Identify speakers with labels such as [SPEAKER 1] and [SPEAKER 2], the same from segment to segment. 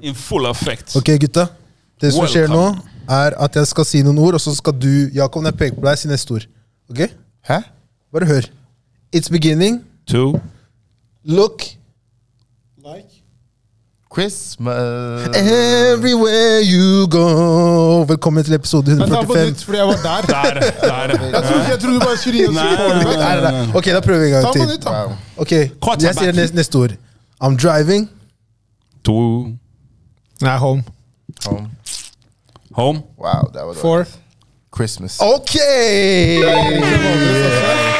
[SPEAKER 1] In full effect.
[SPEAKER 2] Ok, gutta. Det som skjer nå,
[SPEAKER 1] Welcome.
[SPEAKER 2] er at jeg skal si noen ord, og så skal du, Jakob, når jeg peker på deg, si neste ord. Ok?
[SPEAKER 3] Hæ?
[SPEAKER 2] Bare hør. It's beginning.
[SPEAKER 1] Two.
[SPEAKER 2] Look
[SPEAKER 4] Like.
[SPEAKER 3] Christmas
[SPEAKER 2] everywhere you go. Velkommen til episode
[SPEAKER 4] Men ta på
[SPEAKER 2] 145.
[SPEAKER 4] nytt, fordi jeg var der.
[SPEAKER 1] Der. der.
[SPEAKER 4] Jeg trodde, jeg trodde du bare skulle gi oss
[SPEAKER 1] Nei,
[SPEAKER 4] support.
[SPEAKER 1] nei,
[SPEAKER 2] Nei, nei, nei. Ok, da prøver vi en
[SPEAKER 4] Ta
[SPEAKER 2] gang
[SPEAKER 4] på
[SPEAKER 2] til.
[SPEAKER 4] nytt, da.
[SPEAKER 3] Wow.
[SPEAKER 2] Ok, Jeg sier neste, neste ord. I'm driving.
[SPEAKER 1] Two.
[SPEAKER 4] Nei, home.
[SPEAKER 3] Home.
[SPEAKER 1] Home.
[SPEAKER 3] Um, Wow, det var dårlig.
[SPEAKER 4] Four.
[SPEAKER 3] Christmas.
[SPEAKER 2] Ok!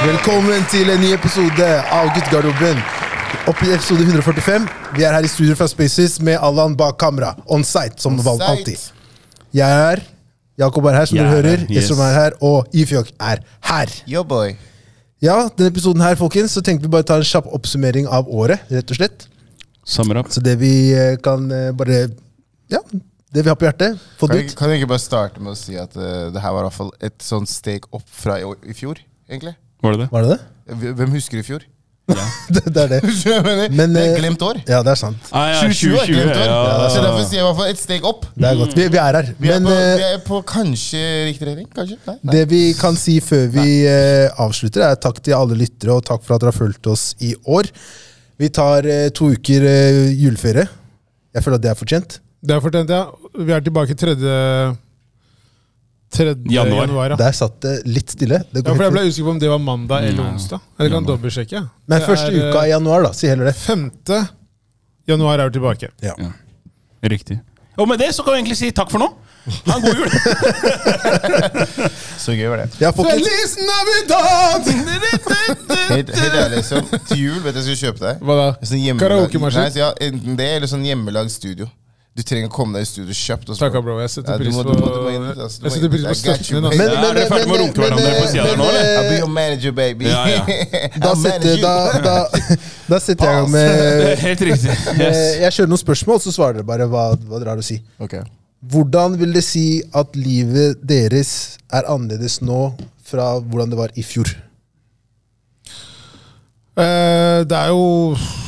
[SPEAKER 2] Velkommen til en ny episode av Guttegarderoben. Opp i episode 145. Vi er her i studio fra Spaces med Allan bak kamera. On site, som valgt alltid. Jeg er Jakob er her, som
[SPEAKER 1] Jeg
[SPEAKER 2] dere
[SPEAKER 1] er
[SPEAKER 2] hører.
[SPEAKER 1] her, yes.
[SPEAKER 2] Esrom er her, og Ifjok er her.
[SPEAKER 3] Yo, boy.
[SPEAKER 2] Ja, denne episoden her, folkens, så tenkte vi bare ta en kjapp oppsummering av året, rett og slett.
[SPEAKER 1] Summer up.
[SPEAKER 2] Så det vi eh, kan eh, bare Ja, det vi har på hjertet. Få
[SPEAKER 3] Kan
[SPEAKER 2] det
[SPEAKER 3] jeg,
[SPEAKER 2] ut.
[SPEAKER 3] kan jeg ikke bare starte med å si at eh, det her var i hvert fall et sånn steg opp fra i, år- i fjor, egentlig?
[SPEAKER 1] Var det det?
[SPEAKER 2] Var det det?
[SPEAKER 3] Hvem husker i fjor?
[SPEAKER 2] det? Det er det.
[SPEAKER 3] Skjønner du hva jeg mener?
[SPEAKER 2] Men,
[SPEAKER 3] det er
[SPEAKER 2] eh,
[SPEAKER 3] et glemt år.
[SPEAKER 2] Ja, det er sant.
[SPEAKER 1] Ah, ja,
[SPEAKER 3] 2020 er et glemt år. Så
[SPEAKER 1] ja.
[SPEAKER 3] derfor sier jeg i hvert fall et steg opp.
[SPEAKER 2] Det er godt. Vi, vi er her.
[SPEAKER 3] Vi er,
[SPEAKER 2] Men
[SPEAKER 3] på,
[SPEAKER 2] eh,
[SPEAKER 3] vi er på kanskje riktig retning? Kanskje? Nei, nei.
[SPEAKER 2] Det vi kan si før vi eh, avslutter, er takk til alle lyttere, og takk for at dere har fulgt oss i år. Vi tar eh, to uker eh, juleferie. Jeg føler at det er fortjent.
[SPEAKER 4] Det er fortjent, ja. Vi er tilbake 3. 3.
[SPEAKER 1] Januar.
[SPEAKER 4] januar. ja.
[SPEAKER 2] Der satt det litt stille. Det
[SPEAKER 4] ja,
[SPEAKER 2] går
[SPEAKER 4] for Jeg
[SPEAKER 2] helt
[SPEAKER 4] ble
[SPEAKER 2] fint.
[SPEAKER 4] usikker på om det var mandag eller
[SPEAKER 1] Nei,
[SPEAKER 4] onsdag. Jeg kan
[SPEAKER 1] januar.
[SPEAKER 4] dobbeltsjekke.
[SPEAKER 2] Men
[SPEAKER 4] Det
[SPEAKER 2] første
[SPEAKER 4] er, eh,
[SPEAKER 2] uka i januar, da. Si heller det.
[SPEAKER 4] 5. januar er vi tilbake.
[SPEAKER 2] Ja.
[SPEAKER 1] Ja. Riktig. Og med det så kan vi egentlig si takk for nå. Ha en god jul!
[SPEAKER 3] Så gøy var det.
[SPEAKER 2] Ja, folkens,
[SPEAKER 4] Feliz Navidad!
[SPEAKER 3] Helt, helt ærlig, så til jul vet du jeg skulle kjøpe deg.
[SPEAKER 4] Hva da?
[SPEAKER 3] En Sånn hjemmelag-
[SPEAKER 4] Karaokemaskin?
[SPEAKER 3] Nei, så ja, enten det eller sånn hjemmelagd studio. Du trenger å komme deg i studio kjapt. og så-
[SPEAKER 4] Takk, bro. Jeg
[SPEAKER 3] Ja,
[SPEAKER 4] setter
[SPEAKER 3] du
[SPEAKER 4] pris
[SPEAKER 3] må-
[SPEAKER 4] på
[SPEAKER 3] du må- du må inn, altså, du
[SPEAKER 4] Jeg
[SPEAKER 3] må
[SPEAKER 4] setter
[SPEAKER 3] inn.
[SPEAKER 4] pris på
[SPEAKER 3] I got you,
[SPEAKER 4] støtten din.
[SPEAKER 3] baby.
[SPEAKER 1] Men-
[SPEAKER 4] ass.
[SPEAKER 1] er dere ferdig med å runke hverandre på siden her nå, eller?
[SPEAKER 3] I'll be your
[SPEAKER 2] eh,
[SPEAKER 3] manager, baby.
[SPEAKER 1] Ja, ja.
[SPEAKER 2] da,
[SPEAKER 3] I'll manage
[SPEAKER 2] setter,
[SPEAKER 3] you.
[SPEAKER 2] da, da, da setter jeg i gang med
[SPEAKER 1] Helt riktig.
[SPEAKER 2] eh,
[SPEAKER 1] Yes.
[SPEAKER 2] Jeg kjører noen spørsmål, så svarer dere bare hva, hva dere har å si.
[SPEAKER 3] Ok.
[SPEAKER 2] Hvordan vil det si at livet deres er annerledes nå fra hvordan det var i fjor?
[SPEAKER 4] Eh, Det er jo jeg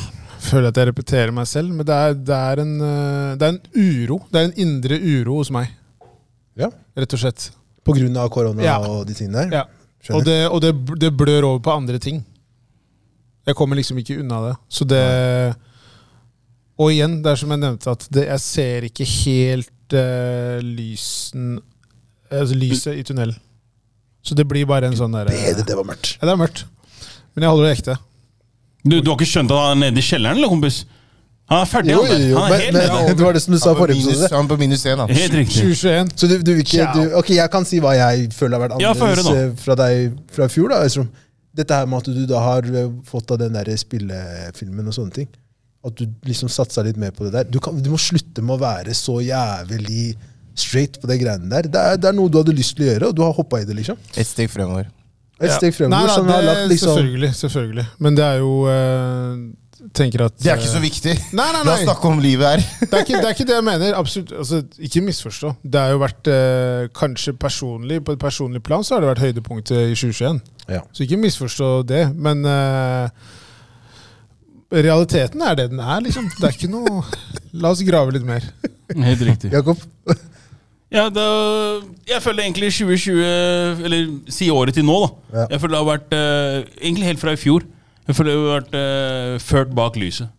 [SPEAKER 4] Føler at jeg repeterer meg selv, men det er, det er, en, eh, det er en uro. Det er en indre uro hos meg,
[SPEAKER 2] Ja.
[SPEAKER 4] rett og slett.
[SPEAKER 2] På grunn av korona
[SPEAKER 4] Ja.
[SPEAKER 2] og de tingene der?
[SPEAKER 4] Ja. Og,
[SPEAKER 2] Skjønner.
[SPEAKER 4] det, og det, det blør over på andre ting. Jeg kommer liksom ikke unna det. Så det Og igjen, det er som jeg nevnte, at det, jeg ser ikke helt eh, lysen altså lyset i tunnelen. Så det blir bare en sånn derre
[SPEAKER 2] Bedre,
[SPEAKER 4] ja,
[SPEAKER 2] det var mørkt.
[SPEAKER 4] Det er mørkt. Men jeg holder det ekte.
[SPEAKER 1] Du, du har ikke skjønt at han er nede i kjelleren, eller, kompis? Han er ferdig.
[SPEAKER 2] Jo,
[SPEAKER 1] han
[SPEAKER 2] jo,
[SPEAKER 1] der.
[SPEAKER 2] jo,
[SPEAKER 1] Han er
[SPEAKER 2] men,
[SPEAKER 1] helt nede.
[SPEAKER 2] men det var det som du sa i
[SPEAKER 3] Han på
[SPEAKER 2] forrige
[SPEAKER 3] minus-
[SPEAKER 2] episode.
[SPEAKER 3] Han på minus én, da.
[SPEAKER 1] Helt riktig.
[SPEAKER 4] 2021.
[SPEAKER 2] Så du, du vil ikke du, Ok, jeg kan si hva jeg føler har vært
[SPEAKER 1] Ja, få høre
[SPEAKER 2] annerledes
[SPEAKER 1] nå.
[SPEAKER 2] eh, fra deg fra i fjor. da, Øystrøm. Dette her med at du da har eh, fått av den der spillefilmen og sånne ting. At du liksom satsa litt mer på det der. Du, kan, du må slutte med å være så jævlig straight på de greiene der. Det er, det er noe du hadde lyst til å gjøre, og du har hoppa i det, liksom.
[SPEAKER 3] Et steg fremover.
[SPEAKER 2] Et steg
[SPEAKER 4] Nei,
[SPEAKER 2] fremover
[SPEAKER 4] nei,
[SPEAKER 2] som har
[SPEAKER 4] det-
[SPEAKER 2] lagt liksom
[SPEAKER 4] Selvfølgelig, selvfølgelig. Men det er jo eh, Tenker at
[SPEAKER 3] Det er ikke så
[SPEAKER 4] eh,
[SPEAKER 3] viktig.
[SPEAKER 4] Nei, nei,
[SPEAKER 3] La oss
[SPEAKER 4] nei.
[SPEAKER 3] snakke om livet her.
[SPEAKER 4] det, er ikke, det er ikke det jeg mener. Absolutt, altså, ikke misforstå. Det har jo vært eh, kanskje personlig På et personlig plan så har det vært høydepunktet i 2021.
[SPEAKER 2] Ja.
[SPEAKER 4] Så ikke misforstå det. Men eh, realiteten er det den er, liksom. Det er ikke noe La oss grave litt mer.
[SPEAKER 1] Helt riktig.
[SPEAKER 2] Jakob?
[SPEAKER 1] Ja, da, jeg føler egentlig 2020 Eller si året til nå, da.
[SPEAKER 2] Ja.
[SPEAKER 1] Jeg føler det har vært eh, Egentlig helt fra i fjor. Jeg føler vi har vært eh, ført bak lyset.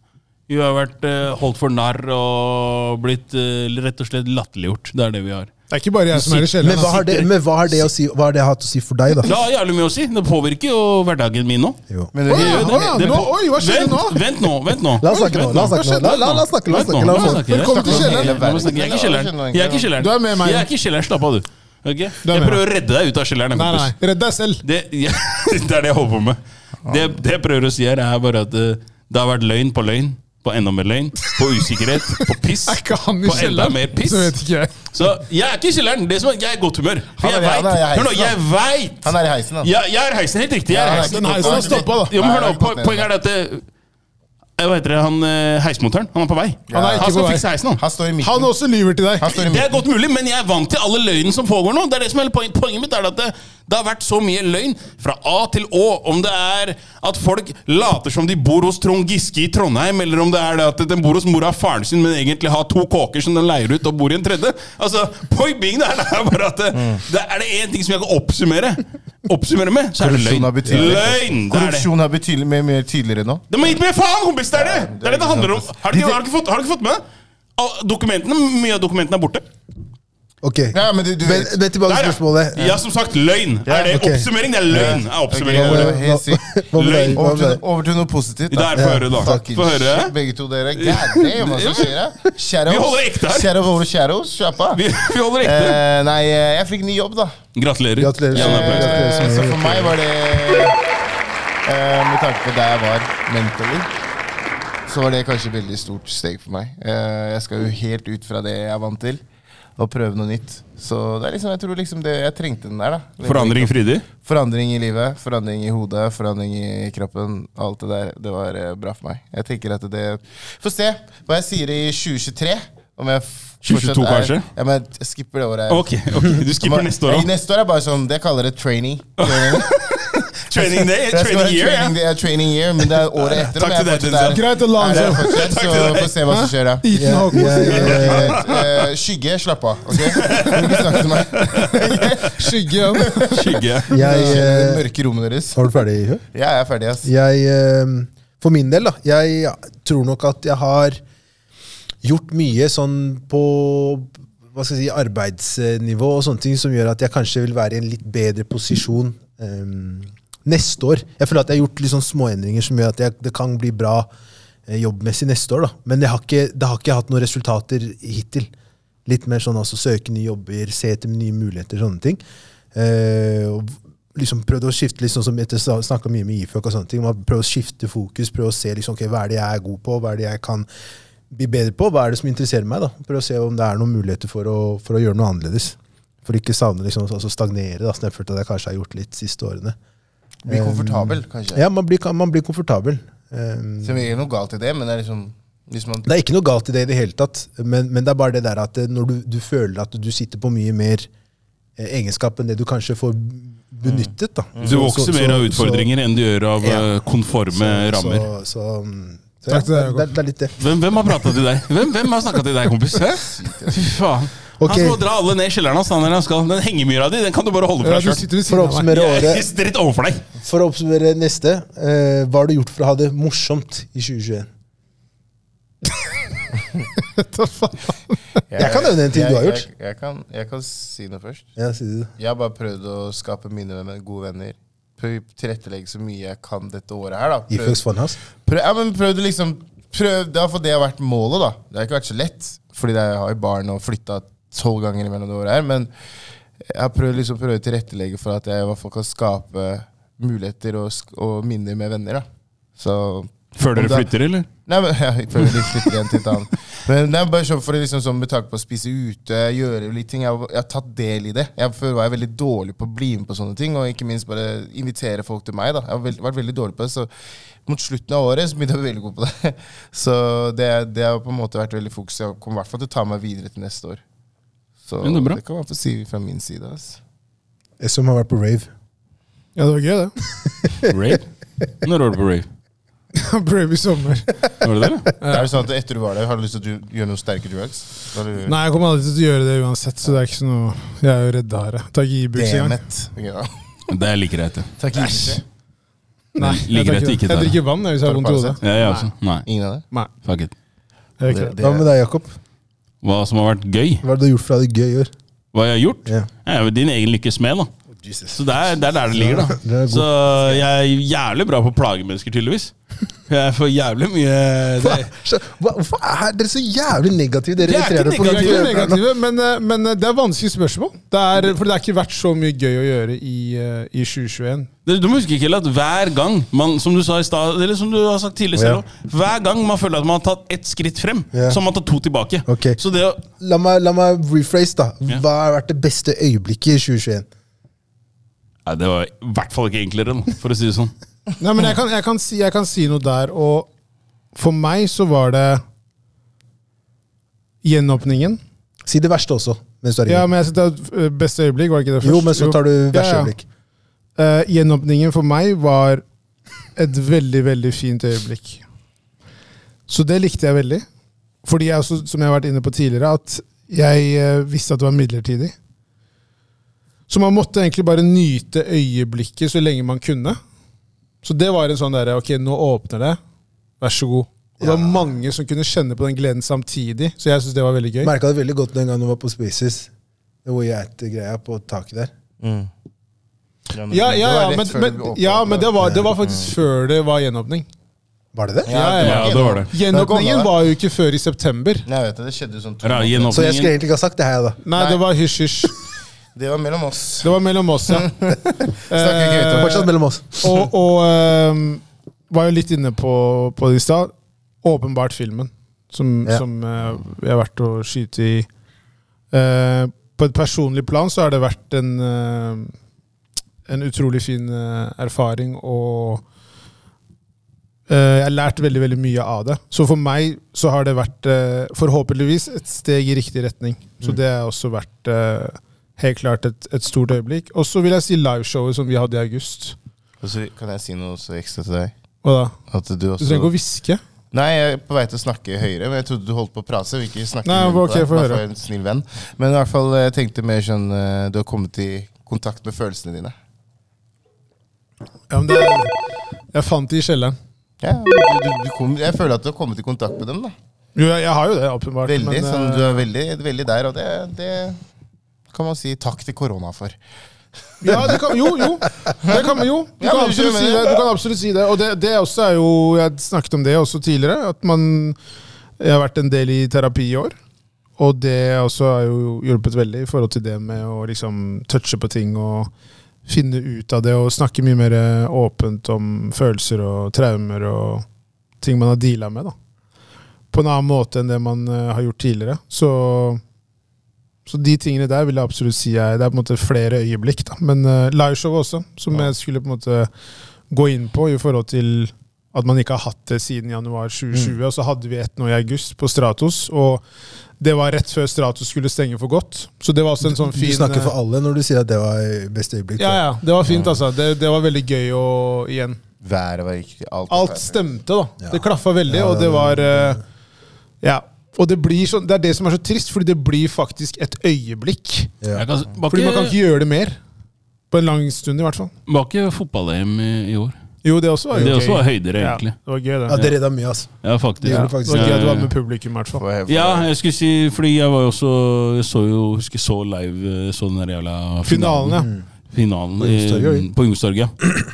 [SPEAKER 1] Vi har vært eh, holdt for narr og blitt eh, rett og slett latterliggjort. Det er det vi har.
[SPEAKER 4] Det er ikke bare jeg som er i
[SPEAKER 2] Men
[SPEAKER 4] kjelleren.
[SPEAKER 2] hva har det, men hva har det, å si, hva har det hatt å si for deg, da?
[SPEAKER 1] Det har jævlig mye å si. Det påvirker jo hverdagen min nå.
[SPEAKER 2] Jo.
[SPEAKER 3] Men
[SPEAKER 4] Å
[SPEAKER 3] det,
[SPEAKER 4] ja, å ja,
[SPEAKER 1] Det- det-
[SPEAKER 4] nå, oi, hva skjedde
[SPEAKER 1] vent,
[SPEAKER 4] nå?
[SPEAKER 1] Vent nå, vent nå.
[SPEAKER 2] La oss snakke nå. La oss snakke nå. La, la, la oss snakke, la oss
[SPEAKER 1] Vent nå,
[SPEAKER 2] snakke.
[SPEAKER 1] la
[SPEAKER 2] La oss
[SPEAKER 1] oss
[SPEAKER 2] snakke.
[SPEAKER 1] snakke.
[SPEAKER 4] Velkommen til kjelleren.
[SPEAKER 1] Jeg er ikke i kjelleren. Jeg er ikke i kjelleren.
[SPEAKER 4] Du er med meg.
[SPEAKER 1] Jeg er ikke i kjelleren. Slapp av, du. Ok?
[SPEAKER 4] Du
[SPEAKER 1] Jeg
[SPEAKER 4] er med
[SPEAKER 1] prøver å redde deg ut av kjelleren.
[SPEAKER 4] Nei, nei.
[SPEAKER 1] kompis.
[SPEAKER 4] Redd deg selv.
[SPEAKER 1] Det, ja, det er det jeg holder på med. Det, det jeg prøver å si her, er bare at eh, det har vært løgn på løgn. På enda mer løgn. På usikkerhet. På piss.
[SPEAKER 4] Er ikke han i
[SPEAKER 1] På enda
[SPEAKER 4] kjelleren?
[SPEAKER 1] mer piss.
[SPEAKER 4] Så vet ikke jeg.
[SPEAKER 1] Så jeg er ikke i kjelleren. Det er som at jeg er i godt humør. For
[SPEAKER 3] Han
[SPEAKER 1] jeg
[SPEAKER 3] er- han
[SPEAKER 1] veit.
[SPEAKER 3] er i
[SPEAKER 1] Hør nå,
[SPEAKER 3] heisen,
[SPEAKER 1] jeg veit!
[SPEAKER 3] han er i heisen, han.
[SPEAKER 1] Jeg, jeg er i heisen. Helt riktig. jeg er
[SPEAKER 3] Ja,
[SPEAKER 1] i
[SPEAKER 3] han er
[SPEAKER 1] heisen.
[SPEAKER 3] ikke
[SPEAKER 4] Den heisen har stoppa, da.
[SPEAKER 1] Jo, men hør nå,
[SPEAKER 3] Nei, han er
[SPEAKER 1] po-
[SPEAKER 3] ikke gått ned.
[SPEAKER 1] Poenget er at det, eh, Hva heter det? Han eh, heismontøren? Han er på vei.
[SPEAKER 4] Han er ikke
[SPEAKER 1] Han
[SPEAKER 4] på
[SPEAKER 1] skal
[SPEAKER 4] vei.
[SPEAKER 1] fikse heisen, han.
[SPEAKER 3] Han står i midten.
[SPEAKER 4] Han også lyver til deg.
[SPEAKER 3] Han står i
[SPEAKER 1] Det er
[SPEAKER 3] midten.
[SPEAKER 1] godt mulig, men jeg er vant til alle løgnen som pågår nå. Det er det som er hele poen- Poenget mitt er at det, Det har vært så mye løgn fra A til Å. Om det er at folk later som de bor hos Trond Giske i Trondheim, eller om det er det at den bor hos mora og faren sin, men egentlig har to kåker som den leier ut og bor i en tredje. Altså, Point being der, det er bare at det, det er det én ting som jeg kan oppsummere, oppsummere med, så er det løgn.
[SPEAKER 3] Korrupsjon er betydelig.
[SPEAKER 1] Løgn! Det er det.
[SPEAKER 3] Korrupsjon er betydelig mer, mer tydeligere nå.
[SPEAKER 1] De har gitt mer faen, kompis! Det er det
[SPEAKER 3] Ja,
[SPEAKER 1] det, er det, det handler om.
[SPEAKER 3] sant, ass.
[SPEAKER 1] Har du ikke, har du ikke, fått, har du ikke fått med det? Al- Dokumentene, Mye av dokumentene er borte.
[SPEAKER 2] Ok,
[SPEAKER 3] Ja, men du, du
[SPEAKER 2] men,
[SPEAKER 3] vet
[SPEAKER 2] men tilbake
[SPEAKER 1] Der,
[SPEAKER 2] til
[SPEAKER 1] ja.
[SPEAKER 2] spørsmålet.
[SPEAKER 1] Ja, som sagt, løgn.
[SPEAKER 3] Ja,
[SPEAKER 1] Er det
[SPEAKER 2] ok.
[SPEAKER 1] oppsummering? Det er løgn. er oppsummering.
[SPEAKER 3] Ok,
[SPEAKER 1] av
[SPEAKER 3] ja,
[SPEAKER 1] det.
[SPEAKER 3] ja. helt sykt.
[SPEAKER 2] Hva med deg? Hva
[SPEAKER 3] over
[SPEAKER 2] med
[SPEAKER 3] til,
[SPEAKER 2] deg?
[SPEAKER 3] over til noe positivt.
[SPEAKER 1] Der, få høre, da.
[SPEAKER 3] Fucking
[SPEAKER 1] Få høre.
[SPEAKER 3] shit, begge to dere. God damn, hva som skjer her? Shadows.
[SPEAKER 1] Vi holder ekte her.
[SPEAKER 3] Shadows over shadows, kjappa.
[SPEAKER 1] Vi, vi holder ekte.
[SPEAKER 3] Eh, nei, eh, jeg fikk ny jobb, da.
[SPEAKER 1] Gratulerer.
[SPEAKER 2] Gratulerer.
[SPEAKER 1] Ja,
[SPEAKER 2] men
[SPEAKER 1] det er bra.
[SPEAKER 2] gratulerer så
[SPEAKER 3] Eh,
[SPEAKER 2] mye.
[SPEAKER 3] så for meg var det eh, Med tanke på der jeg var mentally, så var det kanskje et veldig stort steg for meg. Eh, jeg skal jo helt ut fra det jeg er vant til, og prøve noe nytt. Så det er liksom, jeg tror liksom det, jeg trengte den der. da
[SPEAKER 1] Forandring frydig.
[SPEAKER 3] Forandring i livet, forandring i hodet, forandring i kroppen. Alt det der. Det var eh, bra for meg. Jeg tenker at det Få se hva jeg sier i 2023. Om jeg f-
[SPEAKER 1] 2022
[SPEAKER 3] fortsatt er,
[SPEAKER 1] kanskje?
[SPEAKER 3] Ja, men jeg skipper det året. her.
[SPEAKER 1] Ok, ok, du skipper
[SPEAKER 3] Men-
[SPEAKER 1] neste år
[SPEAKER 3] Nei,
[SPEAKER 1] òg.
[SPEAKER 3] Neste år er bare sånn Det kaller det trainee.
[SPEAKER 1] Training day,
[SPEAKER 3] Det skal være
[SPEAKER 1] training year. ja.
[SPEAKER 3] training, det er training year, men det er året etter.
[SPEAKER 1] Takk
[SPEAKER 3] om
[SPEAKER 1] til
[SPEAKER 3] jeg
[SPEAKER 1] deg,
[SPEAKER 3] fortsatt er-
[SPEAKER 1] Denzel.
[SPEAKER 4] Greit å la
[SPEAKER 3] er
[SPEAKER 4] han
[SPEAKER 3] der
[SPEAKER 4] seg
[SPEAKER 3] fortsatt,
[SPEAKER 1] Takk
[SPEAKER 3] så
[SPEAKER 1] til deg.
[SPEAKER 3] få se hva som skjer da.
[SPEAKER 4] Liten
[SPEAKER 2] Ja,
[SPEAKER 4] Håkon
[SPEAKER 2] ja,
[SPEAKER 4] sier
[SPEAKER 2] ja, ja.
[SPEAKER 3] Eh, eh, skygge, slapp av. ok? Ikke snakk til meg.
[SPEAKER 4] Skygge. ja.
[SPEAKER 1] Skygge.
[SPEAKER 2] Jeg,
[SPEAKER 3] Skjønner det
[SPEAKER 2] eh,
[SPEAKER 3] mørke rommet deres.
[SPEAKER 2] var du ferdig, Hø?
[SPEAKER 3] Ja, jeg er ferdig, ass.
[SPEAKER 2] Jeg, eh, for min del, da. Jeg tror nok at jeg har gjort mye sånn på hva skal jeg si, arbeidsnivå og sånne ting som gjør at jeg kanskje vil være i en litt bedre posisjon eh, neste år. Jeg føler at jeg har gjort litt sånn småendringer som gjør at jeg, det kan bli bra eh, jobbmessig neste år. da. Men jeg har ikke, det har ikke hatt noen resultater hittil. Litt mer sånn altså søke nye jobber, se etter nye muligheter, sånne ting. Eh, og liksom prøvd å skifte litt sånn som etter snakka mye med IFØK og sånne ting. Man prøver å skifte fokus, prøve å se liksom, ok, hva er det jeg er god på, hva er det jeg kan bli bedre på, hva er det som interesserer meg. da? Prøve å se om det er noen muligheter for å, for å gjøre noe annerledes. For ikke savne liksom, altså stagnere, da, som jeg følte at jeg kanskje har gjort litt siste årene.
[SPEAKER 3] Bli komfortabel, kanskje.
[SPEAKER 2] Ja, man blir, man blir komfortabel. Eh,
[SPEAKER 3] Som ikke er noe galt i det, men det er liksom hvis man,
[SPEAKER 2] Det er ikke noe galt i det i det hele tatt, men, men det er bare det der at eh, når du, du føler at du sitter på mye mer eh, egenskap enn det du kanskje får benyttet. da.
[SPEAKER 1] Mm. Du
[SPEAKER 2] Så- så-
[SPEAKER 1] vokser mer
[SPEAKER 2] så-
[SPEAKER 1] av utfordringer enn du gjør av
[SPEAKER 2] Ja.
[SPEAKER 1] eh, konforme
[SPEAKER 2] så-
[SPEAKER 1] rammer.
[SPEAKER 2] Så, så, mm, så,
[SPEAKER 4] Takk til
[SPEAKER 2] ja,
[SPEAKER 4] deg, Jakob.
[SPEAKER 2] det, er- det er litt det.
[SPEAKER 1] Hvem, hvem har prata til deg? Hvem, hvem har snakka til deg, kompis? Hæ? Fy faen.
[SPEAKER 2] Ok.
[SPEAKER 1] Han skal dra alle ned i kjelleren hans. han der han skal. Den hengemyra di den kan du bare holde
[SPEAKER 4] Ja,
[SPEAKER 1] fra
[SPEAKER 4] du
[SPEAKER 1] sjøl.
[SPEAKER 4] sitter ved
[SPEAKER 2] For å
[SPEAKER 4] siden av meg.
[SPEAKER 2] oppsummere
[SPEAKER 1] Jeg
[SPEAKER 2] året,
[SPEAKER 1] sitter rett overfor deg.
[SPEAKER 2] for å oppsummere neste, eh, hva har du gjort for å ha det morsomt i 2021? Jeg kan nevne en ting
[SPEAKER 3] jeg-
[SPEAKER 2] du har gjort.
[SPEAKER 3] Jeg, jeg, kan, jeg kan si noe først.
[SPEAKER 2] Ja, sier du det?
[SPEAKER 3] Jeg har bare prøvd å skape mine med gode venner. Prøv å tilrettelegge så mye jeg kan dette året her. da.
[SPEAKER 1] Eh,
[SPEAKER 3] Prøv-
[SPEAKER 2] Iføks Funhouse?
[SPEAKER 3] Prøv, ja, men prøv du liksom prøv, Det har for det har vært målet, da. Det har ikke vært så lett, fordi jeg har jo barn og flytta tolv ganger imellom det året her. Men jeg har prøvd liksom prøvd å tilrettelegge for at jeg i hvert fall kan skape muligheter og, sk- og minner med venner. da Så
[SPEAKER 1] Før
[SPEAKER 3] Om
[SPEAKER 1] dere
[SPEAKER 3] det-
[SPEAKER 1] flytter, eller?
[SPEAKER 3] Nei, men ja, jeg føler litt, litt igjen til et annet. Men det er bare sånn for å liksom, sånn med tanke på å spise ute, gjøre litt ting. Jeg, har- jeg har tatt del i det. Jeg før var jeg veldig dårlig på å bli med på sånne ting, og ikke minst bare invitere folk til meg. da. Jeg har vel- vært veldig dårlig på det, så mot slutten av året så begynte jeg å bli veldig god på det. Så det, det har på en måte vært veldig fokus. Jeg kommer i hvert fall til å ta meg videre til neste år. Så
[SPEAKER 1] Ja, det er bra.
[SPEAKER 3] det kan man få si fra min side. ass.
[SPEAKER 2] eh, Som har vært på rave.
[SPEAKER 4] Ja, det var gøy, det.
[SPEAKER 1] Rave? Når var du på rave?
[SPEAKER 4] Brave i sommer.
[SPEAKER 1] Var det det, eller?
[SPEAKER 3] Er det sånn at etter du var der, har du lyst til å gjøre noen sterke drugs? Har du-
[SPEAKER 4] Nei, jeg kommer aldri til å gjøre det uansett, så det er ikke så noe Jeg er jo redd hare. Ta gibus i
[SPEAKER 3] Damn
[SPEAKER 4] gang.
[SPEAKER 3] it. Ja.
[SPEAKER 1] Det er like greit, det.
[SPEAKER 3] Takk, Æsj.
[SPEAKER 4] Nei, jeg,
[SPEAKER 1] Ligger rett
[SPEAKER 4] drikker,
[SPEAKER 1] ikke
[SPEAKER 4] jeg
[SPEAKER 1] der.
[SPEAKER 4] drikker vann jeg, hvis jeg har vondt i hodet.
[SPEAKER 1] Ja, jeg også. Nei.
[SPEAKER 3] Ingen av det?
[SPEAKER 4] Nei,
[SPEAKER 1] Fuck it.
[SPEAKER 4] jeg gjør ikke det.
[SPEAKER 2] Hva med deg, Jakob?
[SPEAKER 1] Hva som har vært gøy?
[SPEAKER 2] Hva har du gjort for å ha det gøy i år?
[SPEAKER 1] Hva jeg har gjort?
[SPEAKER 2] Ja.
[SPEAKER 1] Jeg er jo din egen lykkes smed, da. Så det er, det er der det ligger,
[SPEAKER 2] Ja, det er
[SPEAKER 1] da.
[SPEAKER 2] god.
[SPEAKER 1] Så eh, jeg er jævlig bra på å plage mennesker, tydeligvis. Jeg får jævlig mye det.
[SPEAKER 2] Så, hva, hvorfor er dere så jævlig negative? Dere
[SPEAKER 1] Det er ikke
[SPEAKER 2] irriterer på
[SPEAKER 4] Vi er ikke
[SPEAKER 1] negativt.
[SPEAKER 2] det.
[SPEAKER 4] negative, men, eh, men eh, det er vanskelige spørsmål. Det er, for det har ikke vært så mye gøy å gjøre i, eh, i 2021.
[SPEAKER 1] Du du må huske Kjell, at hver gang man, som du sa i stad, eller som du har sagt tidligere selv, også, hver gang man føler at man har tatt ett skritt frem,
[SPEAKER 2] Ja.
[SPEAKER 1] så har man tatt to tilbake.
[SPEAKER 2] Ok.
[SPEAKER 1] Så det å
[SPEAKER 2] La meg, la meg rephrase, da.
[SPEAKER 1] Ja.
[SPEAKER 2] Hva har vært det beste øyeblikket i 2021?
[SPEAKER 1] Nei, det var i hvert fall ikke enklere, da, for å si det sånn.
[SPEAKER 4] Nei, men jeg kan, jeg, kan si, jeg kan si noe der, og for meg så var det gjenåpningen.
[SPEAKER 2] Si det verste også. mens du er i
[SPEAKER 4] Ja,
[SPEAKER 2] gang.
[SPEAKER 4] men jeg synes det er et, eh, beste øyeblikk, var det ikke det først?
[SPEAKER 2] Jo, men så tar du
[SPEAKER 4] Jo.
[SPEAKER 2] verste
[SPEAKER 4] Ja, ja.
[SPEAKER 2] øyeblikk.
[SPEAKER 4] Eh, gjenåpningen for meg var et veldig, veldig fint øyeblikk. Så det likte jeg veldig. Fordi jeg også, som jeg har vært inne på tidligere, at jeg eh, visste at det var midlertidig. Så man måtte egentlig bare nyte øyeblikket så lenge man kunne. Så det var en sånn derre Ok, nå åpner det. Vær så god. Og det var mange som kunne kjenne på den gleden samtidig, så jeg syns det var veldig gøy.
[SPEAKER 2] Merka det veldig godt den gangen du var på Spaces. Det var geitegreia på taket der.
[SPEAKER 4] Ja, ja,
[SPEAKER 3] Det
[SPEAKER 4] ja,
[SPEAKER 3] var rett
[SPEAKER 4] men,
[SPEAKER 3] før
[SPEAKER 4] men,
[SPEAKER 3] vi åpnet. Mm.
[SPEAKER 4] ja, men det, var, det var faktisk før det var gjenåpning.
[SPEAKER 2] Var det det?
[SPEAKER 4] Ja, ja,
[SPEAKER 1] Ja, det var det.
[SPEAKER 4] Gjenåpningen var jo ikke før i september.
[SPEAKER 3] Nei, jeg vet det, det skjedde sånn to
[SPEAKER 1] Ra-
[SPEAKER 3] måneder.
[SPEAKER 2] Så jeg
[SPEAKER 1] Gjenåpningen.
[SPEAKER 2] skulle egentlig ikke ha sagt det her, da.
[SPEAKER 4] Nei, det var hysj, hysj.
[SPEAKER 3] Det var mellom oss.
[SPEAKER 4] Det var mellom oss, ja. Eh,
[SPEAKER 3] Snakker ikke høyt om
[SPEAKER 2] Fortsatt mellom oss.
[SPEAKER 4] Og, og ehm, var jo litt inne på, på det i stad. Åpenbart filmen som,
[SPEAKER 2] Ja.
[SPEAKER 4] som eh, jeg har vært å skyte i. Eh, på et personlig plan så har det vært en, eh, en utrolig fin eh, erfaring, og eh, jeg har lært veldig veldig mye av det. Så for meg så har det vært eh, forhåpentligvis et steg i riktig retning. Så det har også vært eh, helt klart et, et stort øyeblikk. Og så vil jeg si liveshowet som vi hadde i august.
[SPEAKER 3] Og så Altså, kan jeg si noe så ekstra til deg?
[SPEAKER 4] Hva da?
[SPEAKER 3] At du
[SPEAKER 4] Du trenger ikke
[SPEAKER 3] også
[SPEAKER 4] å hviske.
[SPEAKER 3] Nei, jeg er på vei til å snakke høyere, men jeg trodde du holdt på å prate. vil ikke snakke
[SPEAKER 4] Nei,
[SPEAKER 3] i munnen på
[SPEAKER 4] ok,
[SPEAKER 3] deg,
[SPEAKER 4] få
[SPEAKER 3] bare
[SPEAKER 4] høre.
[SPEAKER 3] for en snill venn. Men i hvert fall, jeg tenkte mer sånn eh, Du har kommet i kontakt med følelsene dine.
[SPEAKER 4] Ja, men det, jeg fant det i kjelleren.
[SPEAKER 3] Ja, du, du, du kom, jeg føler at du har kommet i kontakt med dem. da
[SPEAKER 4] Jo, jeg, jeg har jo det, åpenbart.
[SPEAKER 3] Veldig,
[SPEAKER 4] men,
[SPEAKER 3] sånn,
[SPEAKER 4] eh,
[SPEAKER 3] Du er veldig, veldig der, og det, det kan man si takk til korona for.
[SPEAKER 4] ja, det kan, jo, jo. Det kan man jo. Du
[SPEAKER 3] Ja,
[SPEAKER 4] kan
[SPEAKER 3] men du
[SPEAKER 4] absolutt
[SPEAKER 3] skjønner
[SPEAKER 4] si det.
[SPEAKER 3] det.
[SPEAKER 4] Du kan absolutt si det. Og det, det også er jo Jeg snakket om det også tidligere, at man Jeg har vært en del i terapi i år. Og det også har jo hjulpet veldig i forhold til det med å liksom touche på ting og finne ut av det og snakke mye mer åpent om følelser og traumer og ting man har deala med, da. På en annen måte enn det man eh, har gjort tidligere. Så, så de tingene der vil jeg absolutt si er Det er på en måte flere øyeblikk, da. Men uh, liveshowet også, som jeg skulle på en måte gå inn på i forhold til at man ikke har hatt det siden januar 2020.
[SPEAKER 2] Mm.
[SPEAKER 4] Og så hadde vi ett nå i august på Stratos, og det var rett før Stratos skulle stenge for godt. Så det var også en sånn fin
[SPEAKER 2] Du snakker for alle når du sier at det var beste øyeblikk.
[SPEAKER 4] Ja, ja. Det var fint, altså. Det, det var veldig gøy å igjen
[SPEAKER 3] Været var riktig. Alt,
[SPEAKER 4] Alt stemte, da.
[SPEAKER 2] Ja.
[SPEAKER 4] Det klaffa veldig,
[SPEAKER 2] Ja,
[SPEAKER 4] og
[SPEAKER 2] det-
[SPEAKER 4] det var eh, Ja. Og det blir sånn Det er det som er så trist, fordi det blir faktisk et øyeblikk.
[SPEAKER 2] Ja.
[SPEAKER 1] Jeg kan- Var
[SPEAKER 4] Fordi man kan
[SPEAKER 1] ikke-
[SPEAKER 4] ikke gjøre det mer. På en lang stund, i hvert fall.
[SPEAKER 1] var ikke fotball-EM i i år?
[SPEAKER 4] Jo, det også var jo
[SPEAKER 1] Det også var
[SPEAKER 4] gøy.
[SPEAKER 1] høyder,
[SPEAKER 4] Ja,
[SPEAKER 1] egentlig.
[SPEAKER 4] det var gøy,
[SPEAKER 2] Ja,
[SPEAKER 4] det.
[SPEAKER 2] det redda mye, altså.
[SPEAKER 1] Ja, faktisk.
[SPEAKER 2] Det
[SPEAKER 1] Ja.
[SPEAKER 2] gjorde
[SPEAKER 4] Det
[SPEAKER 2] faktisk
[SPEAKER 4] var gøy at
[SPEAKER 1] Ja,
[SPEAKER 4] du var
[SPEAKER 1] ja,
[SPEAKER 4] med publikum, i hvert fall.
[SPEAKER 3] For-
[SPEAKER 1] Ja, jeg skulle si Fordi jeg var jo også Jeg så jo, husker jeg så live eh, Så den der jævla
[SPEAKER 4] Finalen, ja.
[SPEAKER 2] Mm.
[SPEAKER 1] Finalen
[SPEAKER 2] På Youngstorget,
[SPEAKER 1] i- på Youngstorget.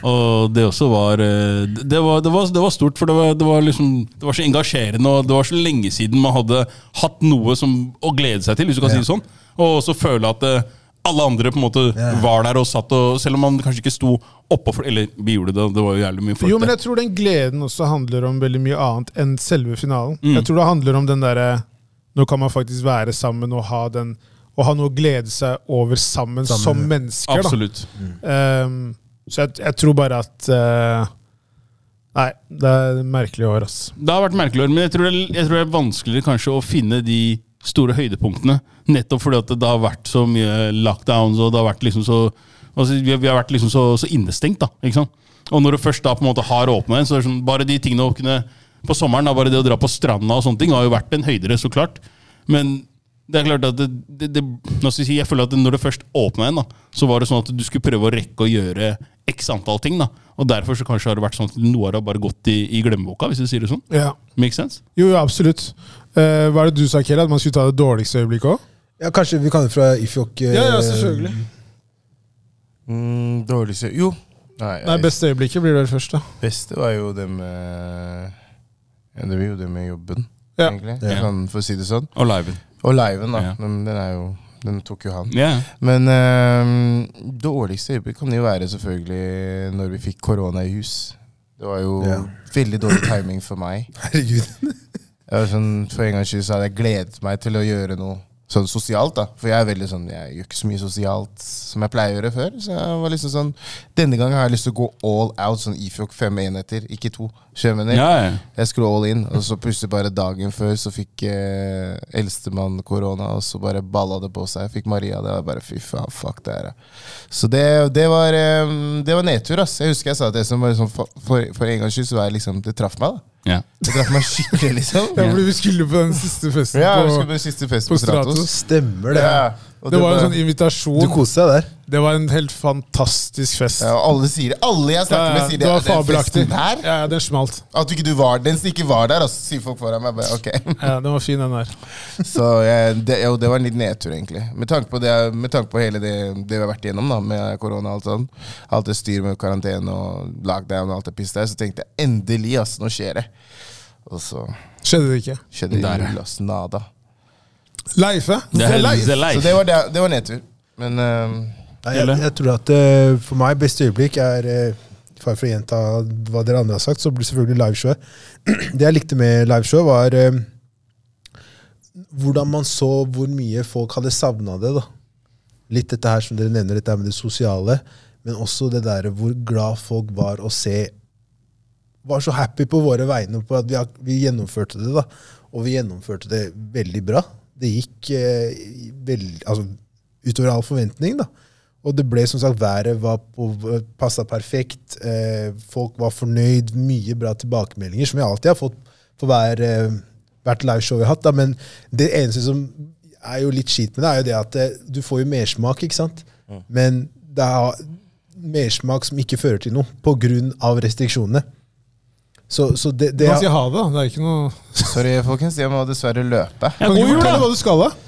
[SPEAKER 1] Og det også var eh, Det var, det var, det var stort, for det var, det var liksom Det var så engasjerende, og det var så lenge siden man hadde hatt noe som, å glede seg til, hvis du kan si det sånn. Og også føle at eh, alle andre på en måte
[SPEAKER 2] Ja.
[SPEAKER 1] var der og satt og Selv om man kanskje ikke sto oppå for- Eller vi gjorde det, det var jo jævlig mye folk
[SPEAKER 4] Jo, men
[SPEAKER 1] der.
[SPEAKER 4] jeg tror den gleden også handler om veldig mye annet enn selve finalen.
[SPEAKER 1] Mm.
[SPEAKER 4] Jeg tror det handler om den derre Nå kan man faktisk være sammen og ha den Og ha noe å glede seg over sammen,
[SPEAKER 2] Sammen,
[SPEAKER 4] som
[SPEAKER 2] ja.
[SPEAKER 4] mennesker. da.
[SPEAKER 1] Absolutt.
[SPEAKER 4] Ehm, så jeg, jeg tror bare at eh, Nei, det er merkelig år, ass.
[SPEAKER 1] Det har vært merkelig, men jeg tror, det, jeg tror det er vanskeligere kanskje å finne de store høydepunktene. Nettopp fordi at det har vært så mye lockdowns, og det har vært liksom så altså, vi, har- vi har vært liksom så, så innestengt. da, ikke sant? Og når du først da på en måte har åpna en, så er det sånn, bare de tingene å kunne På sommeren, da, bare det å dra på stranda og sånne ting, har jo vært en høydere, så klart. Men det er klart at det, det, det, nå skal jeg, si, jeg føler at når det først åpna en, da, så var det sånn at du skulle prøve å rekke å gjøre x antall ting. da. Og derfor så kanskje har det vært sånn at noe har bare gått i, i glemmeboka, hvis du sier det sånn. Make sense?
[SPEAKER 4] Jo, jo, absolutt. Eh, hva er det du sa, Kjell? At man skulle ta det dårligste øyeblikket òg?
[SPEAKER 2] Ja, kanskje vi kan fra Ifjok eh,
[SPEAKER 3] Mm, dårligste Jo. Nei,
[SPEAKER 4] Nei, Beste øyeblikket blir det vel først, da.
[SPEAKER 3] beste var jo det med ja, Det var jo det med jobben,
[SPEAKER 4] Ja.
[SPEAKER 3] egentlig.
[SPEAKER 2] Ja.
[SPEAKER 3] Sånn, for å si det sånn.
[SPEAKER 1] Og liven.
[SPEAKER 3] Og liven, da.
[SPEAKER 1] Ja.
[SPEAKER 3] Den, den er jo Den tok jo han.
[SPEAKER 1] Ja.
[SPEAKER 3] Men ehm, dårligste øyeblikk kan jo være selvfølgelig når vi fikk korona i hus. Det var jo
[SPEAKER 2] Ja.
[SPEAKER 3] veldig dårlig timing for meg.
[SPEAKER 2] Herregud.
[SPEAKER 3] Jeg var sånn, for en gangs skyld så hadde jeg gledet meg til å gjøre noe Sånn sosialt, da. For jeg er veldig sånn, jeg gjør ikke så mye sosialt som jeg pleier å gjøre før. Så jeg var liksom sånn, Denne gangen har jeg lyst til å gå all out, sånn Ifjok fem enheter, ikke to. Skjønner du?
[SPEAKER 1] Ja, ja.
[SPEAKER 3] Jeg skulle all in, og så plutselig bare dagen før så fikk eh, eldstemann korona, og så bare balla det på seg. Jeg fikk Maria, det var bare fy faen, fuck det her. ja. Så det, det, var, eh, det var nedtur, ass. Jeg husker jeg sa til Espen bare sånn, for, for, for en gangs skyld så var jeg liksom, det traff meg, da.
[SPEAKER 1] Ja.
[SPEAKER 3] Det traff meg skikkelig, liksom.
[SPEAKER 4] Ja, fordi vi skulle på den siste festen.
[SPEAKER 3] Ja, jeg
[SPEAKER 4] på,
[SPEAKER 3] husker på den siste festen
[SPEAKER 4] på
[SPEAKER 3] på Stratos.
[SPEAKER 2] Stemmer det.
[SPEAKER 3] Ja, og
[SPEAKER 4] det var jo en
[SPEAKER 3] bare-
[SPEAKER 4] sånn
[SPEAKER 2] Du
[SPEAKER 4] invitasjon.
[SPEAKER 2] koste deg der.
[SPEAKER 4] Det var en helt fantastisk fest.
[SPEAKER 3] ja, og alle sier Alle jeg snakker med, sier det.
[SPEAKER 4] det var
[SPEAKER 3] er den
[SPEAKER 4] fabelaktig.
[SPEAKER 3] festen der?
[SPEAKER 4] Ja, den smalt.
[SPEAKER 3] At ikke du var den som ikke var der, altså, sier folk foran meg. Bare, ok.
[SPEAKER 4] Ja, den var fin, den der.
[SPEAKER 3] Så jeg, det, jo, det var en liten nedtur, egentlig. Med tanke på, det, med tanke på hele det, det vi har vært igjennom da, med korona og alt sånn. Alt det styr med karantene og lockdown og alt det piss der. Så tenkte jeg endelig, ass, nå skjer det. Og så
[SPEAKER 4] Skjedde det ikke.
[SPEAKER 3] skjedde
[SPEAKER 1] Der, ja.
[SPEAKER 3] null, ass. Nada.
[SPEAKER 4] Leife.
[SPEAKER 1] Det er
[SPEAKER 4] Leif.
[SPEAKER 1] det er
[SPEAKER 3] Så
[SPEAKER 1] leif.
[SPEAKER 3] det var, det, det var nedtur. Men eh,
[SPEAKER 2] Nei, jeg, jeg tror at eh, for meg beste øyeblikk er eh, Bare for å gjenta hva dere andre har sagt, så blir det selvfølgelig liveshowet. Det jeg likte med liveshowet, var eh, hvordan man så hvor mye folk hadde savna det. da. Litt dette her som dere nevner, dette her med det sosiale, men også det der hvor glad folk var å se Var så happy på våre vegne på at vi, har- vi gjennomførte det, da. Og vi gjennomførte det veldig bra. Det gikk eh, veld, altså, utover all forventning, da. Og det ble som sagt, været var på- passa perfekt. Eh, folk var fornøyd. Mye bra tilbakemeldinger, som jeg alltid har fått på hver, eh, hvert liveshow jeg har hatt. Da. Men det eneste som er jo litt skit med det, er jo det at eh, du får jo mersmak, ikke sant? Men det er mersmak som ikke fører til noe, pga. restriksjonene. Så, så det, det
[SPEAKER 4] Man sier ha det, da. Det er ikke noe
[SPEAKER 3] sorry, folkens. Jeg må dessverre løpe.
[SPEAKER 1] Ja, god jul, da!
[SPEAKER 4] hva du skal, da?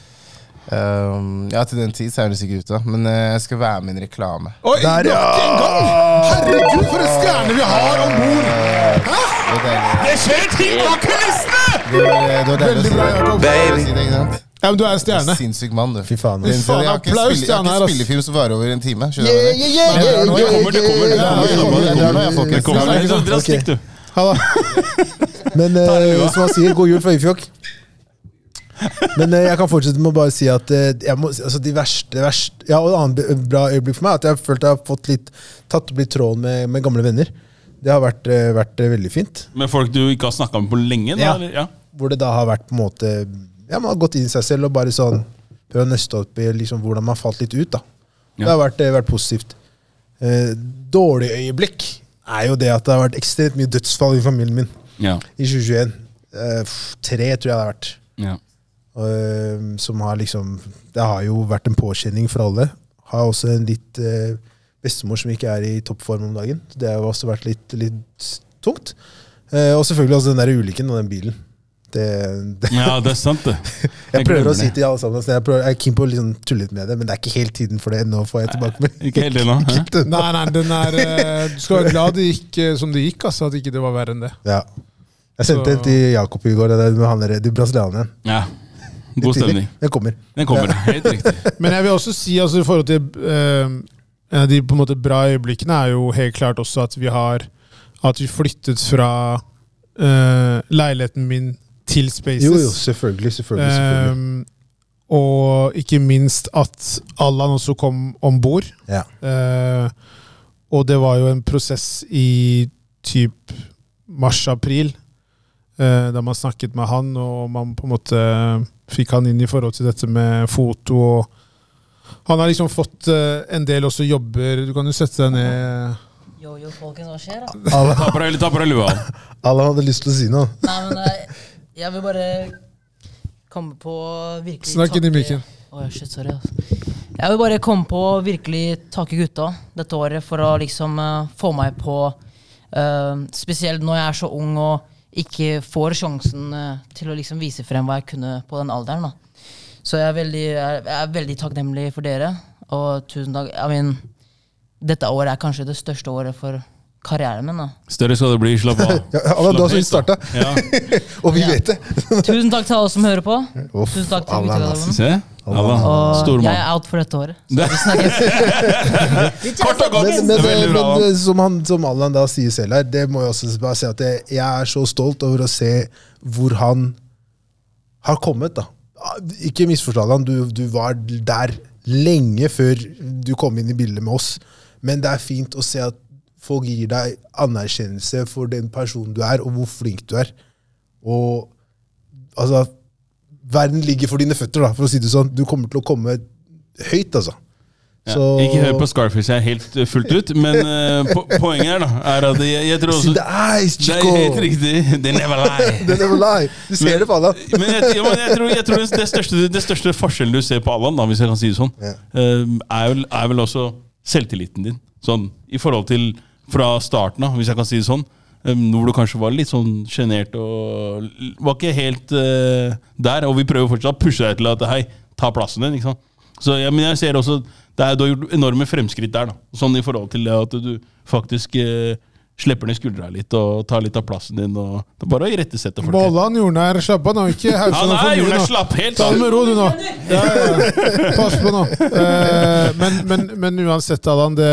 [SPEAKER 3] Um, ja, til den tid så er det sikkert ute, da. Men eh, jeg skal være med i en reklame.
[SPEAKER 4] Oi,
[SPEAKER 2] Der,
[SPEAKER 4] nok en gang! Herregud, for en stjerne vi har om bord!
[SPEAKER 3] Det var deilig.
[SPEAKER 1] Det skjer ting bak kulissene!
[SPEAKER 3] Det var, det var deilig å si
[SPEAKER 4] Veldig
[SPEAKER 3] det.
[SPEAKER 4] bra, Jakob.
[SPEAKER 3] Det var deilig å si det, ikke sant?
[SPEAKER 4] Ja, men du er en stjerne.
[SPEAKER 3] Sinnssyk mann, du.
[SPEAKER 2] Fy faen,
[SPEAKER 3] Det-
[SPEAKER 2] ass.
[SPEAKER 3] Jeg har ikke,
[SPEAKER 4] Applaus
[SPEAKER 3] spille, jeg har
[SPEAKER 4] til han
[SPEAKER 3] ikke
[SPEAKER 4] her, ass.
[SPEAKER 3] spillefilm som varer over en time. Skjønner du det?
[SPEAKER 1] Det kommer, det kommer. Det kommer, det kommer, det kommer. Det kommer. Det kommer. Dra stikk, du.
[SPEAKER 4] Ha det.
[SPEAKER 2] Men
[SPEAKER 1] Ta det,
[SPEAKER 2] eh,
[SPEAKER 1] Lua.
[SPEAKER 2] som han sier, god jul fra Ifjok. Men eh, jeg kan fortsette med å bare si at eh, jeg må, altså, de verste, verste Ja, og et annet b- bra øyeblikk for meg er at jeg har følt jeg har fått litt tatt opp litt tråden med, med gamle venner. Det har vært, eh, vært eh, veldig fint.
[SPEAKER 1] Med folk du ikke har snakka med på lenge? Da,
[SPEAKER 2] Ja.
[SPEAKER 1] eller? ja.
[SPEAKER 2] Hvor det da har vært på en måte Ja, man har gått inn i seg selv og bare sånn prøvd å nøste opp i liksom, hvordan man falt litt ut. da
[SPEAKER 1] Ja.
[SPEAKER 2] Det har vært, eh, vært positivt. Eh, dårlig øyeblikk er jo det at det har vært ekstremt mye dødsfall i familien min.
[SPEAKER 1] Ja.
[SPEAKER 2] i 2021. Eh, pff, tre, tror jeg det har vært.
[SPEAKER 1] ja.
[SPEAKER 2] Eh, som har liksom Det har jo vært en påkjenning for alle. Har også en litt eh, bestemor som ikke er i toppform om dagen. Så Det har jo også vært litt, litt tungt. Eh, og selvfølgelig også den der ulykken og den bilen. Det, det,
[SPEAKER 1] ja, det er sant, det.
[SPEAKER 2] jeg prøver å
[SPEAKER 1] glemmer
[SPEAKER 2] si
[SPEAKER 1] det.
[SPEAKER 2] til alle sammen at jeg, prøver, jeg er keen på å liksom tulle litt med det, men det er ikke helt tiden for det. Nå får jeg tilbakemelding.
[SPEAKER 1] Ikke helt ennå. hæ?
[SPEAKER 4] Nei, nei, den er eh, Du skal være glad det gikk eh, som det gikk, altså. At ikke det var verre enn det.
[SPEAKER 2] Ja. Jeg sendte
[SPEAKER 4] Så-
[SPEAKER 2] en til Jakob i går, det der med han der, de brasilianeren.
[SPEAKER 1] Ja. God stemning.
[SPEAKER 2] Den kommer.
[SPEAKER 1] Den kommer, helt riktig.
[SPEAKER 4] Men jeg vil også si, altså, i forhold til eh, en av de på en måte bra øyeblikkene, er jo helt klart også at vi har At vi flyttet fra eh, leiligheten min til Spaces.
[SPEAKER 2] Jo, jo, selvfølgelig. selvfølgelig, selvfølgelig.
[SPEAKER 4] Ehm, og ikke minst at Allan også kom om bord.
[SPEAKER 2] Ja.
[SPEAKER 4] Eh, og det var jo en prosess i typ mars-april, eh, da man snakket med han, og man på en måte fikk han inn i forhold til dette med foto. og Han har liksom fått eh, en del også jobber. Du kan jo sette deg ned.
[SPEAKER 5] Yo, yo, folkens, hva skjer?
[SPEAKER 1] Eh,
[SPEAKER 5] da?
[SPEAKER 2] Alle,
[SPEAKER 1] Ta på deg, ta på deg lua.
[SPEAKER 2] alle hadde lyst til å si noe.
[SPEAKER 5] Nei, men eh, jeg vil bare komme på virkelig
[SPEAKER 4] Snakk inn i mikken.
[SPEAKER 5] Åh, ja, shit, sorry. ass. Jeg vil bare komme på å virkelig takke gutta dette året for å liksom eh, få meg på eh, Spesielt når jeg er så ung og ikke får sjansen eh, til å liksom vise frem hva jeg kunne på den alderen. da. Så jeg er veldig, jeg er- jeg er veldig takknemlig for dere. Og tusen takk. I mean, dette året er kanskje det største året for karrieren min. da.
[SPEAKER 1] Større skal det bli. Slapp av.
[SPEAKER 2] Ja, Allan, du har så vidt
[SPEAKER 1] Slapp helt,
[SPEAKER 2] startet.
[SPEAKER 1] da. Ja.
[SPEAKER 2] Og vi
[SPEAKER 5] Ja.
[SPEAKER 2] vet det!
[SPEAKER 5] Tusen takk til alle som hører på.
[SPEAKER 2] Uff,
[SPEAKER 5] Tusen takk til
[SPEAKER 2] alle er
[SPEAKER 5] Guttegallen.
[SPEAKER 1] Se. Alla.
[SPEAKER 5] Og
[SPEAKER 1] Stor
[SPEAKER 5] jeg er
[SPEAKER 1] mann.
[SPEAKER 5] out for dette året. Så
[SPEAKER 1] Det-
[SPEAKER 5] vi snakkes.
[SPEAKER 1] Kort og godt. Det
[SPEAKER 2] Men, men,
[SPEAKER 1] er veldig
[SPEAKER 2] men,
[SPEAKER 1] bra.
[SPEAKER 2] eh, som, han, som Allan da sier selv her, det må jeg også bare si at jeg jeg er så stolt over å se hvor han har kommet. da. Ah, Ikke misforstå deg, du, du var der lenge før du kom inn i bildet med oss. Men det er fint å se at folk gir deg anerkjennelse for den personen du er, og hvor flink du er. Og altså Verden ligger for dine føtter, da, for å si det sånn. Du kommer til å komme høyt, altså.
[SPEAKER 1] Ja.
[SPEAKER 2] Så-
[SPEAKER 1] Ikke hør på Scarface jeg er helt eh, fullt ut, men eh, po poenget er da er at jeg, jeg tror
[SPEAKER 2] See
[SPEAKER 1] også
[SPEAKER 2] the eyes,
[SPEAKER 1] Det er
[SPEAKER 2] chico!
[SPEAKER 1] helt riktig. They never lie.
[SPEAKER 2] Det er vel lie. Du ser det på alle.
[SPEAKER 1] Men jeg, ja, men jeg tror, jeg tror det, største, det største forskjellen du ser på Allan, da, hvis jeg kan si det sånn,
[SPEAKER 2] Ja.
[SPEAKER 1] eh, er, vel, er vel også selvtilliten din. Sånn, I forhold til fra starten av, hvis jeg kan si det sånn. eh, Hvor du kanskje var litt sånn sjenert og l- var ikke helt eh, der. Og vi prøver fortsatt å pushe deg til at hei, ta plassen din. ikke sant? Så, ja, men jeg ser også det er, Du har gjort enorme fremskritt der. da Sånn i forhold til det at du faktisk eh, slipper ned skuldra litt og tar litt av plassen din. Og, det er bare å irettesette folk.
[SPEAKER 4] Bolla han jordnær, slapp av nå. Ikke hausse
[SPEAKER 1] Ja,
[SPEAKER 4] noe
[SPEAKER 1] nei,
[SPEAKER 4] for mye
[SPEAKER 1] Jonas,
[SPEAKER 4] nå.
[SPEAKER 1] slapp helt
[SPEAKER 4] Ta
[SPEAKER 1] av.
[SPEAKER 4] det med ro, du nå. Ja, ja. Pass på nå. Eh, men, men, men uansett, Allan, det,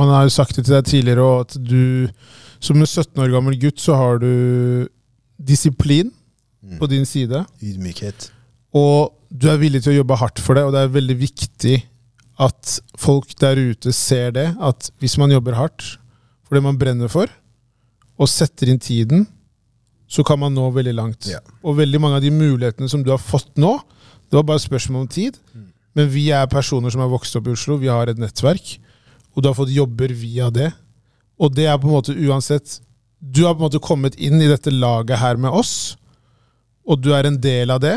[SPEAKER 4] man har jo sagt det til deg tidligere òg, at du som en 17 år gammel gutt, så har du disiplin på din side.
[SPEAKER 2] Ydmykhet.
[SPEAKER 4] Og du er villig til å jobbe hardt for det, og det er veldig viktig at folk der ute ser det. At hvis man jobber hardt for det man brenner for, og setter inn tiden, så kan man nå veldig langt.
[SPEAKER 2] Ja.
[SPEAKER 4] Og veldig mange av de mulighetene som du har fått nå, det var bare spørsmål om tid. Men vi er personer som har vokst opp i Oslo, vi har et nettverk, og du har fått jobber via det. Og det er på en måte uansett Du har på en måte kommet inn i dette laget her med oss, og du er en del av det.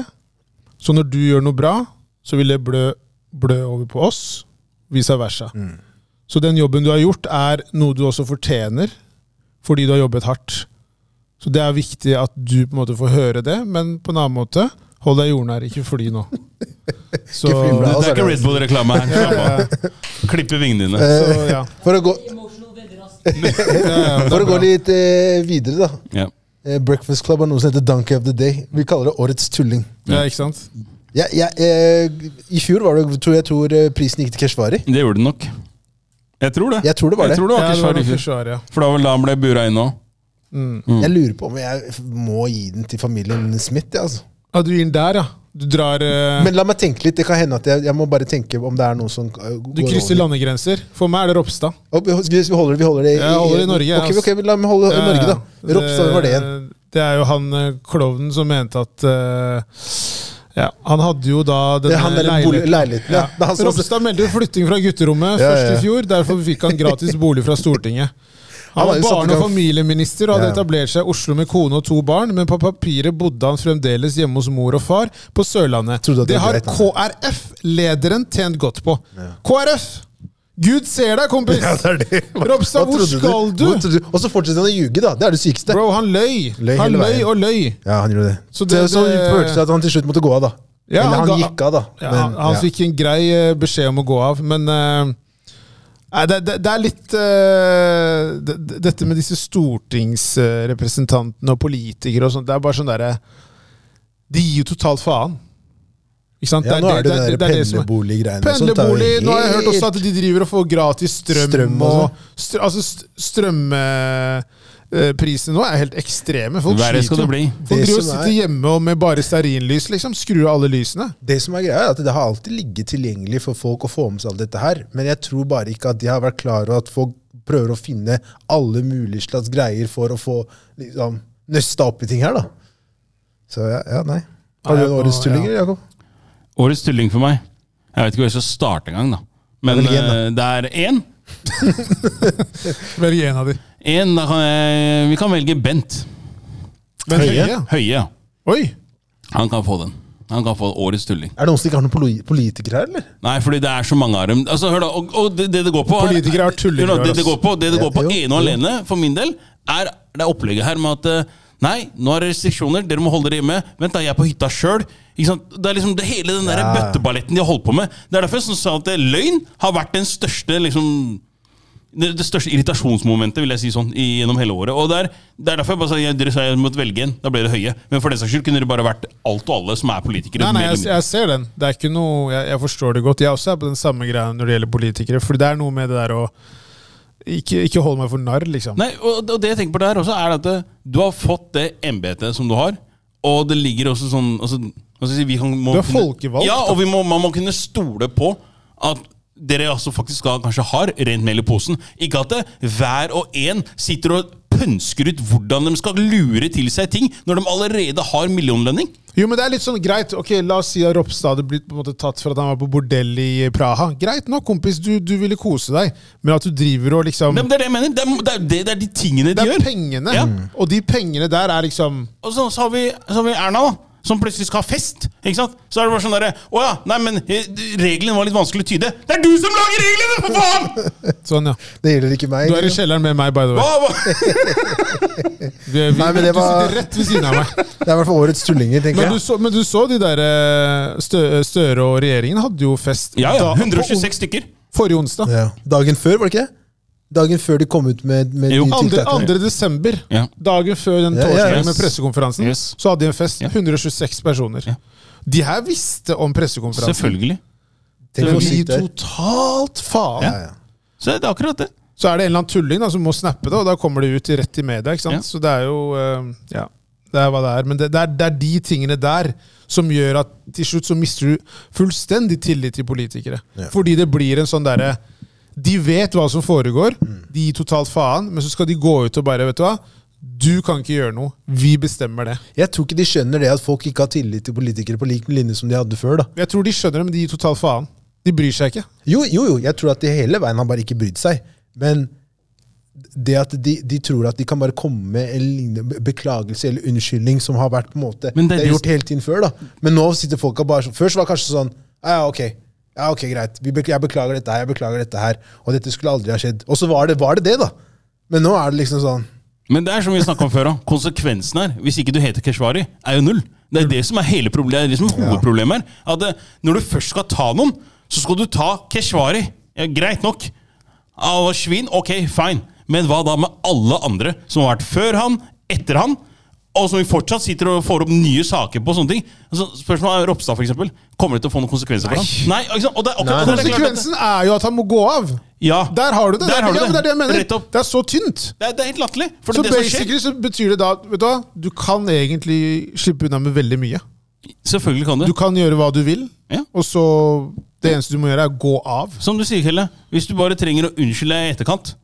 [SPEAKER 4] Så når du gjør noe bra, så vil det blø, blø over på oss, vice versa. Så den jobben du har gjort, er noe du også fortjener, fordi du har jobbet hardt. Så det er viktig at du på en måte får høre det, men på en annen måte, hold deg jordnær, ikke fly nå. Så,
[SPEAKER 2] fly
[SPEAKER 1] Det,
[SPEAKER 2] bra.
[SPEAKER 1] det er ikke
[SPEAKER 2] Altså,
[SPEAKER 1] Red Bull-reklame her. Slapp av. Klippe vingene dine.
[SPEAKER 4] så ja.
[SPEAKER 2] For å gå,
[SPEAKER 5] Emotional veldig raskt.
[SPEAKER 2] for å gå litt eh, videre, da.
[SPEAKER 1] Ja.
[SPEAKER 2] Eh, Breakfast Club har noe som heter Donkey of the Day. Vi kaller det Årets tulling.
[SPEAKER 4] ja, ikke sant?
[SPEAKER 2] Ja, ja, eh, I fjor var det, tror jeg tror eh, prisen gikk til Keshvari.
[SPEAKER 1] Det gjorde den nok. Jeg tror det.
[SPEAKER 2] Jeg tror det var det.
[SPEAKER 1] Jeg tror det var
[SPEAKER 4] Ja, det var
[SPEAKER 1] Keshvari i
[SPEAKER 4] nok
[SPEAKER 1] fjor.
[SPEAKER 4] forsvar, ja.
[SPEAKER 1] For det var vel da han ble bura inn òg.
[SPEAKER 2] Jeg lurer på om jeg må gi den til familien Smith. Ja, altså.
[SPEAKER 4] ja, du gir den der, ja. Du drar eh,
[SPEAKER 2] Men la meg tenke litt. Det kan hende at jeg, jeg må bare tenke om det er noe som eh,
[SPEAKER 4] Du
[SPEAKER 2] går
[SPEAKER 4] krysser
[SPEAKER 2] over.
[SPEAKER 4] landegrenser. For meg er det Ropstad.
[SPEAKER 2] Og vi, vi vi holder, vi holder det
[SPEAKER 4] Jeg holder i Norge, jeg,
[SPEAKER 2] Ok,
[SPEAKER 4] altså.
[SPEAKER 2] ok, men La meg holde
[SPEAKER 4] Ja,
[SPEAKER 2] Norge,
[SPEAKER 4] ja.
[SPEAKER 2] da. Ropstad var det igjen.
[SPEAKER 4] Eh, Det er jo han eh, klovnen som mente at eh, ja, Han hadde jo da
[SPEAKER 2] Det
[SPEAKER 4] denne
[SPEAKER 2] er han der i bolig- leiligheten. Ja. Det er han som-
[SPEAKER 4] Ropstad meldte jo flytting fra gutterommet
[SPEAKER 2] Ja,
[SPEAKER 4] først
[SPEAKER 2] ja.
[SPEAKER 4] i fjor. Derfor fikk han gratis bolig fra Stortinget.
[SPEAKER 2] Han
[SPEAKER 4] Han
[SPEAKER 2] har
[SPEAKER 4] var
[SPEAKER 2] jo satt i
[SPEAKER 4] barne- og
[SPEAKER 2] gang-
[SPEAKER 4] familieminister og hadde
[SPEAKER 2] Ja.
[SPEAKER 4] etablert seg i Oslo med kone og to barn, men på papiret bodde han fremdeles hjemme hos mor og far på Sørlandet.
[SPEAKER 2] Trodde at det
[SPEAKER 4] Det har
[SPEAKER 2] var greit,
[SPEAKER 4] KrF-lederen tjent godt på. KrF! Gud ser deg, kompis!
[SPEAKER 2] Ja, det er det. Hva-
[SPEAKER 4] Ropstad,
[SPEAKER 2] hva
[SPEAKER 4] hvor
[SPEAKER 2] trodde
[SPEAKER 4] skal du?
[SPEAKER 2] Hvor trodde du? Og så fortsetter han å ljuge, da. Det er det sykeste.
[SPEAKER 4] Bro, han løy.
[SPEAKER 2] Løy
[SPEAKER 4] han
[SPEAKER 2] hele
[SPEAKER 4] løy
[SPEAKER 2] veien.
[SPEAKER 4] og løy.
[SPEAKER 2] Ja, han gjorde det.
[SPEAKER 4] Så
[SPEAKER 2] Så
[SPEAKER 4] det-
[SPEAKER 2] det, så
[SPEAKER 4] det-
[SPEAKER 2] føltes det at han til slutt måtte gå av, da.
[SPEAKER 4] Ja,
[SPEAKER 2] Eller
[SPEAKER 4] han
[SPEAKER 2] han
[SPEAKER 4] ga-
[SPEAKER 2] gikk av, da.
[SPEAKER 4] Ja,
[SPEAKER 2] Men,
[SPEAKER 4] han han
[SPEAKER 2] ja.
[SPEAKER 4] fikk en grei eh, beskjed om å gå av, men eh, nei, det, det, det er litt eh, det, det- Dette med disse stortingsrepresentantene og politikere og sånt, det er bare sånn derre De gir jo totalt faen. Ikke sant?
[SPEAKER 2] Ja, nå er det det, der
[SPEAKER 4] det som er-
[SPEAKER 2] pendlerbolig-greiene. og sånt, det er jo
[SPEAKER 4] Pendlerbolig. Nå har jeg hørt
[SPEAKER 2] helt-
[SPEAKER 4] også at de driver og får gratis strøm.
[SPEAKER 2] Strøm og
[SPEAKER 4] og
[SPEAKER 2] sånn.
[SPEAKER 4] str altså st strømprisene nå er helt ekstreme. Folk
[SPEAKER 1] Verre skal
[SPEAKER 4] sliter jo.
[SPEAKER 1] det bli.
[SPEAKER 4] Folk
[SPEAKER 2] Det
[SPEAKER 4] driver og
[SPEAKER 2] som er-
[SPEAKER 4] sitter hjemme og med bare stearinlys, liksom. Skru av alle lysene.
[SPEAKER 2] Det som er greia er at Det har alltid ligget tilgjengelig for folk å få med seg alt dette her, men jeg tror bare ikke at de har vært klar over at folk prøver å finne alle mulige slags greier for å få liksom, nøsta opp i ting her, da. Så ja, ja nei. Har du
[SPEAKER 4] Nei,
[SPEAKER 2] en
[SPEAKER 4] jeg må-
[SPEAKER 2] årets tullinger, Jakob?
[SPEAKER 1] Årets tulling for meg. Jeg vet ikke hvor jeg skal starte engang, da. Men
[SPEAKER 2] Ja, velg en, da.
[SPEAKER 1] eh, det er én.
[SPEAKER 4] Velg en av de.
[SPEAKER 1] Én, da kan jeg Vi kan velge Bent
[SPEAKER 4] Men
[SPEAKER 2] Høie?
[SPEAKER 4] Høie?
[SPEAKER 1] Høie. ja.
[SPEAKER 4] Oi!
[SPEAKER 1] Han kan få den. Han kan få årets tulling.
[SPEAKER 2] Er det noen som ikke har noen poli- politikere her, eller?
[SPEAKER 1] Nei, fordi det er så mange av dem. Altså, hør da, og, og det, det det går på er-
[SPEAKER 4] Politikere er tullinger,
[SPEAKER 1] Hør da, Det det går på, det det
[SPEAKER 2] Ja,
[SPEAKER 1] går på
[SPEAKER 2] jo,
[SPEAKER 1] ene og alene, for min del, er det er opplegget her med at eh, Nei, nå er det restriksjoner, dere må holde dere hjemme. Vent, da, jeg er på hytta sjøl. Det er liksom det, hele den der
[SPEAKER 2] Ja.
[SPEAKER 1] bøtteballetten de har holdt på med. Det er derfor jeg sa at eh, løgn har vært den største liksom, det, det største irritasjonsmomentet vil jeg si sånn, i, gjennom hele året. Og det er, det er derfor jeg bare sa jeg, dere sa jeg måtte velge en. Da ble det høye. Men for den saks skyld kunne det bare vært alt og alle som er politikere.
[SPEAKER 4] Nei, nei,
[SPEAKER 1] mer eller
[SPEAKER 4] jeg,
[SPEAKER 1] mindre.
[SPEAKER 4] jeg ser den. Det er ikke noe, jeg, jeg forstår det godt. Jeg også er på den samme greia når det gjelder politikere. For det er noe med det der å ikke, ikke holde meg for narr, liksom.
[SPEAKER 1] Nei, og, og det jeg tenker på der også, er at eh, du har fått det embetet som du har, Og det ligger også sånn altså, altså, si, vi kan, må
[SPEAKER 4] Du er folkevalgt,
[SPEAKER 1] Ja,
[SPEAKER 4] da.
[SPEAKER 1] og vi må, man må kunne stole på at dere altså faktisk skal, kanskje har rent mel i posen. Ikke at det, hver og en sitter og pønsker ut hvordan de skal lure til seg ting, når de allerede har millionlønning.
[SPEAKER 4] Jo, men det er litt sånn greit. Ok, La oss si at Ropstad hadde blitt på en måte tatt for at han var på bordell i Praha. Greit nok, kompis, du, du ville kose deg, men at du driver og liksom
[SPEAKER 1] Men det er det jeg mener. Det er, det er, det, det er de tingene de
[SPEAKER 4] Det er
[SPEAKER 1] gjør.
[SPEAKER 4] pengene,
[SPEAKER 1] Ja.
[SPEAKER 4] og de pengene der er liksom
[SPEAKER 1] Og så, så, har vi, så har vi Erna, da. Som plutselig skal ha fest. ikke sant? Så er det bare sånn derre Å ja, nei, men eh, reglene var litt vanskelig å tyde. Det er du som lager reglene, for faen!
[SPEAKER 4] Sånn, ja.
[SPEAKER 2] Det gjelder ikke meg.
[SPEAKER 4] Du er i kjelleren med meg, by the
[SPEAKER 1] Hva,
[SPEAKER 4] way.
[SPEAKER 1] hva?
[SPEAKER 4] Du, vi,
[SPEAKER 2] Nei, men det var-
[SPEAKER 4] du sitter rett ved siden av meg.
[SPEAKER 2] Det er i hvert fall årets tullinger, tenker
[SPEAKER 4] Men du
[SPEAKER 2] jeg.
[SPEAKER 4] så, men du så de der eh, Stø, Støre og regjeringen hadde jo fest
[SPEAKER 1] Ja, ja.
[SPEAKER 4] da- på on-
[SPEAKER 1] 126 stykker.
[SPEAKER 4] forrige onsdag.
[SPEAKER 2] Ja. Dagen før, var det ikke det? Dagen før de kom ut med, med
[SPEAKER 1] Jo,
[SPEAKER 2] de
[SPEAKER 4] Andre,
[SPEAKER 2] tiltakene.
[SPEAKER 4] 2. desember,
[SPEAKER 1] Ja.
[SPEAKER 4] dagen før den
[SPEAKER 2] Ja, ja,
[SPEAKER 4] torsdagen
[SPEAKER 1] yes.
[SPEAKER 4] med pressekonferansen,
[SPEAKER 1] Yes.
[SPEAKER 4] så hadde de en fest.
[SPEAKER 1] Ja.
[SPEAKER 4] 126 personer.
[SPEAKER 1] Ja.
[SPEAKER 4] De her visste om pressekonferansen.
[SPEAKER 1] Selvfølgelig.
[SPEAKER 2] Tenk
[SPEAKER 4] Men
[SPEAKER 2] hvor
[SPEAKER 4] de
[SPEAKER 2] sykt det er.
[SPEAKER 4] totalt faen.
[SPEAKER 1] Ja. Så det er akkurat det.
[SPEAKER 4] Så er det en eller annen tulling da, som må snappe det, og da kommer det ut i rett i media. ikke sant?
[SPEAKER 1] Ja.
[SPEAKER 4] Så det er jo eh, Ja, det er hva det er. Men det, det, er, det er de tingene der som gjør at til slutt så mister du fullstendig tillit til politikere. Fordi det blir en sånn derre De vet hva som foregår, de gir totalt faen, men så skal de gå ut og bare Vet du hva? Du kan ikke gjøre noe. Vi bestemmer det.
[SPEAKER 2] Jeg tror ikke de skjønner det at folk ikke har tillit til politikere på lik linje som de hadde før. da.
[SPEAKER 4] Jeg tror de skjønner det, men de gir totalt faen. De bryr seg ikke.
[SPEAKER 2] Jo, jo, jo, jeg tror at de hele veien har bare ikke brydd seg. Men det at de, de tror at de kan bare komme med en lignende be- beklagelse eller unnskyldning som har vært på en måte
[SPEAKER 1] Men det
[SPEAKER 2] det
[SPEAKER 1] er
[SPEAKER 2] er
[SPEAKER 1] det-
[SPEAKER 2] gjort hele tiden før. da. Men nå sitter folka bare sånn Først var det kanskje sånn Ja, ja, ok. Ja, ok, greit. Vi bek- jeg beklager dette her, jeg beklager dette her. Og dette skulle aldri ha skjedd. Og så var det var det, det, da. Men nå er det liksom sånn
[SPEAKER 1] Men det er som vi snakket om før, da. konsekvensen her, hvis ikke du heter Keshvari, er jo null. Det er det som er hele problemet, det er det som er hovedproblemet her. At det, når du først skal ta noen, så skal du ta Keshvari. Ja, greit nok. Av svin, ok, fine. Men hva da med alle andre som har vært før han, etter han, og som vi fortsatt sitter og får opp nye saker på og sånne ting? Altså, spørsmålet er Ropstad, for eksempel. Kommer det til å få noen konsekvenser for han? Nei, ikke sant? Og det, er akkurat- og det er klart at-
[SPEAKER 4] Konsekvensen er jo at han må gå av.
[SPEAKER 1] Ja.
[SPEAKER 4] Der har du
[SPEAKER 1] Der
[SPEAKER 4] det. det, er
[SPEAKER 1] har du
[SPEAKER 4] det. Ja, men det er det jeg
[SPEAKER 1] Rett
[SPEAKER 4] mener.
[SPEAKER 1] opp.
[SPEAKER 4] Det er så tynt.
[SPEAKER 1] Det er, det er helt latterlig. For
[SPEAKER 4] Så
[SPEAKER 1] det, er det som skjer,
[SPEAKER 4] basically så betyr det da at, Vet du hva? Du kan egentlig slippe unna med veldig mye.
[SPEAKER 1] selvfølgelig kan det.
[SPEAKER 4] Du kan gjøre hva du vil,
[SPEAKER 1] Ja.
[SPEAKER 4] og så Det eneste du må gjøre, er å gå av.
[SPEAKER 1] Som du sier, Kelle, hvis du bare trenger å unnskylde deg i etterkant,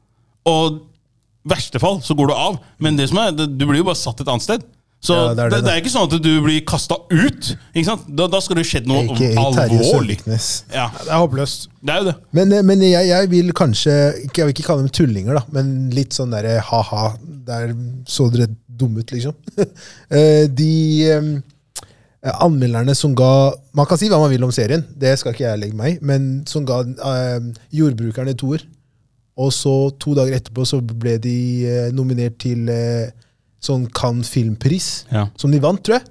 [SPEAKER 1] og i verste fall så går du av, men det som er, det, du blir jo bare satt et annet sted. Så
[SPEAKER 2] Ja,
[SPEAKER 1] det,
[SPEAKER 2] det er
[SPEAKER 1] det,
[SPEAKER 2] det, da.
[SPEAKER 1] er ikke sånn at du blir kasta ut. ikke sant? Da, da skal det skjedd noe
[SPEAKER 2] Ikke Terje
[SPEAKER 1] alvorlig.
[SPEAKER 2] Søviknes.
[SPEAKER 1] Ja,
[SPEAKER 4] Det er håpløst.
[SPEAKER 1] det er jo det.
[SPEAKER 2] Men, eh, men jeg, jeg vil kanskje ikke- Jeg vil ikke kalle dem tullinger, da, men litt sånn derre ha-ha. Der så dere dumme ut, liksom. Eh, De eh, anmelderne som ga Man kan si hva man vil om serien, det skal ikke jeg legge meg i, men som ga eh, jordbrukerne toer. Og så to dager etterpå så ble de eh, nominert til eh, sånn Cannes filmpris,
[SPEAKER 1] Ja.
[SPEAKER 2] som de vant, tror jeg.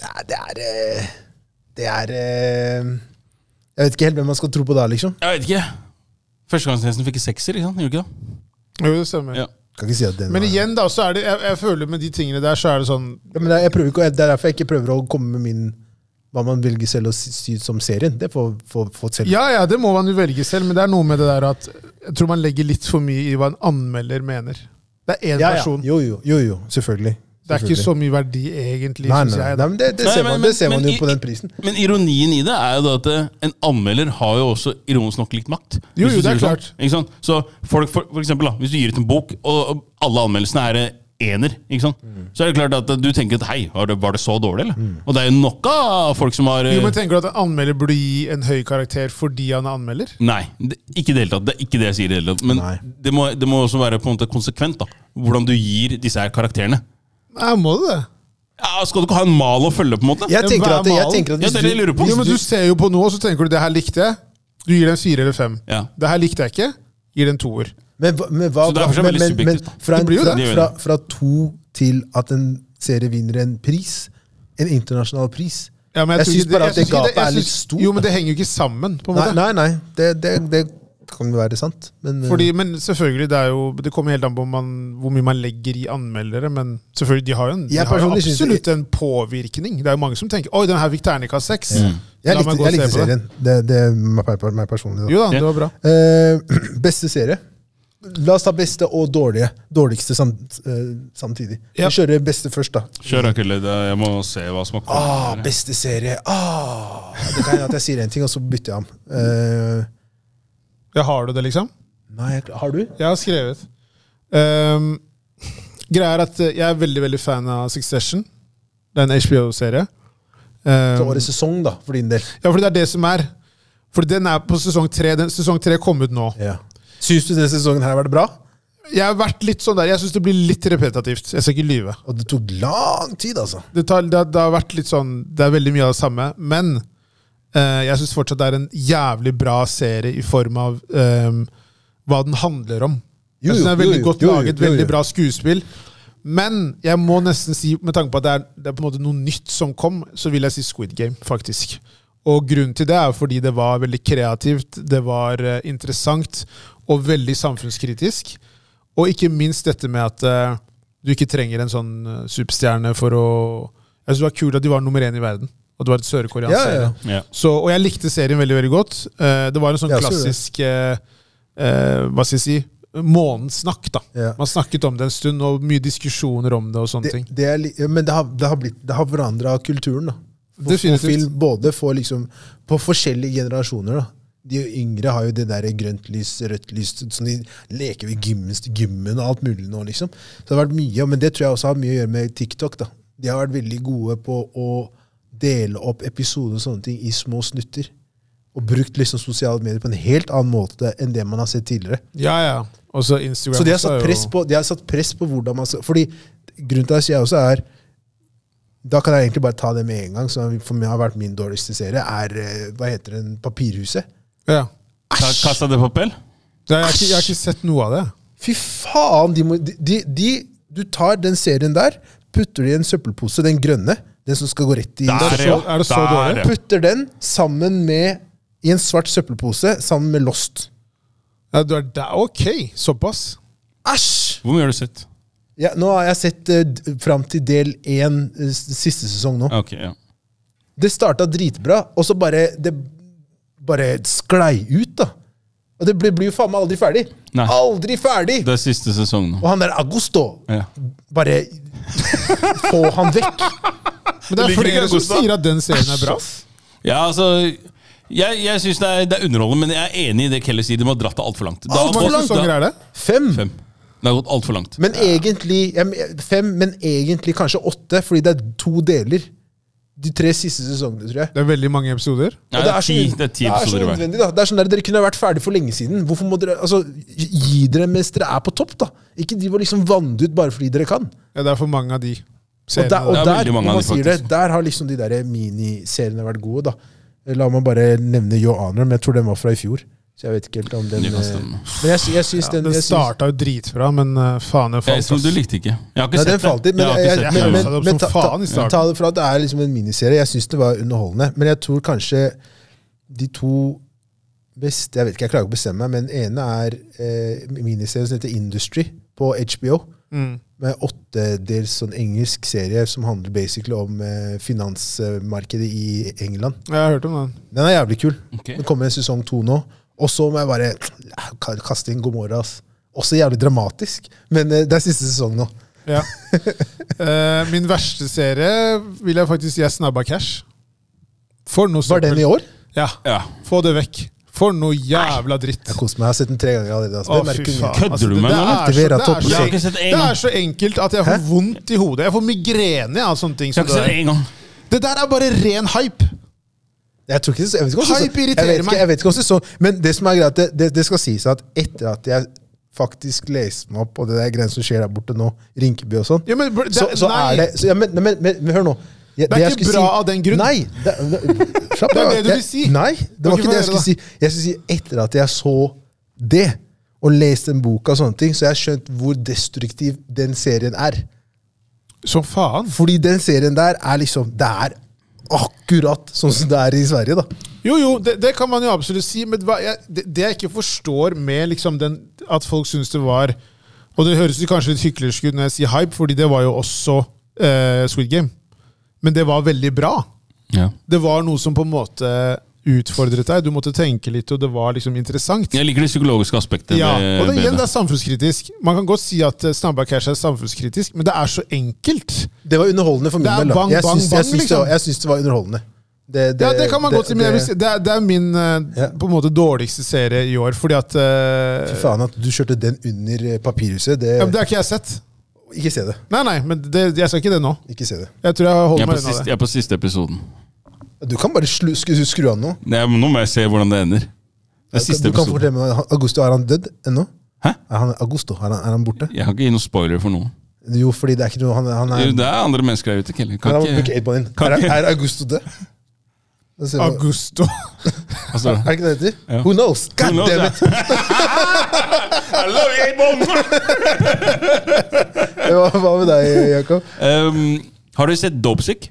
[SPEAKER 2] Ja, det er eh, Det er eh, Jeg vet ikke helt hvem man skal tro på da, liksom.
[SPEAKER 1] Jeg vet ikke. Førstegangstjenesten fikk sekser, ikke sant? Gjorde ikke det?
[SPEAKER 4] Jo, det stemmer.
[SPEAKER 1] Ja.
[SPEAKER 2] Kan ikke si at den
[SPEAKER 4] Men
[SPEAKER 2] var-
[SPEAKER 4] igjen, da, så er det jeg, jeg føler med de tingene der, så er det sånn
[SPEAKER 2] ja, men det, er- jeg prøver ikke, å- det er derfor jeg ikke prøver å komme med min hva man velger selv å sy sy som serien. Det får får- folk selv
[SPEAKER 4] Ja ja, det må man jo velge selv, men det er noe med det der at jeg tror man legger litt for mye i hva en anmelder mener. Det er én
[SPEAKER 2] Ja, ja.
[SPEAKER 4] person.
[SPEAKER 2] Jo, jo, jo, jo. Selvfølgelig.
[SPEAKER 4] Det er ikke
[SPEAKER 2] Selvfølgelig.
[SPEAKER 4] så mye verdi, egentlig,
[SPEAKER 2] Nei,
[SPEAKER 4] syns
[SPEAKER 2] nei,
[SPEAKER 4] jeg.
[SPEAKER 2] nei, men det, det
[SPEAKER 1] Nei,
[SPEAKER 2] ser
[SPEAKER 1] men-
[SPEAKER 2] man,
[SPEAKER 1] men-
[SPEAKER 2] det ser man
[SPEAKER 1] men
[SPEAKER 2] jo
[SPEAKER 1] i-
[SPEAKER 2] på den prisen.
[SPEAKER 1] Men ironien i det er jo da at eh, en anmelder har jo også ironisk nok litt makt.
[SPEAKER 4] Jo,
[SPEAKER 1] Hvis du
[SPEAKER 4] jo, det er
[SPEAKER 1] sier sånn, Ikke sant? Så folk, for, for eksempel, da, hvis du gir ut en bok, og og alle anmeldelsene er eh, ener, ikke sant?
[SPEAKER 4] Mm.
[SPEAKER 1] så er det klart at eh, du tenker at hei, var det, var det så dårlig, eller? Og det er jo nok av folk som har eh,
[SPEAKER 4] Jo, men Tenker du at en anmelder burde gi en høy karakter fordi han er anmelder?
[SPEAKER 1] Nei, det, ikke i det hele tatt. Det er ikke det jeg sier. i det hele tatt. Men
[SPEAKER 2] Nei.
[SPEAKER 1] det må, det må også være på en måte konsekvent, da. Hvordan du gir disse her karakterene.
[SPEAKER 4] Nei, må du det?
[SPEAKER 1] Ja, skal du ikke ha en mal å følge, på en måte?
[SPEAKER 2] Jeg
[SPEAKER 4] Ja,
[SPEAKER 2] tenker
[SPEAKER 4] hva er
[SPEAKER 2] at, jeg
[SPEAKER 4] malen?
[SPEAKER 2] tenker at
[SPEAKER 1] Ja,
[SPEAKER 2] hvis
[SPEAKER 1] det er det jeg
[SPEAKER 2] du,
[SPEAKER 1] lurer på.
[SPEAKER 4] Jo, men du ser jo på noe, og så tenker du det her likte jeg. Du gir den fire eller fem.
[SPEAKER 1] Ja.
[SPEAKER 4] Det her likte jeg ikke. Gir den toer.
[SPEAKER 2] men, hva- men, hva,
[SPEAKER 1] Så derfor så er det
[SPEAKER 2] men,
[SPEAKER 1] veldig
[SPEAKER 2] men, men
[SPEAKER 1] subjektivt, da.
[SPEAKER 2] fra, en,
[SPEAKER 4] Det blir jo
[SPEAKER 2] fra,
[SPEAKER 1] det.
[SPEAKER 2] fra, fra to til at en serie vinner en pris, en internasjonal pris
[SPEAKER 4] Ja, men
[SPEAKER 2] Jeg
[SPEAKER 4] tror
[SPEAKER 2] syns
[SPEAKER 4] ikke-
[SPEAKER 2] bare at det
[SPEAKER 4] syns ikke
[SPEAKER 2] gapet
[SPEAKER 4] jeg
[SPEAKER 2] er litt
[SPEAKER 4] syns-
[SPEAKER 2] stort.
[SPEAKER 4] Jo, men det henger jo ikke sammen. på en
[SPEAKER 2] Nei,
[SPEAKER 4] måte.
[SPEAKER 2] nei, nei det, det, det kan jo være sant, men eh,
[SPEAKER 4] Fordi, men selvfølgelig, det, er jo, det kommer helt an på om man, hvor mye man legger i anmeldere. Men selvfølgelig, de har jo, en, de
[SPEAKER 2] Jeg
[SPEAKER 4] har jo
[SPEAKER 2] personlig syns-
[SPEAKER 4] absolutt en påvirkning. Det er jo mange som tenker 'oi, den her fikk terningkast seks'. La
[SPEAKER 2] Jeg
[SPEAKER 4] meg
[SPEAKER 2] likte,
[SPEAKER 4] gå og
[SPEAKER 2] jeg likte
[SPEAKER 4] se på det.
[SPEAKER 2] serien. Det, det er meg meg personlig, da.
[SPEAKER 4] Jo da, det var bra.
[SPEAKER 2] Eh, beste serie? La oss ta beste og dårlige. Dårligste samt, eh, samtidig.
[SPEAKER 4] Ja.
[SPEAKER 2] Vi kjører beste først, da.
[SPEAKER 1] Kjør Akille, da- jeg må se hva som har
[SPEAKER 2] Ah,
[SPEAKER 1] kommet. her.
[SPEAKER 2] beste serie! Ah. Det kan hende at jeg sier én ting, og så bytter jeg om. Eh,
[SPEAKER 4] Ja, har du det, liksom?
[SPEAKER 2] nei, jeg- har du?
[SPEAKER 4] Jeg har skrevet. Ehm, greia er at eh, jeg er veldig veldig fan av Succession. Det er en HBO-serie.
[SPEAKER 2] Så
[SPEAKER 4] Ehm,
[SPEAKER 2] årets sesong, da, for din del.
[SPEAKER 4] ja, fordi det er det som er. Fordi den er på sesong tre. Den, sesong tre kom ut nå.
[SPEAKER 2] Ja. Syns du denne sesongen her har vært bra?
[SPEAKER 4] Jeg har vært litt sånn der, jeg syns det blir litt repetitivt. Jeg skal ikke lyve.
[SPEAKER 2] Og det tok lang tid, altså.
[SPEAKER 4] det, tar, det, har- det har vært litt sånn Det er veldig mye av det samme, men eh, jeg syns fortsatt det er en jævlig bra serie i form av eh, hva den handler om.
[SPEAKER 2] Jo,
[SPEAKER 4] jeg synes den er
[SPEAKER 2] jo,
[SPEAKER 4] veldig
[SPEAKER 2] jo,
[SPEAKER 4] godt
[SPEAKER 2] jo, jo,
[SPEAKER 4] laget,
[SPEAKER 2] jo, jo.
[SPEAKER 4] veldig bra skuespill. Men jeg må nesten si, med tanke på at det er, det er på en måte noe nytt som kom, så vil jeg si Squid Game, faktisk. Og grunnen til det er fordi det var veldig kreativt, det var eh, interessant og veldig samfunnskritisk. Og ikke minst dette med at eh, du ikke trenger en sånn eh, superstjerne for å Jeg synes Det var kult at de var nummer én i verden. Og det var et sørkoreansk
[SPEAKER 2] Ja, ja, ja.
[SPEAKER 4] serie.
[SPEAKER 1] Ja.
[SPEAKER 4] Så, og jeg likte serien veldig veldig godt. Eh, det var en sånn
[SPEAKER 2] Ja, så det.
[SPEAKER 4] klassisk eh, eh, Hva skal jeg si Månedssnakk, da.
[SPEAKER 2] Ja.
[SPEAKER 4] Man snakket om det en stund, og mye diskusjoner om det. og sånne
[SPEAKER 2] Det,
[SPEAKER 4] ting.
[SPEAKER 2] det er, li- ja, men det har, det har, blitt- det har forandra kulturen, da. For,
[SPEAKER 4] Definitivt.
[SPEAKER 2] For film, både for liksom, på forskjellige generasjoner. da. De yngre har jo det der grønt lys, rødt lys, som de leker ved gymmen, gymmen og alt mulig nå, liksom. Så det har vært mye, men det tror jeg også har mye å gjøre med TikTok. da. De har vært veldig gode på å dele opp episoder og sånne ting i små snutter. Og brukt liksom sosiale medier på en helt annen måte enn det man har sett tidligere.
[SPEAKER 4] Ja, ja. Og så Instagram.
[SPEAKER 2] Så de har
[SPEAKER 4] også er
[SPEAKER 2] satt
[SPEAKER 4] jo-
[SPEAKER 2] press på, de har satt press på hvordan man skal Fordi grunnen til at jeg også er Da kan jeg egentlig bare ta det med en gang, som for meg har vært min dårligste serie, er eh, hva heter den, Papirhuset.
[SPEAKER 4] Ja.
[SPEAKER 1] Ka- Casa de Papel?
[SPEAKER 4] Ja, jeg, har ikke, jeg har ikke sett noe av det.
[SPEAKER 2] Fy faen! De må, de, de, de, du tar den serien der, putter det i en søppelpose, den grønne, den som skal gå rett i søpla,
[SPEAKER 4] Der, så- er det så dårlig?
[SPEAKER 1] ja.
[SPEAKER 2] Putter den sammen med i en svart søppelpose sammen med Lost.
[SPEAKER 4] Ja, du er der. Ok, såpass.
[SPEAKER 2] Æsj!
[SPEAKER 1] Hvor mye har du sett?
[SPEAKER 2] Ja, nå har jeg sett eh, d- fram til del én, eh, s- siste sesong nå.
[SPEAKER 1] Ok, ja.
[SPEAKER 2] Det starta dritbra, og så bare Det bare sklei ut, da. Og det blir, blir jo faen meg aldri ferdig.
[SPEAKER 1] Nei.
[SPEAKER 2] Aldri ferdig!
[SPEAKER 1] Det er siste sesong nå.
[SPEAKER 2] Og han der Agosto
[SPEAKER 1] Ja.
[SPEAKER 2] Bare få han vekk!
[SPEAKER 4] Men det
[SPEAKER 1] Du
[SPEAKER 4] er
[SPEAKER 1] liker
[SPEAKER 4] flere
[SPEAKER 1] ikke
[SPEAKER 4] som
[SPEAKER 1] Gustav?
[SPEAKER 4] sier at den serien er bra.
[SPEAKER 1] Ja, altså Jeg, jeg syns det, er- det er underholdende, men jeg er enig i det Kelly sier. De må ha dratt det altfor langt. Det har
[SPEAKER 4] Hvor mange
[SPEAKER 1] gått-
[SPEAKER 4] sesonger
[SPEAKER 1] det
[SPEAKER 4] er det?
[SPEAKER 2] Fem.
[SPEAKER 1] har- Fem. Det har gått altfor langt.
[SPEAKER 2] Men egentlig ja, men- Fem, men egentlig kanskje åtte, fordi det er to deler. De tre siste sesongene, tror jeg.
[SPEAKER 4] Det er veldig mange episoder.
[SPEAKER 1] Nei,
[SPEAKER 2] Og
[SPEAKER 1] det, er
[SPEAKER 2] så-
[SPEAKER 1] ti, det er ti
[SPEAKER 2] det er så
[SPEAKER 1] episoder i hver.
[SPEAKER 2] unødvendig, da. Det er sånn der, Dere kunne vært ferdig for lenge siden. Hvorfor må dere, altså, Gi dere mens dere er på topp, da. Ikke de var liksom vannet ut bare fordi dere kan.
[SPEAKER 4] Ja, det er for mange av de.
[SPEAKER 2] Og der, og
[SPEAKER 1] Det
[SPEAKER 4] seriene
[SPEAKER 1] er
[SPEAKER 2] der,
[SPEAKER 1] veldig mange
[SPEAKER 2] når
[SPEAKER 1] av de,
[SPEAKER 2] man sier det, der har liksom de der miniseriene vært gode. da La meg bare nevne Yo Honor, men jeg tror den var fra i fjor. Så jeg vet ikke helt om den
[SPEAKER 1] Det kan
[SPEAKER 2] eh,
[SPEAKER 1] stemme.
[SPEAKER 2] Men jeg, sy- jeg syns
[SPEAKER 4] der.
[SPEAKER 2] den
[SPEAKER 4] Den
[SPEAKER 2] jeg syns,
[SPEAKER 4] starta jo dritbra, men eh, faen, jeg
[SPEAKER 1] Jeg,
[SPEAKER 4] falt.
[SPEAKER 1] som du
[SPEAKER 4] ass.
[SPEAKER 1] likte ikke. Jeg har ikke
[SPEAKER 2] Nei, den
[SPEAKER 1] sett
[SPEAKER 2] falt litt,
[SPEAKER 1] det.
[SPEAKER 2] men,
[SPEAKER 1] Jeg har
[SPEAKER 2] jeg,
[SPEAKER 1] ikke
[SPEAKER 2] jeg,
[SPEAKER 1] sett
[SPEAKER 2] men,
[SPEAKER 1] det.
[SPEAKER 4] Jeg
[SPEAKER 2] men,
[SPEAKER 4] sa det opp
[SPEAKER 2] men ta,
[SPEAKER 4] som faen i
[SPEAKER 2] ta,
[SPEAKER 4] starten.
[SPEAKER 2] ta det fra at det er liksom en miniserie. Jeg syns det var underholdende, men jeg tror kanskje de to beste Jeg vet ikke, jeg klarer ikke å bestemme meg, men den ene er eh, miniserien som heter Industry på HBO.
[SPEAKER 4] Mm.
[SPEAKER 2] med åttedels sånn engelsk serie som handler basically om eh, finansmarkedet i England.
[SPEAKER 4] Jeg har hørt om den.
[SPEAKER 2] Den er jævlig kul.
[SPEAKER 1] Ok.
[SPEAKER 2] Det kommer en sesong to nå. Og så må jeg bare ka- kaste inn God morgen, ass. Også jævlig dramatisk, men eh, det er siste sesong nå.
[SPEAKER 4] Ja. Eh, min verste serie vil jeg faktisk Jeg snabba cash. For noe
[SPEAKER 2] Var den i år?
[SPEAKER 4] Ja.
[SPEAKER 1] Ja.
[SPEAKER 4] Få det vekk. For noe jævla dritt.
[SPEAKER 2] Jeg koser meg. Jeg har sett den tre ganger allerede. ass.
[SPEAKER 4] Å,
[SPEAKER 2] Det
[SPEAKER 4] fy
[SPEAKER 2] merker
[SPEAKER 4] faen.
[SPEAKER 2] jeg.
[SPEAKER 1] Kødder du
[SPEAKER 4] det-
[SPEAKER 1] med meg
[SPEAKER 4] det
[SPEAKER 1] nå?
[SPEAKER 4] er så-
[SPEAKER 2] Aktiverer
[SPEAKER 4] det er
[SPEAKER 2] toppen.
[SPEAKER 4] så
[SPEAKER 1] Jeg har
[SPEAKER 4] enk-
[SPEAKER 1] ikke sett en
[SPEAKER 4] Det
[SPEAKER 1] gang.
[SPEAKER 4] er så enkelt at jeg får vondt i hodet. Jeg får migrene av sånne ting.
[SPEAKER 1] Jeg har
[SPEAKER 4] Som
[SPEAKER 1] ikke sett
[SPEAKER 4] det,
[SPEAKER 1] det
[SPEAKER 4] der.
[SPEAKER 1] en gang.
[SPEAKER 4] det der er bare ren hype.
[SPEAKER 2] Jeg tror ikke, jeg vet ikke om
[SPEAKER 4] Hype
[SPEAKER 2] sesong- jeg
[SPEAKER 4] irriterer
[SPEAKER 2] vet ikke,
[SPEAKER 4] meg.
[SPEAKER 2] jeg vet ikke om sesong, men det som er greit, det, det, det skal sies at etter at jeg faktisk leste meg opp på det der greiene som skjer der borte nå, Rinkeby og sånn,
[SPEAKER 4] Ja, men, bro, det,
[SPEAKER 2] så, så
[SPEAKER 4] nei,
[SPEAKER 2] er det så, ja, men, men, men, men hør nå. Jeg-
[SPEAKER 4] Det er
[SPEAKER 2] jeg
[SPEAKER 4] ikke
[SPEAKER 2] skulle
[SPEAKER 4] bra av den grunn.
[SPEAKER 2] Nei, det, det, slapp
[SPEAKER 4] Det er
[SPEAKER 2] av.
[SPEAKER 4] det du vil
[SPEAKER 2] Jeg-
[SPEAKER 4] si.
[SPEAKER 2] Nei, det var
[SPEAKER 4] Ok,
[SPEAKER 2] ikke det jeg
[SPEAKER 4] få
[SPEAKER 2] skulle
[SPEAKER 4] høre,
[SPEAKER 2] si. Jeg skulle si etter at jeg så det, og leste den boka og sånne ting, så jeg har skjønt hvor destruktiv den serien er.
[SPEAKER 4] Som faen.
[SPEAKER 2] Fordi den serien der er liksom Det er akkurat sånn som det er i Sverige, da.
[SPEAKER 4] Jo, jo, det, det kan man jo absolutt si, men hva, jeg, det, det jeg ikke forstår med liksom den, at folk syns det var Og det høres jo kanskje litt hyklersk ut når jeg sier hype, fordi det var jo også eh, Squid Game. Men det var veldig bra.
[SPEAKER 1] Ja.
[SPEAKER 4] Det var noe som på en måte utfordret deg. Du måtte tenke litt, og det var liksom interessant.
[SPEAKER 1] Jeg liker det psykologiske aspektet.
[SPEAKER 4] Ja,
[SPEAKER 1] ved-
[SPEAKER 4] og det,
[SPEAKER 1] ved
[SPEAKER 4] igjen,
[SPEAKER 1] det.
[SPEAKER 4] det er samfunnskritisk. Man kan godt si at eh, Strandberg Cash er samfunnskritisk, men det er så enkelt.
[SPEAKER 2] Det var underholdende for min
[SPEAKER 4] Det er
[SPEAKER 2] del. da.
[SPEAKER 4] bang,
[SPEAKER 2] Jeg
[SPEAKER 4] bang,
[SPEAKER 2] syns-
[SPEAKER 4] bang,
[SPEAKER 2] jeg syns det,
[SPEAKER 4] liksom.
[SPEAKER 2] var- jeg syns det var underholdende. Det,
[SPEAKER 4] ja, det kan man godt si, men jeg vil si- det, er- det er min eh,
[SPEAKER 2] Ja.
[SPEAKER 4] på en måte dårligste serie i år, fordi at eh,
[SPEAKER 2] Fy faen, at du kjørte den under eh, Papirhuset, det,
[SPEAKER 4] ja, men Det har ikke jeg sett.
[SPEAKER 2] Ikke se det.
[SPEAKER 4] Nei, nei, men det, jeg skal ikke det nå.
[SPEAKER 2] Ikke se det.
[SPEAKER 4] Jeg tror jeg
[SPEAKER 1] Jeg
[SPEAKER 4] holder
[SPEAKER 1] er, på
[SPEAKER 4] meg unna
[SPEAKER 1] siste,
[SPEAKER 4] det.
[SPEAKER 1] jeg er på siste episoden.
[SPEAKER 2] Du kan bare slu, skru, skru av nå.
[SPEAKER 1] Det er, nå må jeg se hvordan det ender. Det er siste
[SPEAKER 2] du kan
[SPEAKER 1] episoden.
[SPEAKER 2] fortelle meg, han- Augusto, er han død ennå?
[SPEAKER 1] Hæ?
[SPEAKER 2] Er han, Augusto, er han, er han borte?
[SPEAKER 1] Jeg kan ikke gi noen spoiler for noen.
[SPEAKER 2] Jo, fordi det er ikke noe Han, han er
[SPEAKER 1] Jo, Det er andre mennesker der ute, Kelly.
[SPEAKER 2] han
[SPEAKER 1] Kan
[SPEAKER 2] er,
[SPEAKER 1] ikke,
[SPEAKER 2] ikke, din.
[SPEAKER 1] kan
[SPEAKER 2] er,
[SPEAKER 1] ikke-
[SPEAKER 2] er Augusto død? Da ser vi-
[SPEAKER 4] Augusto.
[SPEAKER 1] altså,
[SPEAKER 2] Er det ikke det det heter?
[SPEAKER 1] Ja.
[SPEAKER 2] Who knows? God
[SPEAKER 1] Who knows,
[SPEAKER 2] damn
[SPEAKER 1] ja.
[SPEAKER 2] it!
[SPEAKER 1] I love you, Abel!
[SPEAKER 2] Hva, hva med deg, Jakob?
[SPEAKER 1] um, har dere sett Dopesick?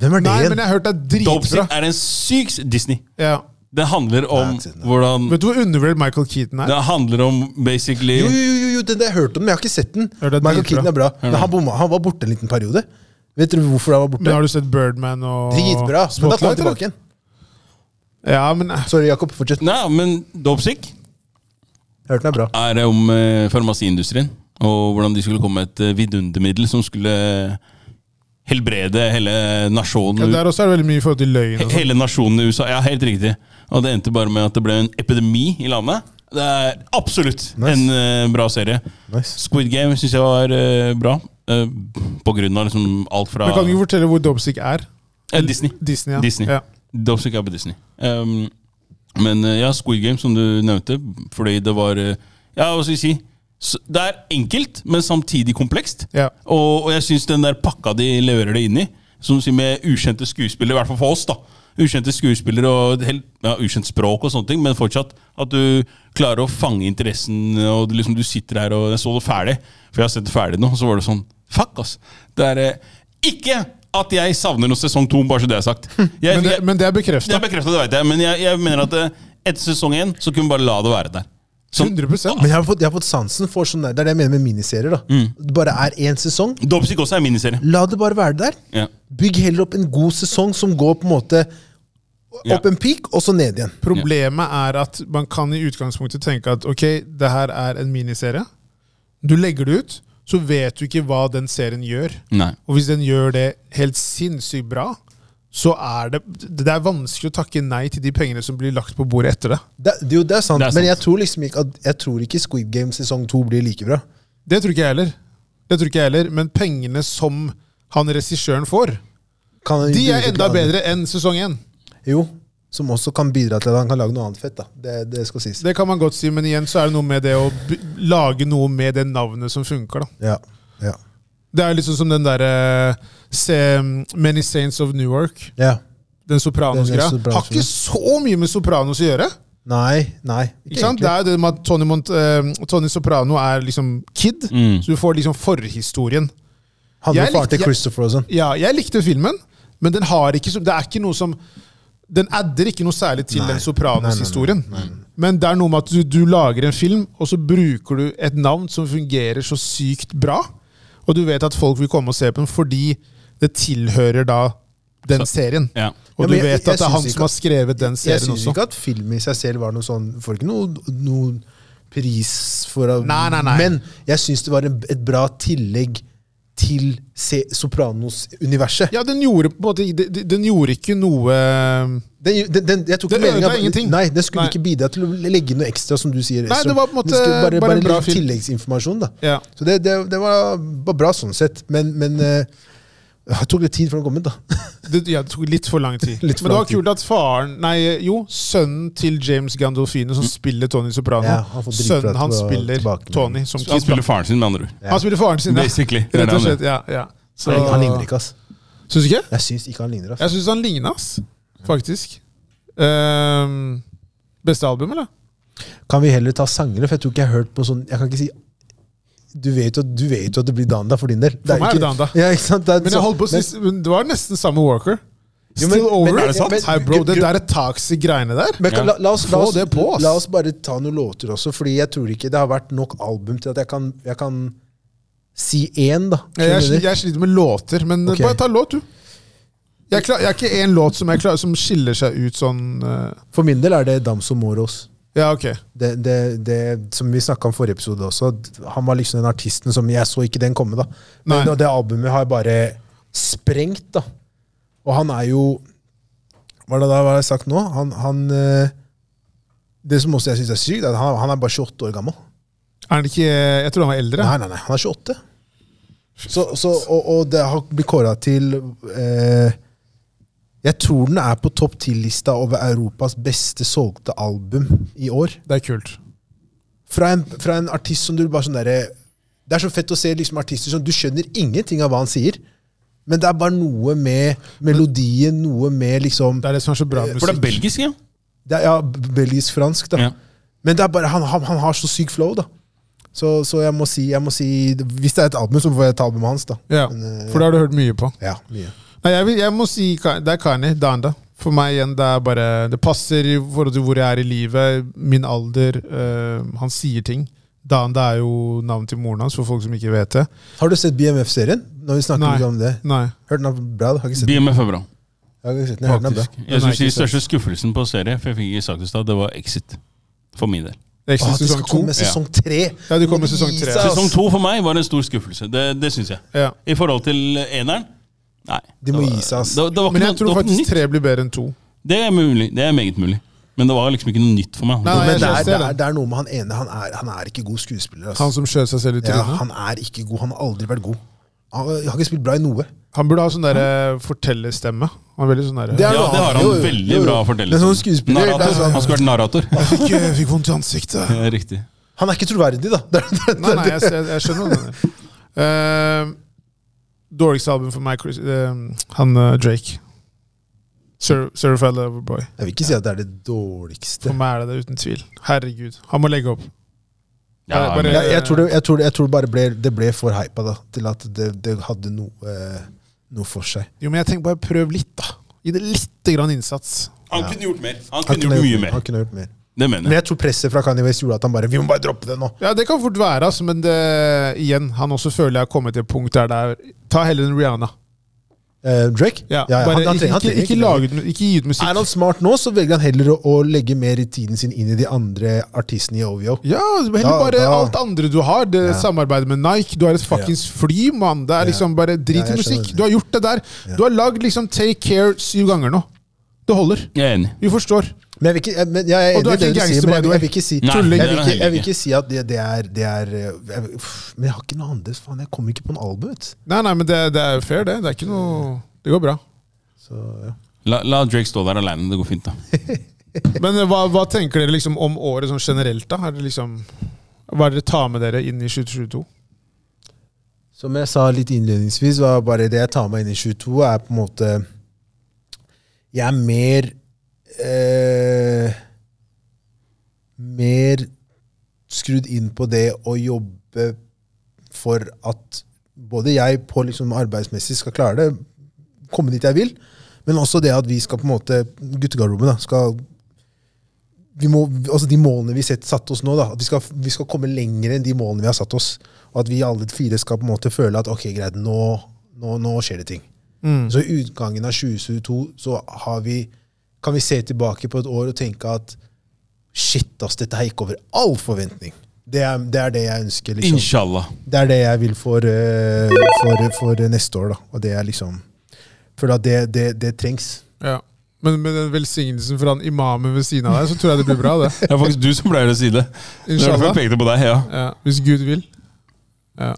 [SPEAKER 2] Hvem er det
[SPEAKER 4] Nei, men
[SPEAKER 2] igjen?
[SPEAKER 4] jeg har hørt det er dritbra.
[SPEAKER 1] Dopesick er en syk s- Disney.
[SPEAKER 4] Ja.
[SPEAKER 1] Det handler om
[SPEAKER 2] Nei, siden da.
[SPEAKER 1] hvordan
[SPEAKER 4] Vet du hvor undervurdert Michael Keaton er?
[SPEAKER 1] Det handler om basically
[SPEAKER 2] Jo, jo, jo, jo, den der jeg hørte om, men jeg har ikke sett den.
[SPEAKER 4] Ja, det er
[SPEAKER 2] Michael
[SPEAKER 4] dritbra.
[SPEAKER 2] Keaton er bra. Men han, bomma, han var borte en liten periode. Vet dere hvorfor han var
[SPEAKER 4] Men
[SPEAKER 2] borte?
[SPEAKER 4] har du sett Birdman og
[SPEAKER 2] Dritbra. Men da kom han
[SPEAKER 4] Spotlight?
[SPEAKER 2] tilbake
[SPEAKER 4] eller?
[SPEAKER 2] igjen.
[SPEAKER 4] Ja, men
[SPEAKER 1] Mm.
[SPEAKER 4] eh,
[SPEAKER 2] Sorry, Jakob. Fortsett.
[SPEAKER 1] Nei, men Dopesick
[SPEAKER 2] Hørte den er bra.
[SPEAKER 1] er det om eh, farmasiindustrien. Og hvordan de skulle komme med et eh, vidundermiddel som skulle helbrede hele nasjonen.
[SPEAKER 4] ja, der også er det veldig mye i forhold til løgn.
[SPEAKER 1] He-
[SPEAKER 4] Og sånn. sånt.
[SPEAKER 1] Hele nasjonen i USA. Ja, helt riktig. Og det endte bare med at det ble en epidemi i landet. Det er absolutt
[SPEAKER 2] Nice.
[SPEAKER 1] en eh, bra serie.
[SPEAKER 2] Nice.
[SPEAKER 1] Squid Game syns jeg var eh, bra. eh, på grunn av liksom alt fra
[SPEAKER 4] Men kan du ikke fortelle hvor Dobstick er?
[SPEAKER 1] Eh, Disney.
[SPEAKER 4] Disney, ja.
[SPEAKER 1] Disney.
[SPEAKER 4] Ja.
[SPEAKER 1] Dopesick er på Disney. Um, men eh, ja, Squid Game, som du nevnte, fordi det var eh, Ja, hva skal vi si? S- Det er enkelt, men samtidig komplekst.
[SPEAKER 4] Ja.
[SPEAKER 1] Og, og jeg syns den der pakka de leverer det inn i, som du sier med ukjente skuespillere, i hvert fall for oss, da. Ukjente skuespillere og et helt, ja, ukjent språk og sånne ting, men fortsatt at du klarer å fange interessen, og du, liksom, du sitter her og Jeg så det ferdig, for jeg har sett det ferdig nå, og så var det sånn Fuck, ass. Det er eh, ikke at jeg savner noe sesong to, bare så det er sagt. Jeg,
[SPEAKER 4] Men, det,
[SPEAKER 1] jeg-
[SPEAKER 4] men det er
[SPEAKER 1] det
[SPEAKER 4] bekrefta.
[SPEAKER 1] er bekreftet, det vet jeg. Men jeg, jeg mener at eh, etter sesong én så kunne vi bare la det være der. Som
[SPEAKER 4] 100
[SPEAKER 2] Men jeg har fått, jeg har fått sansen for sånn der. Det er det jeg mener med miniserier. da.
[SPEAKER 1] Mm.
[SPEAKER 2] Det bare er én sesong.
[SPEAKER 1] Dopesick også er miniserie.
[SPEAKER 2] La det bare være der.
[SPEAKER 1] Ja.
[SPEAKER 2] Bygg heller opp en god sesong som går på en måte
[SPEAKER 1] Ja.
[SPEAKER 2] opp en peak, og så ned igjen.
[SPEAKER 4] Problemet er at man kan i utgangspunktet tenke at ok, det her er en miniserie. Du legger det ut, så vet du ikke hva den serien gjør.
[SPEAKER 1] Nei.
[SPEAKER 4] Og hvis den gjør det helt sinnssykt bra, så er det Det er vanskelig å takke nei til de pengene som blir lagt på bordet etter det.
[SPEAKER 2] Det, det, jo, det, er sant,
[SPEAKER 1] Det er
[SPEAKER 2] men
[SPEAKER 1] sant.
[SPEAKER 2] jeg tror liksom ikke at, jeg tror ikke Squid Game sesong to blir like bra.
[SPEAKER 4] Det tror ikke jeg heller. Det tror ikke jeg heller. Men pengene som han regissøren får,
[SPEAKER 2] Kan han
[SPEAKER 4] de
[SPEAKER 2] bruke
[SPEAKER 4] er
[SPEAKER 2] til
[SPEAKER 4] enda
[SPEAKER 2] andre-
[SPEAKER 4] bedre enn sesong én.
[SPEAKER 2] Jo, Som også kan bidra til at han kan lage noe annet fett. da. Det, det skal sies.
[SPEAKER 4] Det kan man godt si, men igjen så er det noe med det å b lage noe med det navnet som funker, da.
[SPEAKER 2] Ja, ja.
[SPEAKER 4] Det er liksom som den derre mm, Many Saints of Newark.
[SPEAKER 2] ja. Den
[SPEAKER 4] Den Sopranos-greia.
[SPEAKER 2] er Sopranos,
[SPEAKER 4] Har ikke
[SPEAKER 2] ja.
[SPEAKER 4] så mye med Sopranos å gjøre.
[SPEAKER 2] Nei, nei. Ikke,
[SPEAKER 4] Ikke sant? Det
[SPEAKER 2] egentlig.
[SPEAKER 4] er jo det med at Tony, Mont eh, Tony Soprano er liksom kid,
[SPEAKER 1] Mm.
[SPEAKER 4] så du får liksom forhistorien.
[SPEAKER 2] Handler
[SPEAKER 4] Jeg
[SPEAKER 2] om faren til
[SPEAKER 4] likte-
[SPEAKER 2] Christopher og sånn.
[SPEAKER 4] Ja, jeg likte filmen, men den har ikke så, det er ikke noe som Den adder ikke noe særlig til
[SPEAKER 2] Nei.
[SPEAKER 4] den
[SPEAKER 2] Nei,
[SPEAKER 4] Sopranos-historien.
[SPEAKER 2] nei, nei, nei, nei.
[SPEAKER 4] Men det er noe med at du, du lager en film, og så bruker du et navn som fungerer så sykt bra, og du vet at folk vil komme og se på den fordi det tilhører da den serien.
[SPEAKER 1] Ja.
[SPEAKER 2] Ja,
[SPEAKER 4] Og du
[SPEAKER 2] men jeg-
[SPEAKER 4] vet
[SPEAKER 2] jeg
[SPEAKER 4] at det er
[SPEAKER 2] syns
[SPEAKER 4] han
[SPEAKER 2] ikke
[SPEAKER 4] som har skrevet den
[SPEAKER 2] Jeg
[SPEAKER 4] serien
[SPEAKER 2] syns
[SPEAKER 4] også.
[SPEAKER 2] ikke at film i seg selv var noe sånn Får ikke noe, noe pris for å-
[SPEAKER 4] Nei, nei, nei.
[SPEAKER 2] Men jeg syns det var en, et bra tillegg til se Sopranos-universet.
[SPEAKER 4] Ja, den gjorde, på en måte, de- de- den gjorde ikke noe eh,
[SPEAKER 2] Den, den, den, jeg tok
[SPEAKER 4] Det
[SPEAKER 2] ikke meningen
[SPEAKER 4] ødela
[SPEAKER 2] at-
[SPEAKER 4] ingenting.
[SPEAKER 2] Nei, Den skulle
[SPEAKER 4] Nei.
[SPEAKER 2] ikke bidra til å legge noe ekstra, som du sier.
[SPEAKER 4] Nei,
[SPEAKER 2] Estrom.
[SPEAKER 4] det var på en
[SPEAKER 2] Den
[SPEAKER 4] måte
[SPEAKER 2] skulle bare,
[SPEAKER 4] bare
[SPEAKER 2] bare,
[SPEAKER 4] en bra
[SPEAKER 2] litt
[SPEAKER 4] film.
[SPEAKER 2] tilleggsinformasjon, da.
[SPEAKER 4] ja.
[SPEAKER 2] Så det, det, det var, var bra sånn sett. Men, men eh, det tok litt tid før den kom ut, da.
[SPEAKER 4] Det, ja, det tok litt for lang tid.
[SPEAKER 2] Litt for
[SPEAKER 4] Men det
[SPEAKER 2] lang
[SPEAKER 4] var kult at faren Nei, jo, sønnen til James Gandolfino, som spiller Tony Soprano
[SPEAKER 2] Mm. Ja, han får dritbra
[SPEAKER 4] Sønnen
[SPEAKER 2] til
[SPEAKER 4] hans
[SPEAKER 2] å-
[SPEAKER 4] spiller
[SPEAKER 2] tilbake.
[SPEAKER 4] Tony som
[SPEAKER 1] Han
[SPEAKER 4] kid.
[SPEAKER 1] spiller faren sin, med andre ord.
[SPEAKER 2] Ja.
[SPEAKER 4] Han spiller faren sin, ja.
[SPEAKER 1] Basically. Det er
[SPEAKER 4] Rett
[SPEAKER 1] det
[SPEAKER 4] og
[SPEAKER 1] han
[SPEAKER 4] slett. Ja, ja. Så,
[SPEAKER 2] Han, han ligner ikke, ass.
[SPEAKER 4] Syns du ikke?
[SPEAKER 2] Jeg syns ikke han ligner, ass.
[SPEAKER 4] Jeg syns han ligner, ass. Faktisk. Ehm, beste album, eller?
[SPEAKER 2] Kan vi heller ta sangere? For jeg tror ikke jeg har hørt på sånn Jeg kan ikke si Du vet jo, du vet jo at det blir Danda for din del.
[SPEAKER 4] For meg er det
[SPEAKER 2] ikke-
[SPEAKER 4] Danda.
[SPEAKER 2] Ja, ikke sant? Det er
[SPEAKER 4] Men
[SPEAKER 2] så-
[SPEAKER 4] jeg holdt på å si men Det var nesten samme Walker.
[SPEAKER 2] Jo,
[SPEAKER 4] Still
[SPEAKER 2] men-
[SPEAKER 4] over.
[SPEAKER 2] men-
[SPEAKER 4] Er det sant?
[SPEAKER 2] men-
[SPEAKER 4] Hei, bro, det
[SPEAKER 2] jo-
[SPEAKER 4] der er taxi greiene der.
[SPEAKER 2] Men kan-
[SPEAKER 1] Ja.
[SPEAKER 2] la, la, oss, la,
[SPEAKER 4] Få
[SPEAKER 2] oss,
[SPEAKER 4] det på, ass.
[SPEAKER 2] la oss bare ta noen låter også, Fordi jeg tror ikke det har vært nok album til at jeg kan, jeg kan si én, da.
[SPEAKER 4] Jeg,
[SPEAKER 2] Skjønner du?
[SPEAKER 4] jeg sliter med låter, men eh,
[SPEAKER 2] Ok.
[SPEAKER 4] bare ta låt, du. Jeg, klar, jeg er ikke én låt som, jeg klar, som skiller seg ut sånn eh,
[SPEAKER 2] For min del er det Damso Moros.
[SPEAKER 4] Ja, ok.
[SPEAKER 2] Det, det, det, som vi snakka om forrige episode også, at han var liksom den artisten som Jeg så ikke den komme, da. Men
[SPEAKER 4] Nei.
[SPEAKER 2] det albumet har bare sprengt, da. Og han er jo Hva er det da hva har jeg sagt nå? Han, han eh, Det som også jeg syns er sykt, er at han, han er bare 28 år gammel.
[SPEAKER 4] Er han ikke Jeg tror han var eldre.
[SPEAKER 2] Nei, nei, nei, han er 28. Så, så, og, og det har blitt kåra til eh, Jeg tror den er på topp 10-lista over Europas beste solgte album i år.
[SPEAKER 4] Det er kult.
[SPEAKER 2] Fra en, fra en artist som du bare sånn derre Det er så fett å se liksom artister som du skjønner ingenting av hva han sier, men det er bare noe med melodien, noe med liksom
[SPEAKER 4] Det er det som er så bra med
[SPEAKER 1] For det er
[SPEAKER 4] musikk.
[SPEAKER 1] belgisk, ja.
[SPEAKER 2] det er, Ja, belgisk-fransk, da.
[SPEAKER 1] Ja.
[SPEAKER 2] Men det er bare, han, han, han har så syk flow, da. Så, så jeg, må si, jeg må si Hvis det er et album, så får jeg ta albumet hans, da.
[SPEAKER 4] Ja,
[SPEAKER 2] Men, eh,
[SPEAKER 4] for det har du hørt mye på.
[SPEAKER 2] Ja, mye.
[SPEAKER 4] Nei, jeg, vil, jeg må si Ka- det er Kani. Danda. For meg igjen, det er bare Det passer i forhold til hvor jeg er i livet, min alder. eh, han sier ting. Danda er jo navnet til moren hans, for folk som ikke vet det.
[SPEAKER 2] Har du sett BMF-serien? Når vi snakker
[SPEAKER 4] Nei.
[SPEAKER 2] litt om det.
[SPEAKER 4] Nei.
[SPEAKER 2] Hørt den er bra? da. Har ikke sett den.
[SPEAKER 1] BMF er bra,
[SPEAKER 2] Jeg har ikke sett den. Jeg har hørt den er
[SPEAKER 1] faktisk.
[SPEAKER 2] bra.
[SPEAKER 1] Jeg
[SPEAKER 4] Den er
[SPEAKER 1] synes Den
[SPEAKER 4] ikke
[SPEAKER 1] største skuffelsen på serie, for jeg fikk ikke sagt det i stad, det var Exit. For min del.
[SPEAKER 4] Det er ikke
[SPEAKER 2] Åh, det
[SPEAKER 4] sesong
[SPEAKER 2] skal
[SPEAKER 4] to.
[SPEAKER 2] komme sesong tre!
[SPEAKER 4] Ja, det altså- kommer sesong tre.
[SPEAKER 2] Jesus.
[SPEAKER 1] Sesong to for meg var en stor skuffelse. Det, det syns jeg.
[SPEAKER 4] Ja.
[SPEAKER 1] I forhold til eneren Nei.
[SPEAKER 2] De må
[SPEAKER 1] det var-
[SPEAKER 2] gi seg, ass.
[SPEAKER 1] Det, det var ikke
[SPEAKER 4] Men
[SPEAKER 1] noe-
[SPEAKER 4] jeg tror
[SPEAKER 1] det var ikke
[SPEAKER 4] faktisk
[SPEAKER 1] nytt.
[SPEAKER 4] tre blir bedre enn to.
[SPEAKER 1] Det er mulig. Det er meget mulig. Men det var liksom ikke noe nytt for meg.
[SPEAKER 4] Nei,
[SPEAKER 2] Men det er,
[SPEAKER 4] jeg
[SPEAKER 2] det,
[SPEAKER 4] ser
[SPEAKER 2] er,
[SPEAKER 4] det.
[SPEAKER 2] det er noe med han ene. Han er, han er ikke god skuespiller.
[SPEAKER 4] Han
[SPEAKER 2] Altså.
[SPEAKER 4] som skjøt seg selv i
[SPEAKER 2] Ja,
[SPEAKER 4] trynet.
[SPEAKER 2] han er ikke god. Han har aldri vært god. Han han har ikke spilt bra i noe.
[SPEAKER 4] Han burde ha sånn der eh, fortellerstemme. Han er veldig sånn der,
[SPEAKER 2] Det er-
[SPEAKER 1] ja, det har han
[SPEAKER 2] Jo, jo,
[SPEAKER 1] veldig
[SPEAKER 2] jo, jo.
[SPEAKER 1] bra
[SPEAKER 2] Det
[SPEAKER 1] fortelling.
[SPEAKER 2] er sånn skuespiller, det er
[SPEAKER 1] Narrator.
[SPEAKER 2] sånn-
[SPEAKER 1] Han skulle vært narrator.
[SPEAKER 4] fikk, vondt i ansiktet.
[SPEAKER 1] Det er Riktig.
[SPEAKER 2] Han er ikke troverdig, da. Det er, det,
[SPEAKER 4] Nei, nei, jeg, jeg, jeg skjønner hva du mener. Eh, Dårligste album for meg, Chris, eh, han eh, Drake. Sur- Certified Lover Boy.
[SPEAKER 2] jeg vil ikke si at det er det
[SPEAKER 4] For
[SPEAKER 2] dårligste.
[SPEAKER 4] meg er det det, uten tvil. Herregud. Han må legge opp.
[SPEAKER 1] Ja,
[SPEAKER 4] Bare-
[SPEAKER 1] men-
[SPEAKER 2] Jeg, jeg, tror, det, jeg, tror, det, jeg tror det bare ble, det ble for hypa da, til at det, det hadde noe, eh, noe for seg.
[SPEAKER 4] Jo, men jeg tenker bare prøv litt, da. Gi det litt grann innsats.
[SPEAKER 1] han kunne gjort mer. Han
[SPEAKER 2] Han
[SPEAKER 1] kunne gjort mye mer.
[SPEAKER 2] han kunne gjort mer.
[SPEAKER 1] Det mener
[SPEAKER 2] Men
[SPEAKER 1] jeg.
[SPEAKER 2] jeg tror presset fra Kanye West gjorde at han bare Vi må bare droppe det nå.
[SPEAKER 4] Ja, det kan fort være, altså, men det, igjen, han også føler jeg har kommet til et punkt der det er Ta heller en Rihanna.
[SPEAKER 2] Eh, Drake?
[SPEAKER 4] Ja,
[SPEAKER 2] Ja, ja,
[SPEAKER 4] bare
[SPEAKER 2] han- han trenger- han
[SPEAKER 4] ikke,
[SPEAKER 2] trenger
[SPEAKER 4] ikke,
[SPEAKER 2] ikke
[SPEAKER 4] ikke, lage ut- ikke gi ut musikk.
[SPEAKER 2] Er han smart nå, så velger han heller å, å legge mer i tiden sin inn i de andre artistene i OVO.
[SPEAKER 4] Ja, heller
[SPEAKER 2] Da-
[SPEAKER 4] bare
[SPEAKER 2] da-
[SPEAKER 4] alt andre du har. Det Samarbeidet med Nike. Du har et fuckings fly, mann. Det er liksom bare
[SPEAKER 2] Ja,
[SPEAKER 4] drit
[SPEAKER 2] jeg
[SPEAKER 4] i
[SPEAKER 2] skjønner
[SPEAKER 4] musikk.
[SPEAKER 2] det.
[SPEAKER 4] Du har gjort det der. Du har lagd liksom Take Care syv ganger nå. Det holder.
[SPEAKER 1] Jeg er enig.
[SPEAKER 4] Vi forstår.
[SPEAKER 2] Men jeg vil ikke, jeg, men jeg er
[SPEAKER 4] Og du
[SPEAKER 2] enig
[SPEAKER 4] er
[SPEAKER 2] i det
[SPEAKER 4] ikke
[SPEAKER 2] du sier,
[SPEAKER 4] gangster,
[SPEAKER 2] men
[SPEAKER 4] by
[SPEAKER 2] jeg,
[SPEAKER 4] the
[SPEAKER 2] vil-
[SPEAKER 4] way.
[SPEAKER 2] jeg vil ikke si
[SPEAKER 1] Nei,
[SPEAKER 2] jeg,
[SPEAKER 1] det er han
[SPEAKER 2] vil ikke, jeg
[SPEAKER 1] heller
[SPEAKER 2] vil
[SPEAKER 1] ikke.
[SPEAKER 2] ikke si at det, det er, det er eh, jeg, uff, Men jeg har ikke noe annet. Faen, jeg kommer ikke på en album. vet du.
[SPEAKER 4] Nei, nei, men det, det er fair, det. Det er ikke noe Det går bra.
[SPEAKER 2] Så, ja.
[SPEAKER 1] La, la Drake stå der aleine. Det går fint, da.
[SPEAKER 4] Men eh, hva, hva tenker dere liksom om året sånn generelt, da? Er det liksom Hva er det dere tar med dere inn i 2022?
[SPEAKER 2] Som jeg sa litt innledningsvis, var bare det jeg tar meg inn i 22, er på en måte Jeg er mer eh, Mer skrudd inn på det å jobbe for at både jeg på liksom arbeidsmessig skal klare det, komme dit jeg vil, men også det at vi skal på en måte Guttegarderoben da, skal vi må, altså De målene vi set, satte oss nå, da, at vi skal, vi skal komme lenger enn de målene vi har satt oss. Og at vi alle fire skal på en måte føle at ok, greit, nå, nå, nå skjer det ting. Så i utgangen av 2022 så har vi, kan vi se tilbake på et år og tenke at shit, ass, dette her gikk over all forventning. Det er det, er det jeg ønsker. liksom.
[SPEAKER 1] Inshallah.
[SPEAKER 2] Det er det jeg vil for, eh, for, for neste år, da. Og det er liksom Føler at det, det, det trengs.
[SPEAKER 4] Ja. Men med den velsignelsen fra han imamen ved siden av deg, så tror jeg det blir bra, det.
[SPEAKER 1] Det er faktisk du som pleier å si det. Det er derfor
[SPEAKER 4] Inshallah.
[SPEAKER 1] jeg pekte på deg, ja.
[SPEAKER 4] Ja, hvis Gud vil. Ja.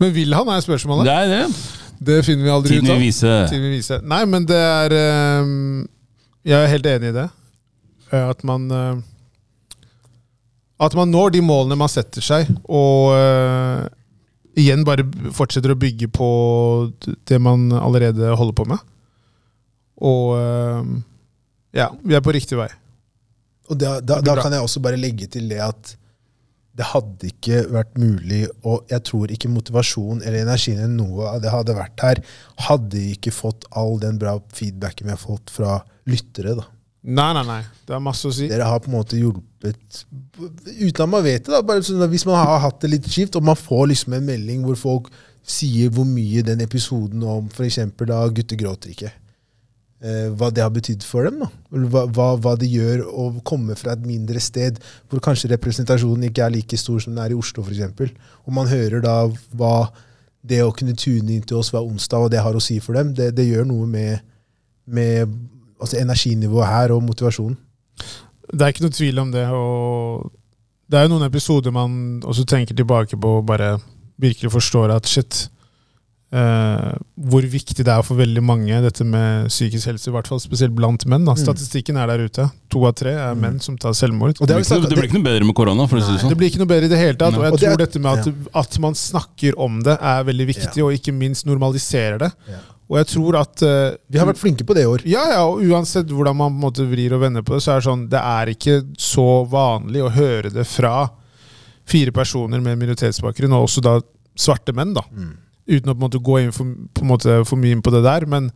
[SPEAKER 4] Men vil han, er spørsmålet.
[SPEAKER 1] Det er det.
[SPEAKER 4] Det finner vi aldri
[SPEAKER 1] Tiden
[SPEAKER 4] ut
[SPEAKER 1] vil
[SPEAKER 4] av.
[SPEAKER 1] vise.
[SPEAKER 4] Tiden vil vise. Nei, men det er ehm, Jeg er helt enig i det. Eh, At man eh, At man når de målene man setter seg, og eh, igjen bare b- fortsetter å bygge på d- det man allerede holder på med. Og ehm, ja, vi er på riktig vei.
[SPEAKER 2] Og da, da,
[SPEAKER 4] Det blir
[SPEAKER 2] da
[SPEAKER 4] bra.
[SPEAKER 2] kan jeg også bare legge til det at det hadde ikke vært mulig, og jeg tror ikke motivasjonen eller energien eller noe av det hadde vært her, hadde ikke fått all den bra feedbacken vi har fått fra lyttere. da.
[SPEAKER 4] Nei, nei, nei. Det er masse å si.
[SPEAKER 2] Dere har på en måte hjulpet Uten at man vet det, da. Bare sånn at hvis man har hatt det litt kjipt, og man får liksom en melding hvor folk sier hvor mye den episoden om f.eks. da 'gutter gråter ikke', eh, hva det har betydd for dem. Da. Eller Hva, hva, hva det gjør å komme fra et mindre sted, hvor kanskje representasjonen ikke er like stor som den er i Oslo f.eks. Og man hører da hva det å kunne tune inn til oss hver onsdag, og det har å si for dem, det, det gjør noe med, med altså energinivået her og motivasjonen.
[SPEAKER 4] Det er ikke noe tvil om det. og Det er jo noen episoder man også tenker tilbake på og bare virkelig forstår at shit eh, Hvor viktig det er for veldig mange, dette med psykisk helse, i hvert fall spesielt blant menn. Da.
[SPEAKER 2] Mm.
[SPEAKER 4] Statistikken er der ute. To av tre er menn som tar selvmord.
[SPEAKER 2] Og
[SPEAKER 1] Det
[SPEAKER 2] det
[SPEAKER 1] blir
[SPEAKER 2] har vi
[SPEAKER 1] ikke noe,
[SPEAKER 2] snakket-
[SPEAKER 1] det blir ikke noe bedre med korona, for å si det
[SPEAKER 4] Det
[SPEAKER 1] sånn.
[SPEAKER 4] blir ikke noe bedre i det hele tatt.
[SPEAKER 1] Nei.
[SPEAKER 4] Og jeg
[SPEAKER 2] Og det er-
[SPEAKER 4] tror dette med at, at man snakker om det, er veldig viktig, og ikke minst normaliserer det.
[SPEAKER 2] Ja.
[SPEAKER 4] Og jeg tror at eh,
[SPEAKER 2] Vi har vært flinke på det i år.
[SPEAKER 4] ja, ja, og uansett hvordan man på en måte vrir og vender på det, så er det sånn Det er ikke så vanlig å høre det fra fire personer med minoritetsbakgrunn, og også da svarte menn, da. Uten å på en måte gå inn for, på en måte, for mye inn på det der. Men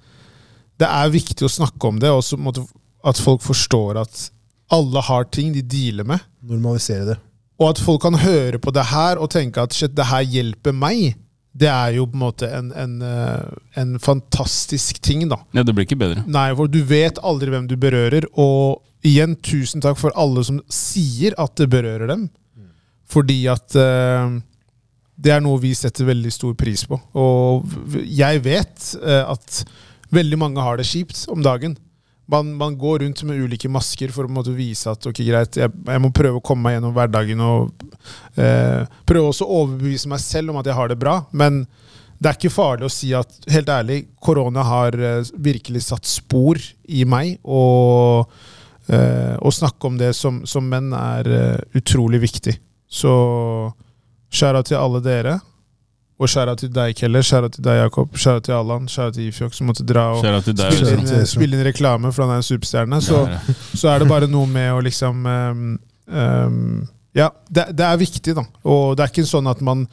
[SPEAKER 4] det er viktig å snakke om det, og så på en måte at folk forstår at alle har ting de dealer med.
[SPEAKER 2] Normalisere det.
[SPEAKER 4] Og at folk kan høre på det her og tenke at shit, det her hjelper meg. Det er jo på en måte en, en, eh, en fantastisk ting, da.
[SPEAKER 1] Ja, det blir ikke bedre.
[SPEAKER 4] Nei, for du vet aldri hvem du berører. Og igjen, tusen takk for alle som sier at det berører dem. Fordi at eh, det er noe vi setter veldig stor pris på. Og v- jeg vet eh, at veldig mange har det kjipt om dagen. Man, man går rundt med ulike masker for å på en måte vise at ok, greit, jeg, jeg må prøve å komme meg gjennom hverdagen og eh, prøve også å overbevise meg selv om at jeg har det bra. Men det er ikke farlig å si at helt ærlig, korona har eh, virkelig satt spor i meg. Og eh, å snakke om det som, som menn er eh, utrolig viktig. Så skjæra til alle dere. Og skjæra til deg, Kelle. Skjæra til deg, Jakob. Skjæra til Allan. Skjæra til Ifjok, som måtte dra og
[SPEAKER 1] Skjer at det der,
[SPEAKER 4] spille
[SPEAKER 2] Shout out til
[SPEAKER 4] inn,
[SPEAKER 2] dere.
[SPEAKER 4] spille inn reklame, for han er en superstjerne. Så,
[SPEAKER 1] Ja, ja.
[SPEAKER 4] så er det bare noe med å liksom ehm, ehm, Ja, det, det er viktig, da. Og det er ikke sånn at man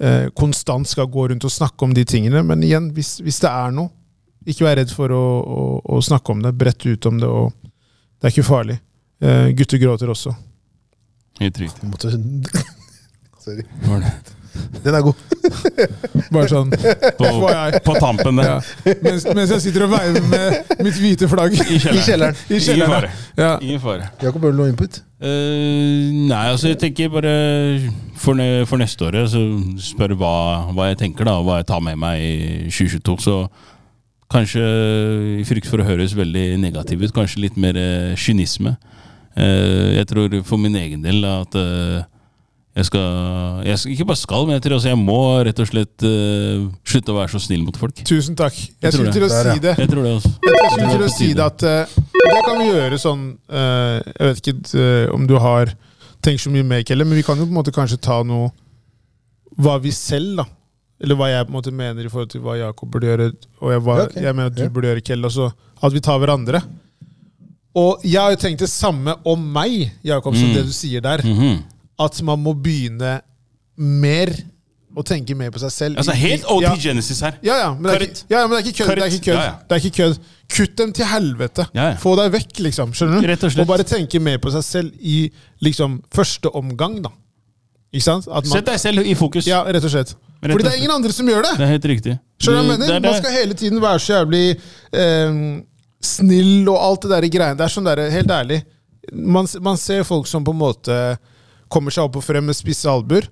[SPEAKER 4] eh, konstant skal gå rundt og snakke om de tingene. Men igjen, hvis, hvis det er noe, ikke vær redd for å, å, å snakke om det. Brett ut om det. og Det er ikke farlig. Eh, gutter gråter også.
[SPEAKER 1] Helt riktig.
[SPEAKER 2] På en måte. Sorry.
[SPEAKER 1] Det var det.
[SPEAKER 2] Den er god.
[SPEAKER 4] Bare sånn.
[SPEAKER 1] På,
[SPEAKER 4] Får jeg.
[SPEAKER 1] på tampen der.
[SPEAKER 4] Ja. Mens, mens jeg sitter og veiver med mitt hvite flagg
[SPEAKER 1] I kjelleren.
[SPEAKER 4] I
[SPEAKER 1] Ingen
[SPEAKER 4] kjelleren.
[SPEAKER 1] fare.
[SPEAKER 4] Ja.
[SPEAKER 1] Ingen fare.
[SPEAKER 2] Jakob, har du noe input?
[SPEAKER 1] Eh, nei, altså jeg tenker bare for, ne for neste året så spør hva, hva jeg tenker da, og hva jeg tar med meg i 2022. Så kanskje i frykt for å høres veldig negativ ut, kanskje litt mer eh, kynisme. Eh, jeg tror for min egen del at eh, jeg skal, jeg skal Ikke bare skal, men jeg tror også jeg må rett og slett eh, slutte å være så snill mot folk.
[SPEAKER 4] Tusen takk.
[SPEAKER 1] Jeg
[SPEAKER 4] Jeg
[SPEAKER 1] tror
[SPEAKER 4] skulle
[SPEAKER 1] det.
[SPEAKER 4] til å
[SPEAKER 2] Der, ja.
[SPEAKER 4] si det.
[SPEAKER 1] Jeg tror det, altså.
[SPEAKER 4] Jeg
[SPEAKER 1] Det
[SPEAKER 4] skulle til
[SPEAKER 1] var
[SPEAKER 4] å
[SPEAKER 1] på
[SPEAKER 4] si det
[SPEAKER 1] tide.
[SPEAKER 4] at eh, Det kan vi gjøre sånn eh, Jeg vet ikke eh, om du har tenkt så mye mer, Kelle, men vi kan jo på en måte kanskje ta noe Hva vi selv, da. Eller hva jeg på en måte mener i forhold til hva Jakob burde gjøre, og jeg, hva,
[SPEAKER 2] Ja, ok.
[SPEAKER 4] jeg mener at du
[SPEAKER 2] Ja.
[SPEAKER 4] burde gjøre, Kelle. og så At vi tar hverandre. Og jeg har jo tenkt det samme om meg, Jakob, som
[SPEAKER 1] Mm.
[SPEAKER 4] det du sier der.
[SPEAKER 1] Mhm.
[SPEAKER 4] At man må begynne mer å tenke mer på seg selv.
[SPEAKER 1] Altså Helt OT
[SPEAKER 4] Ja.
[SPEAKER 1] Genesis her.
[SPEAKER 4] Ja, ja, men det er ikke,
[SPEAKER 1] Kødd.
[SPEAKER 4] ja, ja, men det er ikke kødd. Det er ikke kødd.
[SPEAKER 1] Ja, ja.
[SPEAKER 4] Det er ikke kødd. Kutt dem til helvete.
[SPEAKER 1] Ja, ja.
[SPEAKER 4] Få deg vekk, liksom. Skjønner du?
[SPEAKER 1] Rett og slett.
[SPEAKER 4] bare tenke mer på seg selv i liksom første omgang, da. Ikke sant? At
[SPEAKER 1] Sett
[SPEAKER 4] man,
[SPEAKER 1] deg selv i fokus.
[SPEAKER 4] ja, rett og slett.
[SPEAKER 1] Rett og
[SPEAKER 4] Fordi det
[SPEAKER 1] slett.
[SPEAKER 4] er ingen andre som gjør
[SPEAKER 1] Det
[SPEAKER 4] det.
[SPEAKER 1] er helt riktig.
[SPEAKER 4] Skjønner du hva jeg
[SPEAKER 1] Mm, Det-
[SPEAKER 4] mener?
[SPEAKER 1] det er
[SPEAKER 4] Man
[SPEAKER 1] det.
[SPEAKER 4] skal hele tiden være så jævlig eh, snill og alt det der greiene. Det er sånn der, helt ærlig. Man, man ser folk som på en måte kommer seg opp og frem med spisse albuer.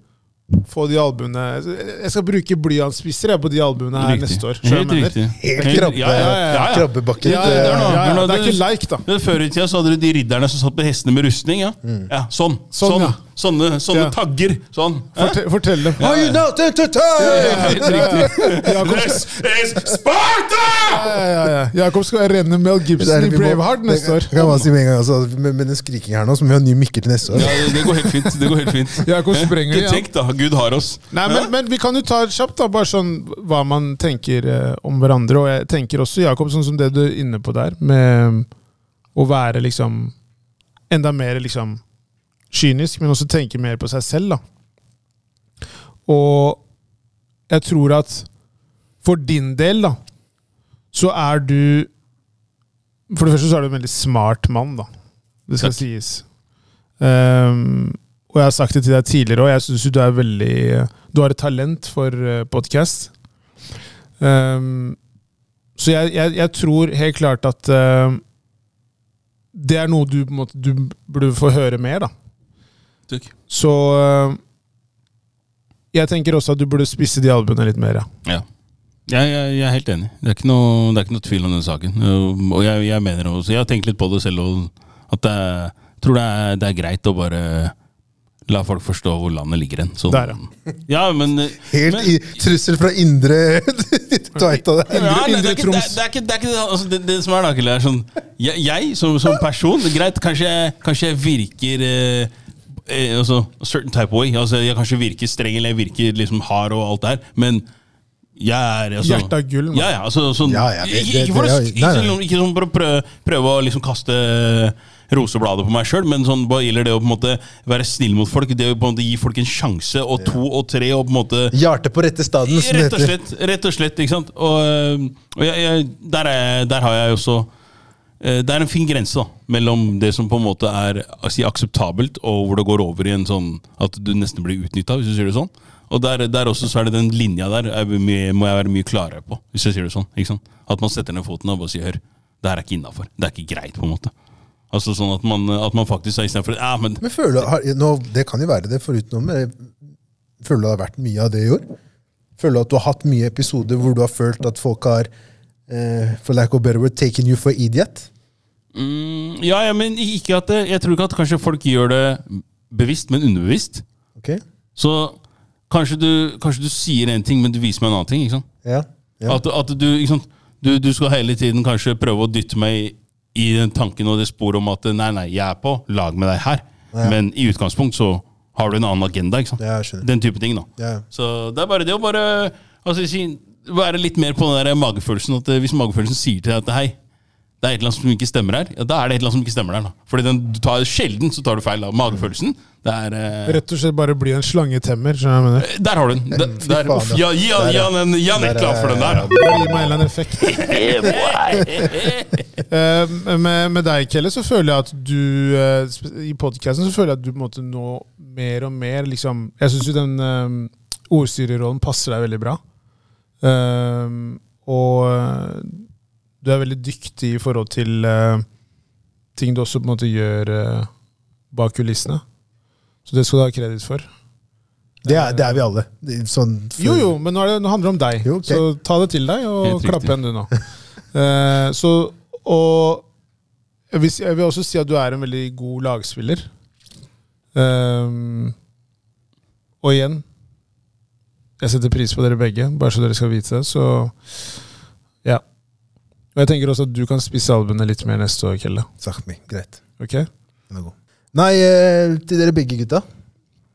[SPEAKER 4] Få de albuene Jeg skal bruke blyantspisser jeg, på de albuene her
[SPEAKER 1] Riktig.
[SPEAKER 4] neste år. Skjønner du hva jeg
[SPEAKER 1] Helt
[SPEAKER 4] mener?
[SPEAKER 1] riktig.
[SPEAKER 2] Helt
[SPEAKER 1] Helt-
[SPEAKER 2] krabbe,
[SPEAKER 1] ja, ja, ja, ja.
[SPEAKER 2] krabbebakken.
[SPEAKER 4] Ja, ja,
[SPEAKER 1] Det
[SPEAKER 4] ja,
[SPEAKER 1] er noe.
[SPEAKER 4] ja,
[SPEAKER 1] Det er noe.
[SPEAKER 4] ja. Det er
[SPEAKER 1] Det-
[SPEAKER 4] ikke like, da.
[SPEAKER 1] Men Før i tida så hadde du de ridderne som satt på hestene med rustning. Ja, ja sånn.
[SPEAKER 4] Sånn,
[SPEAKER 1] sånn,
[SPEAKER 4] ja.
[SPEAKER 1] Sånne, sånne
[SPEAKER 4] Ja.
[SPEAKER 1] tagger. Sånn. Hæ?
[SPEAKER 4] Fortell, fortell dem.
[SPEAKER 2] Are you not entertained?
[SPEAKER 1] Helt riktig.
[SPEAKER 4] Jakob,
[SPEAKER 1] This is Sparta!
[SPEAKER 4] ja, ja, ja. Jakob skal renne Mel
[SPEAKER 2] Det
[SPEAKER 4] Gibson
[SPEAKER 2] er-
[SPEAKER 4] i
[SPEAKER 2] vi må-
[SPEAKER 4] Braveheart neste
[SPEAKER 2] det-
[SPEAKER 4] år.
[SPEAKER 2] det Kan man si med en gang, altså, med, med den skrikingen her nå, så må vi ha ny mikker til neste år.
[SPEAKER 1] Ja, det- det går helt fint. Det går helt fint.
[SPEAKER 4] Jakob sprenger
[SPEAKER 1] Ikke
[SPEAKER 4] igjen.
[SPEAKER 1] Tenk, da. Gud har oss.
[SPEAKER 4] Nei, men, men vi kan jo ta kjapt da, bare sånn hva man tenker eh, om hverandre. Og jeg tenker også, Jakob, sånn som det du er inne på der, med å være liksom enda mer liksom kynisk, men også tenke mer på seg selv, da. Og jeg tror at for din del, da, så er du For det første så er du en veldig smart mann, da. Det skal
[SPEAKER 1] Takk.
[SPEAKER 4] sies. Ehm, og jeg har sagt det til deg tidligere òg, jeg syns du er veldig eh, Du har et talent for podkast. Ehm, Så jeg, jeg, jeg tror helt klart at eh, det er noe du, på en måte, du burde få høre mer, da.
[SPEAKER 1] Takk.
[SPEAKER 4] Så eh, jeg tenker også at du burde spisse de albuene litt mer. Ja.
[SPEAKER 1] Ja. Jeg, jeg, jeg er helt enig. Det er ikke noe, det er ikke noe tvil om den saken. Uh, Og jeg, jeg mener også, jeg har tenkt litt på det selv, og at jeg tror det er, det er greit å bare la folk forstå hvor landet ligger hen. Sånn.
[SPEAKER 4] Der,
[SPEAKER 1] ja. men,
[SPEAKER 2] Helt
[SPEAKER 1] men,
[SPEAKER 2] i trussel fra indre Tveita der.
[SPEAKER 1] Ja, nei, det,
[SPEAKER 4] Indre
[SPEAKER 1] er ikke, det,
[SPEAKER 4] Troms.
[SPEAKER 1] er- det er ikke, det, er ikke altså, det, det som er da, Kille, er sånn Jeg, jeg som, som person Greit, kanskje jeg, kanskje jeg virker eh, eh, altså, a certain type way. Altså, jeg kanskje virker streng eller jeg virker liksom hard og alt det her, men jeg er altså,
[SPEAKER 4] Hjertet av gull, mann.
[SPEAKER 1] Ja, ja, altså, sånn,
[SPEAKER 2] Ja, ja, det-
[SPEAKER 1] ikke,
[SPEAKER 2] det-
[SPEAKER 1] ikke for å,
[SPEAKER 2] det-
[SPEAKER 1] ikke,
[SPEAKER 2] nei, nei.
[SPEAKER 1] sånn- ikke sånn for å prøve, prøve å liksom kaste rosebladet på meg sjøl, men sånn, hva gjelder det å på en måte være snill mot folk, det å på en måte gi folk en sjanse, og to og tre, og på en måte
[SPEAKER 2] Hjerte på rette staden, som det
[SPEAKER 1] Rett og
[SPEAKER 2] heter.
[SPEAKER 1] slett. rett og slett, ikke sant? Og, øhm, og jeg, jeg, der, er, der har jeg også eh, Det er en fin grense da, mellom det som på en måte er å si, akseptabelt, og hvor det går over i en sånn at du nesten blir utnytta, hvis du sier det sånn. Og der, der også så er det den linja der er vi mye, må jeg være mye klarere på, hvis jeg sier det sånn. ikke sant? At man setter ned foten og bare sier 'hør, det her er ikke innafor'. Det er ikke greit, på en måte. Altså sånn at man, at man faktisk er istedenfor ja, men
[SPEAKER 2] Men føler du, har, nå, Det kan jo være det foruten om, men føler du det har vært mye av det i år? Føler du at du har hatt mye episoder hvor du har følt at folk har eh, for lack of better word, taken you for idiot?
[SPEAKER 1] mm, Ja, ja, men ikke at det, Jeg tror ikke at kanskje folk gjør det bevisst, men underbevisst.
[SPEAKER 2] Ok?
[SPEAKER 1] Så kanskje du, kanskje du sier en ting, men du viser meg en annen ting. ikke sant?
[SPEAKER 2] Ja. ja.
[SPEAKER 1] At, at du, ikke sant? Du, du skal hele tiden kanskje prøve å dytte meg i, i den tanken og det sporet om at nei, nei, jeg er på lag med deg her. Men i utgangspunkt så har du en annen agenda. ikke sant?
[SPEAKER 2] Ja, jeg skjønner.
[SPEAKER 1] Den type ting. da.
[SPEAKER 2] Ja.
[SPEAKER 1] Så det er bare det å bare altså, si, være litt mer på den der magefølelsen. at eh, Hvis magefølelsen sier til deg at hei, det er et eller annet som ikke stemmer her, ja, da er det et eller annet som ikke stemmer der. da. Fordi den, du tar, sjelden så tar du feil av magefølelsen. Det er... eh,
[SPEAKER 4] Rett og slett bare bli en slangetemmer. skjønner du hva jeg mener?
[SPEAKER 1] der har du den. Der,
[SPEAKER 2] Fy
[SPEAKER 1] der,
[SPEAKER 2] faen,
[SPEAKER 1] uff, ja, gi han- gi han en- gi han
[SPEAKER 2] Der
[SPEAKER 1] et
[SPEAKER 2] er-
[SPEAKER 1] klapp for den der.
[SPEAKER 4] Bare Gi meg en eller annen effekt.
[SPEAKER 1] da.
[SPEAKER 4] Eh, med, med deg, Kelle, så føler jeg at du eh, sp- I podkasten så føler jeg at du på en måte nå mer og mer liksom Jeg syns jo den eh, ordstyrerrollen passer deg veldig bra. Eh, og eh, du er veldig dyktig i forhold til eh, ting du også på en måte gjør eh, bak kulissene. Så det skal du ha kreditt for.
[SPEAKER 2] Det, er, det er vi alle. Det er Sånn,
[SPEAKER 4] Jo, jo, men nå, er det, nå handler det om deg.
[SPEAKER 2] Jo, ok.
[SPEAKER 4] Så ta det til deg, og
[SPEAKER 1] Helt riktig.
[SPEAKER 4] klapp igjen du nå. Eh, så, og jeg vil, si- jeg vil også si at du er en veldig god lagspiller. Ehm, og igjen Jeg setter pris på dere begge, bare så dere skal vite det. Så ja. Og jeg tenker også at du kan spisse albuene litt mer neste år, Kelle.
[SPEAKER 2] Sahmi, greit.
[SPEAKER 4] Ok?
[SPEAKER 2] Den er god. Nei, eh, til dere begge gutta.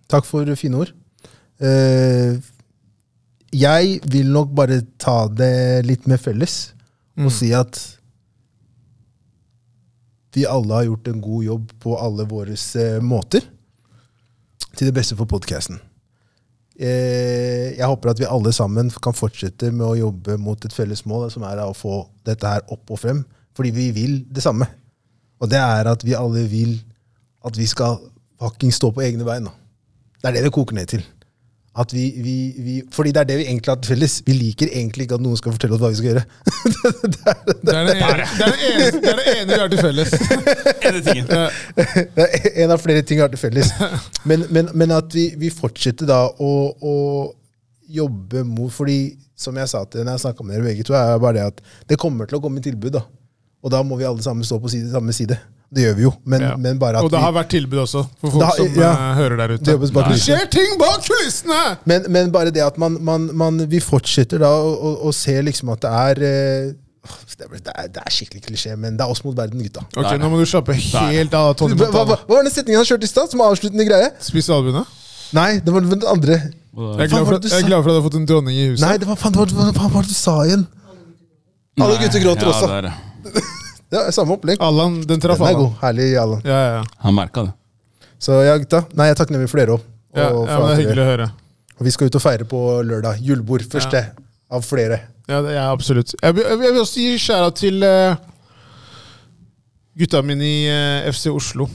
[SPEAKER 2] Takk for fine ord. Eh, jeg vil nok bare ta det litt med felles og
[SPEAKER 4] Mm.
[SPEAKER 2] si at vi alle har gjort en god jobb på alle våre måter til det beste for podkasten. Eh, jeg håper at vi alle sammen kan fortsette med å jobbe mot et felles mål, som er da å få dette her opp og frem, fordi vi vil det samme. Og det er at vi alle vil at vi skal fucking stå på egne bein. da. Det er det det koker ned til. At vi, vi, vi, fordi det er det vi egentlig har til felles. Vi liker egentlig ikke at noen skal fortelle oss hva vi skal gjøre.
[SPEAKER 4] Det er det ene, det er det eneste- det er det ene vi har til felles.
[SPEAKER 1] Ene tingen.
[SPEAKER 2] Det er en av flere ting vi har til felles. Men, men, men at vi, vi fortsetter da å, å jobbe mot Fordi, som jeg sa til når jeg snakka med dere begge to, er bare det at det kommer til å komme tilbud. da. Og da må vi alle sammen stå på side, samme side. Det gjør vi jo. Men,
[SPEAKER 4] Ja.
[SPEAKER 2] men bare at
[SPEAKER 4] og det
[SPEAKER 2] vi,
[SPEAKER 4] har vært tilbud også, for folk
[SPEAKER 2] Det har-
[SPEAKER 4] som
[SPEAKER 2] ja.
[SPEAKER 4] eh, hører der ute.
[SPEAKER 2] Det jobbes bak
[SPEAKER 4] Nei.
[SPEAKER 2] kulissene.
[SPEAKER 4] skjer ting bak kulissene!
[SPEAKER 2] Men, men bare det at man, man, man Vi fortsetter da å, å, å se liksom at det er eh, det er, det, er, det er skikkelig klisjé, men det er oss mot verden, gutta.
[SPEAKER 4] Ok, Nå må du slappe helt av, Tony
[SPEAKER 2] Hva, hva,
[SPEAKER 4] Montana.
[SPEAKER 2] hva var den setningen han kjørte i stad, som avsluttende greie?
[SPEAKER 4] Spis albuene.
[SPEAKER 2] Nei, det var den andre.
[SPEAKER 4] Jeg er glad for at jeg er glad for at du har fått en dronning i huset.
[SPEAKER 2] Nei, det var faen, det var, hva faen var det du sa igjen? Alle gutter gråter
[SPEAKER 1] ja,
[SPEAKER 2] også.
[SPEAKER 1] det er det.
[SPEAKER 2] Det er samme opplegg.
[SPEAKER 4] Allan, den traff
[SPEAKER 2] Den er
[SPEAKER 4] Allan.
[SPEAKER 2] god. Herlig, Allan.
[SPEAKER 4] Ja, ja, ja.
[SPEAKER 1] Han merka det.
[SPEAKER 2] Så ja, gutta. Nei, jeg er takknemlig for dere òg.
[SPEAKER 4] ja, ja men det er hyggelig å høre.
[SPEAKER 2] Og vi skal ut og feire på lørdag. Julebord. Første av flere.
[SPEAKER 4] Ja, det, ja absolutt. Jeg, vil- jeg vil også gi skjæra til eh, gutta mine i eh, FC Oslo.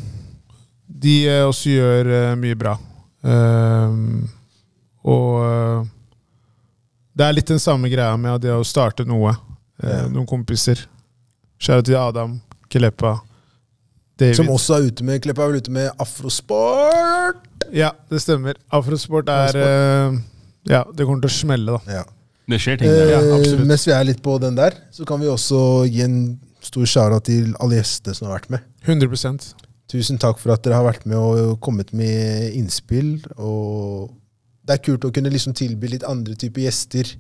[SPEAKER 4] De eh, også gjør eh, mye bra. Ehm, eh, og eh, det er litt den samme greia med det å starte noe. eh, noen kompiser. Skjære til Adam, Kelepa, David.
[SPEAKER 2] Som også er ute med Kleppa er vel ute med afrosport!
[SPEAKER 4] Ja, det stemmer. Afrosport er eh, Ja, det kommer til å smelle, da.
[SPEAKER 2] Ja.
[SPEAKER 1] Det skjer ting der.
[SPEAKER 2] Eh,
[SPEAKER 4] Ja, absolutt.
[SPEAKER 2] mens vi er litt på den der, så kan vi også gi en stor skjæra til alle gjestene som har vært med.
[SPEAKER 4] 100
[SPEAKER 2] Tusen takk for at dere har vært med og kommet med innspill. og Det er kult å kunne liksom tilby litt andre typer gjester.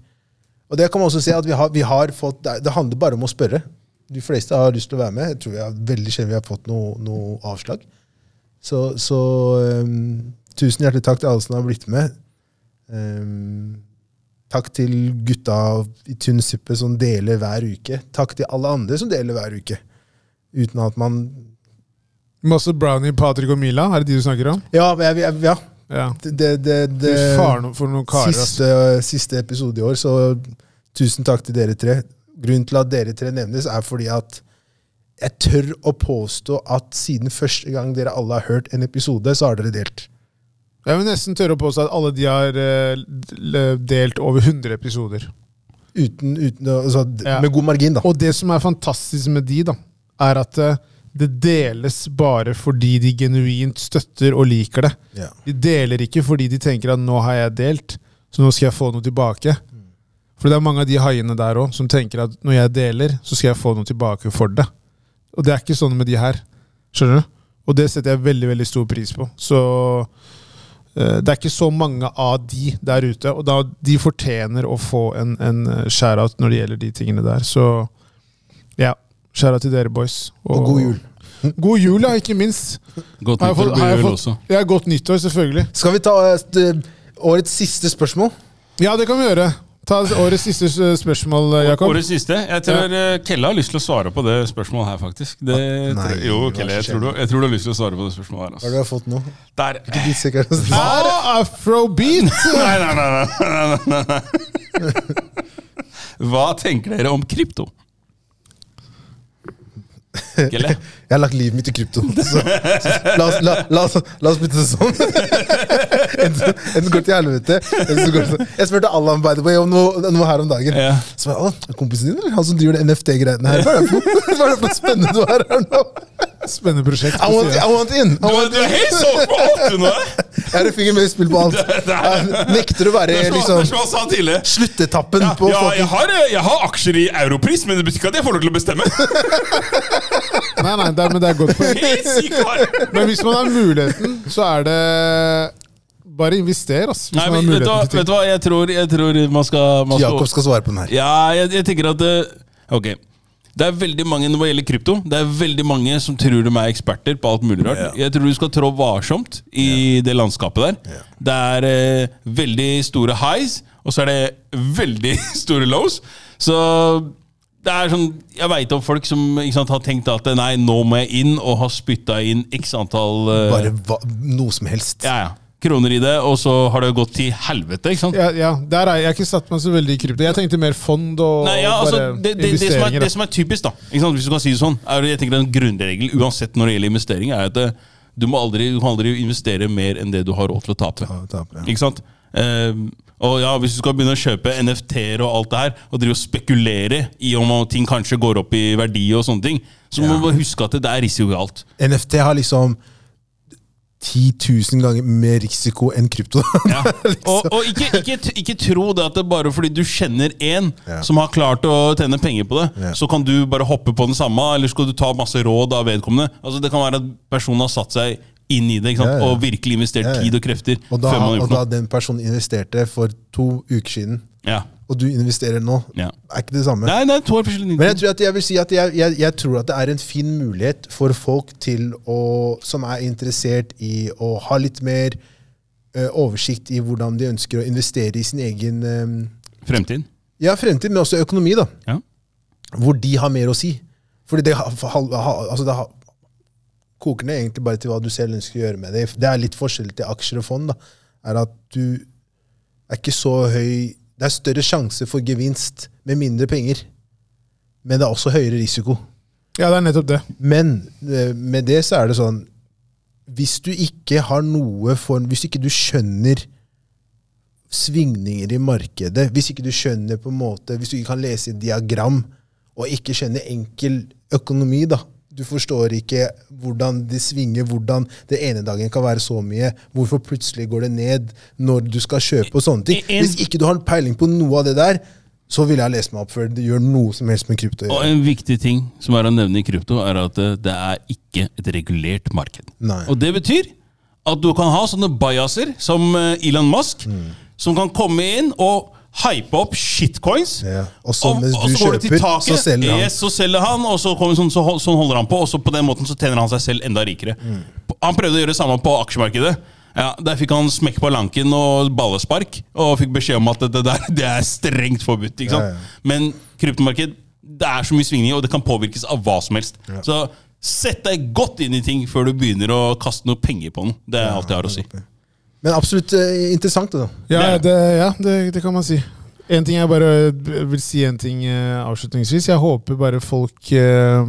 [SPEAKER 2] Og det kan man også se at vi har, vi har fått, det er- det handler bare om å spørre. De fleste har lyst til å være med. Jeg tror vi har, veldig sjelden vi har fått noe, noe avslag. Så, så ehm, tusen hjertelig takk til alle som har blitt med. Ehm, takk til gutta i tynn suppe som deler hver uke. Takk til alle andre som deler hver uke. Uten at man
[SPEAKER 4] Masse Brownie, Patrick og Mila, er det de du snakker om?
[SPEAKER 2] Ja, men jeg, jeg, ja.
[SPEAKER 4] Ja.
[SPEAKER 2] det, det, det,
[SPEAKER 4] Fy
[SPEAKER 2] det
[SPEAKER 4] faen for noen karer, altså. ass.
[SPEAKER 2] siste, siste episode i år, så tusen takk til dere tre. Grunnen til at dere tre nevnes, er fordi at jeg tør å påstå at siden første gang dere alle har hørt en episode, så har dere delt.
[SPEAKER 4] Jeg vil nesten tørre å påstå at alle de har eh, l- delt over 100 episoder.
[SPEAKER 2] Uten, uten, å- altså, d-
[SPEAKER 4] Ja.
[SPEAKER 2] Med god margin, da.
[SPEAKER 4] Og det som er fantastisk med de, da, er at eh, det deles bare fordi de genuint støtter og liker det.
[SPEAKER 2] Ja.
[SPEAKER 4] De deler ikke fordi de tenker at nå har jeg delt, så nå skal jeg få noe tilbake. For det er mange av de haiene der òg som tenker at når jeg deler, så skal jeg få noe tilbake for det. Og det er ikke sånn med de her. Skjønner du? Og det setter jeg veldig veldig stor pris på. Så eh, det er ikke så mange av de der ute. Og da de fortjener å få en, en eh, shout-out når det gjelder de tingene der. Så ja, shout-out til dere, boys.
[SPEAKER 2] Og god jul.
[SPEAKER 4] God jul, ja, ikke minst.
[SPEAKER 1] Godt
[SPEAKER 4] Har jeg
[SPEAKER 1] nyttår
[SPEAKER 4] fått- har
[SPEAKER 1] blir
[SPEAKER 4] jeg
[SPEAKER 1] jul
[SPEAKER 4] fått-
[SPEAKER 1] også.
[SPEAKER 4] Ja, godt nyttår, selvfølgelig.
[SPEAKER 2] Skal vi ta eh, st- årets siste spørsmål?
[SPEAKER 4] Ja, det kan vi gjøre. Ta årets siste s- spørsmål, eh, Jakob.
[SPEAKER 1] Årets siste. Jeg tror eh, Kelle har lyst til å svare på det spørsmålet her, faktisk. Det,
[SPEAKER 2] Nei,
[SPEAKER 1] tror- jo,
[SPEAKER 2] vær så
[SPEAKER 1] Kelle, jeg
[SPEAKER 2] snill.
[SPEAKER 1] tror, du, jeg tror du har lyst til å svare på det spørsmålet her.
[SPEAKER 2] Hva er det
[SPEAKER 1] Altså.
[SPEAKER 2] du har fått nå?
[SPEAKER 1] Der.
[SPEAKER 2] Ikke ditt sikkert.
[SPEAKER 4] Er afrobeat!
[SPEAKER 1] Nei, nei, nei, nei, nei, nei, nei. Hva tenker dere om krypto? Kelle?
[SPEAKER 2] Jeg har lagt livet mitt i krypto. Så, så, la, oss, la, la, oss, la oss bytte det sånn. Enten enten går det til helvete eller så går det sånn. Jeg spurte Allan by the way om noe, noe her om dagen.
[SPEAKER 1] Ja.
[SPEAKER 2] Så var jeg, Allan, er kompisen din, eller? Han som driver det NFT-greiene her. Hva er det for noe- hva er det for noe spennende du har her nå?
[SPEAKER 4] Spennende prosjekt.
[SPEAKER 2] I want, I want in!
[SPEAKER 1] Du,
[SPEAKER 2] I want
[SPEAKER 1] du er helt solgt på alt, du nå!
[SPEAKER 2] Jeg har en finger med i spill på alt. Jeg nekter å
[SPEAKER 1] Det
[SPEAKER 2] være
[SPEAKER 1] er som- det er
[SPEAKER 2] liksom
[SPEAKER 1] som han sa tidligere.
[SPEAKER 2] sluttetappen
[SPEAKER 1] Ja,
[SPEAKER 2] på
[SPEAKER 1] ja jeg,
[SPEAKER 2] fucking
[SPEAKER 1] har, eh, jeg har aksjer i Europris, men det betyr ikke at jeg får lov til å bestemme.
[SPEAKER 4] Nei, nei, det er, men det er godt poeng.
[SPEAKER 1] Helt sykt klar.
[SPEAKER 4] Men hvis man har muligheten, så er det Bare invester, ass. Hvis
[SPEAKER 1] Nei,
[SPEAKER 4] man
[SPEAKER 1] men,
[SPEAKER 4] har
[SPEAKER 1] vet, du, hva-
[SPEAKER 4] muligheten til
[SPEAKER 1] vet
[SPEAKER 4] ting.
[SPEAKER 1] du hva, jeg tror, jeg tror man skal, man skal
[SPEAKER 2] Jakob skal svare på den her.
[SPEAKER 1] Ja, jeg, jeg tenker at eh, Ok. Det er veldig mange når det gjelder krypto Det er veldig mange som tror de er eksperter på alt mulig rart. Jeg tror du skal trå varsomt i det landskapet der. Det er eh, veldig store highs, og så er det veldig store lows. Så det er sånn, Jeg veit om folk som ikke sant, har tenkt at nei, nå må jeg inn, og har spytta inn x antall eh,
[SPEAKER 2] Bare hva, noe som helst.
[SPEAKER 1] ja, ja, kroner i det, og så har det gått til helvete. ikke sant?
[SPEAKER 4] Ja, ja, der er jeg. jeg har ikke satt meg så veldig i krypto. Jeg tenkte mer fond og
[SPEAKER 1] Nei, ja, altså,
[SPEAKER 4] bare
[SPEAKER 1] det, det, det, som er,
[SPEAKER 4] investeringer.
[SPEAKER 1] det som er typisk, da, ikke sant? hvis du kan si det sånn, er jeg tenker en grunnregel uansett når det gjelder investering, er at eh, du, må aldri, du kan aldri investere mer enn det du har råd til å tape.
[SPEAKER 2] tape, ja.
[SPEAKER 1] Ikke sant? Eh, og ja, Hvis du skal begynne å kjøpe NFT-er og alt det her, og drive og spekulere i om ting kanskje går opp i verdi, og sånne ting, så må du bare huske at det er risikalt.
[SPEAKER 2] NFT har liksom 10 000 ganger mer risiko enn krypto.
[SPEAKER 1] Ja.
[SPEAKER 2] Liksom.
[SPEAKER 1] Og, og ikke, ikke, t- ikke tro det at det er bare fordi du kjenner én
[SPEAKER 2] Ja.
[SPEAKER 1] som har klart å tjene penger på det,
[SPEAKER 2] Ja.
[SPEAKER 1] så kan du bare hoppe på den samme, eller skal du ta masse råd av vedkommende. Altså Det kan være at personen har satt seg inn i det ikke sant?
[SPEAKER 2] Ja, ja.
[SPEAKER 1] og virkelig investert
[SPEAKER 2] Ja, ja.
[SPEAKER 1] tid og krefter.
[SPEAKER 2] Og da,
[SPEAKER 1] før man har
[SPEAKER 2] og
[SPEAKER 1] gjort
[SPEAKER 2] da
[SPEAKER 1] noe.
[SPEAKER 2] den personen investerte for to uker siden,
[SPEAKER 1] Ja.
[SPEAKER 2] og du investerer nå,
[SPEAKER 1] Ja.
[SPEAKER 2] er ikke det samme.
[SPEAKER 1] Nei, nei, to år forskjellig.
[SPEAKER 2] Men jeg tror at jeg vil si at jeg, jeg, jeg tror at det er en fin mulighet for folk til å, som er interessert i å ha litt mer eh, oversikt i hvordan de ønsker å investere i sin egen eh,
[SPEAKER 1] Fremtiden.
[SPEAKER 2] ja, fremtid, men også økonomi. da.
[SPEAKER 1] Ja.
[SPEAKER 2] hvor de har mer å si. Fordi det, har- for hal- ha- altså det har- koker ned egentlig bare til hva du selv ønsker å gjøre med det. Det er litt forskjell til aksjer og fond. da, er at du er ikke så høy, Det er større sjanse for gevinst med mindre penger, men det er også høyere risiko.
[SPEAKER 4] Ja, det er nettopp det.
[SPEAKER 2] Men eh, med det så er det sånn Hvis du ikke har noe for Hvis ikke du skjønner svingninger i markedet, hvis ikke du skjønner på en måte Hvis du ikke kan lese diagram, og ikke kjenner enkel økonomi, da. Du forstår ikke hvordan det svinger, hvordan det ene dagen kan være så mye. Hvorfor plutselig går det ned når du skal kjøpe og sånne ting.
[SPEAKER 1] En-
[SPEAKER 2] Hvis ikke du har peiling på noe av det der, så ville jeg lest meg opp før det gjør noe som helst med krypto. å
[SPEAKER 1] Og
[SPEAKER 2] gjøre.
[SPEAKER 1] en viktig ting som er å nevne i krypto, er at eh, det er ikke et regulert marked.
[SPEAKER 2] Nei.
[SPEAKER 1] Og det betyr at du kan ha sånne bajaser som eh, Elon Musk,
[SPEAKER 2] Mm.
[SPEAKER 1] som kan komme inn og hype opp shitcoins.
[SPEAKER 2] Ja, og så mens du
[SPEAKER 1] går det til
[SPEAKER 2] kjøper, så selger han.
[SPEAKER 1] Yes, så selger han, og så kommer, sånn, så hol- sånn holder han på, og så på den måten så tjener han seg selv enda rikere.
[SPEAKER 2] Mm.
[SPEAKER 1] Han prøvde å gjøre det samme på aksjemarkedet. Ja, Der fikk han smekk på lanken og ballespark, og fikk beskjed om at det der det er strengt forbudt. ikke sant?
[SPEAKER 2] Ja, ja.
[SPEAKER 1] Men kryptomarked, det er så mye svingninger, og det kan påvirkes av hva som helst. Så sett deg godt inn i ting før du begynner å kaste noe penger på den. Det er alt jeg har å si.
[SPEAKER 2] Men absolutt eh, interessant. det da.
[SPEAKER 4] Ja, det, ja det, det kan man si. En ting jeg bare vil si en ting eh, avslutningsvis. Jeg håper bare folk eh,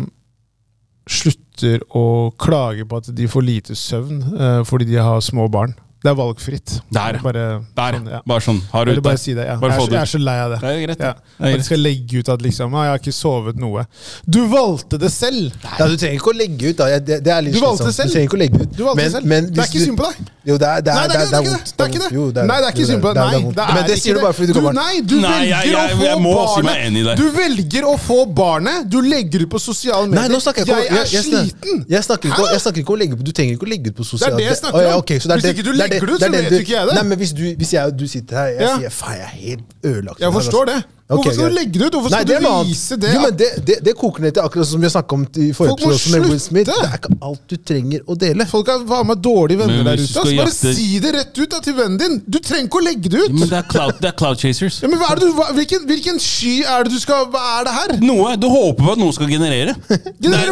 [SPEAKER 4] slutter å klage på at de får lite søvn eh, fordi de har små barn. Det er valgfritt.
[SPEAKER 1] Der.
[SPEAKER 4] Bare,
[SPEAKER 1] Der,
[SPEAKER 4] sånn, ja.
[SPEAKER 1] bare sånn. Har du
[SPEAKER 4] Jeg vil
[SPEAKER 1] ut
[SPEAKER 4] bare
[SPEAKER 1] der.
[SPEAKER 4] si det. Ja.
[SPEAKER 1] Bare
[SPEAKER 4] jeg,
[SPEAKER 1] få det
[SPEAKER 4] er, så-
[SPEAKER 1] ut.
[SPEAKER 4] jeg er så lei av det.
[SPEAKER 1] Det er greit.
[SPEAKER 4] Ja.
[SPEAKER 1] er
[SPEAKER 4] At de skal legge ut at liksom, ah, 'Jeg har ikke sovet noe'. Du valgte det selv!
[SPEAKER 2] Ja, du trenger ikke å legge ut. da. Jeg- Det, det er litt
[SPEAKER 4] Du valgte
[SPEAKER 2] slitsomt.
[SPEAKER 4] selv.
[SPEAKER 2] Du trenger ikke å legge ut.
[SPEAKER 4] Du valgte
[SPEAKER 2] Men-
[SPEAKER 4] det selv.
[SPEAKER 2] men
[SPEAKER 4] det er
[SPEAKER 2] hvis
[SPEAKER 4] ikke
[SPEAKER 2] du-
[SPEAKER 4] synd på deg!
[SPEAKER 2] Jo, det er, det er,
[SPEAKER 4] Nei, det er ikke det! Det er ikke
[SPEAKER 2] vondt.
[SPEAKER 4] det!
[SPEAKER 2] Jo,
[SPEAKER 4] Nei, det er ikke
[SPEAKER 2] Jo,
[SPEAKER 4] synd på
[SPEAKER 2] det
[SPEAKER 4] deg.
[SPEAKER 2] er-
[SPEAKER 4] Nei,
[SPEAKER 2] det er vondt.
[SPEAKER 4] det er
[SPEAKER 2] Men det
[SPEAKER 4] ikke
[SPEAKER 2] sier du bare fordi du kan
[SPEAKER 4] Nei, du
[SPEAKER 1] Nei, jeg-
[SPEAKER 4] velger
[SPEAKER 1] jeg-
[SPEAKER 4] å få
[SPEAKER 1] jeg må si meg enig der.
[SPEAKER 4] barnet. Du velger å få barnet. Du legger ut på sosiale
[SPEAKER 2] Nei,
[SPEAKER 4] medier.
[SPEAKER 2] nå snakker jeg ikke om
[SPEAKER 4] er
[SPEAKER 2] snak-
[SPEAKER 4] sliten!
[SPEAKER 2] Jeg snakker ikke, om-
[SPEAKER 4] Hæ?
[SPEAKER 2] jeg snakker ikke om å legge ut Du trenger ikke å legge ut på sosiale
[SPEAKER 4] Det er det jeg snakker
[SPEAKER 2] Å, ja,
[SPEAKER 4] om.
[SPEAKER 2] ok, så det er
[SPEAKER 4] Hvis
[SPEAKER 2] det-
[SPEAKER 4] ikke du
[SPEAKER 2] det er
[SPEAKER 4] legger det ut, så
[SPEAKER 2] er
[SPEAKER 4] vet ikke jeg det.
[SPEAKER 2] Nei, men hvis, du, hvis jeg og du sitter her, jeg
[SPEAKER 4] Ja.
[SPEAKER 2] sier faen, jeg er helt ødelagt.
[SPEAKER 4] Jeg forstår det. Hvorfor
[SPEAKER 2] Ok,
[SPEAKER 4] skal
[SPEAKER 2] greit.
[SPEAKER 4] du legge det ut? Hvorfor skal du
[SPEAKER 2] er noe annet.
[SPEAKER 4] vise det
[SPEAKER 2] Jo, men
[SPEAKER 4] at-
[SPEAKER 2] det, det, det koker ned til akkurat som vi snakket om i forrige
[SPEAKER 4] Folk må
[SPEAKER 2] episode også med Will Smith.
[SPEAKER 4] slutte.
[SPEAKER 2] Det er ikke alt du trenger å dele.
[SPEAKER 4] Folk er faen meg dårlige venner
[SPEAKER 1] Men
[SPEAKER 4] der
[SPEAKER 1] hvis du
[SPEAKER 4] ute.
[SPEAKER 1] skal
[SPEAKER 4] ass. Bare
[SPEAKER 1] jakte-
[SPEAKER 4] si det rett ut da, til vennen din! Du trenger ikke å legge det ut!
[SPEAKER 1] Men det er cloud, det er cloud chasers.
[SPEAKER 4] Ja, men hva er det du, hva, hvilken, hvilken sky er det du skal Hva er det her?
[SPEAKER 1] Noe du håper på at noe skal generere.
[SPEAKER 4] Generere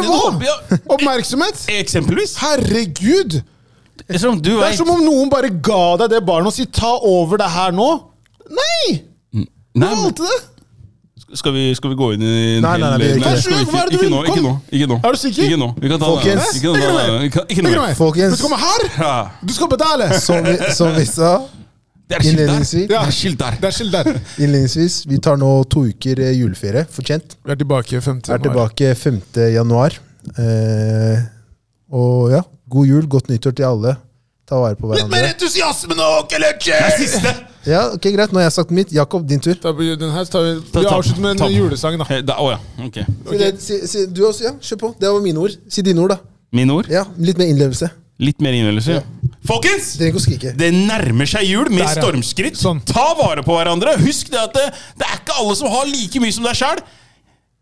[SPEAKER 1] Nei, du håper-
[SPEAKER 4] hva?
[SPEAKER 1] ja.
[SPEAKER 4] Oppmerksomhet?
[SPEAKER 1] Eksempelvis.
[SPEAKER 4] Herregud!
[SPEAKER 1] Liksom, du
[SPEAKER 4] Det er
[SPEAKER 1] vet,
[SPEAKER 4] som om noen bare ga deg det barnet og sier 'ta over det her nå'. Nei! Du
[SPEAKER 1] Nei, men-
[SPEAKER 4] valgte det!
[SPEAKER 1] skal, vi, skal vi gå inn i en
[SPEAKER 2] Nei, nei, nei, vi gjør ikke det.
[SPEAKER 1] skal vi ikke,
[SPEAKER 4] Hva er det du
[SPEAKER 1] ikke,
[SPEAKER 4] vil?
[SPEAKER 1] nå, ikke nå. Ikke nå.
[SPEAKER 4] Er du sikker?
[SPEAKER 1] Ikke nå. Vi kan ta det.
[SPEAKER 2] Folkens,
[SPEAKER 1] Ikke nå.
[SPEAKER 4] legger du
[SPEAKER 1] nei,
[SPEAKER 4] meg?
[SPEAKER 1] nei, Ikke, ikke
[SPEAKER 4] Legger du
[SPEAKER 1] nå.
[SPEAKER 4] meg?
[SPEAKER 2] Folkens.
[SPEAKER 4] Men du kommer her!
[SPEAKER 1] Ja.
[SPEAKER 4] Du skal betale!
[SPEAKER 2] Som vi, som vi sa
[SPEAKER 1] Det er skilt der.
[SPEAKER 2] Innledningsvis.
[SPEAKER 1] Det er skilt der.
[SPEAKER 4] Det er skilt der.
[SPEAKER 2] innledningsvis, vi tar nå to uker eh, juleferie fortjent.
[SPEAKER 4] Vi er tilbake 15.
[SPEAKER 2] er tilbake 5. januar. Eh, og ja, god jul, godt nyttår til alle. Ta vare på hverandre.
[SPEAKER 1] entusiasme nå, onkel Lutsje! Det er siste.
[SPEAKER 2] Ja, ok, Greit, nå har jeg sagt mitt. Jakob, din tur.
[SPEAKER 4] Da blir den her, så tar vi,
[SPEAKER 1] Ta-
[SPEAKER 4] vi
[SPEAKER 1] ta-
[SPEAKER 4] avslutter med
[SPEAKER 1] ta-
[SPEAKER 4] en julesang, da.
[SPEAKER 1] Eh, da- Å ja. Ok.
[SPEAKER 2] Si det- Eh, Si, si, du også, ja. Kjør på. Det var mine ord. Si dine ord, da.
[SPEAKER 1] Mine ord.
[SPEAKER 2] Ja, Litt mer innlevelse.
[SPEAKER 1] Litt mer innlevelse. Folkens!
[SPEAKER 2] Trenger ikke å skrike.
[SPEAKER 1] Det nærmer seg jul med
[SPEAKER 4] Der, ja.
[SPEAKER 1] stormskritt.
[SPEAKER 4] Sånn.
[SPEAKER 1] Ta vare på hverandre. Husk det at det, det er ikke alle som har like mye som deg sjæl.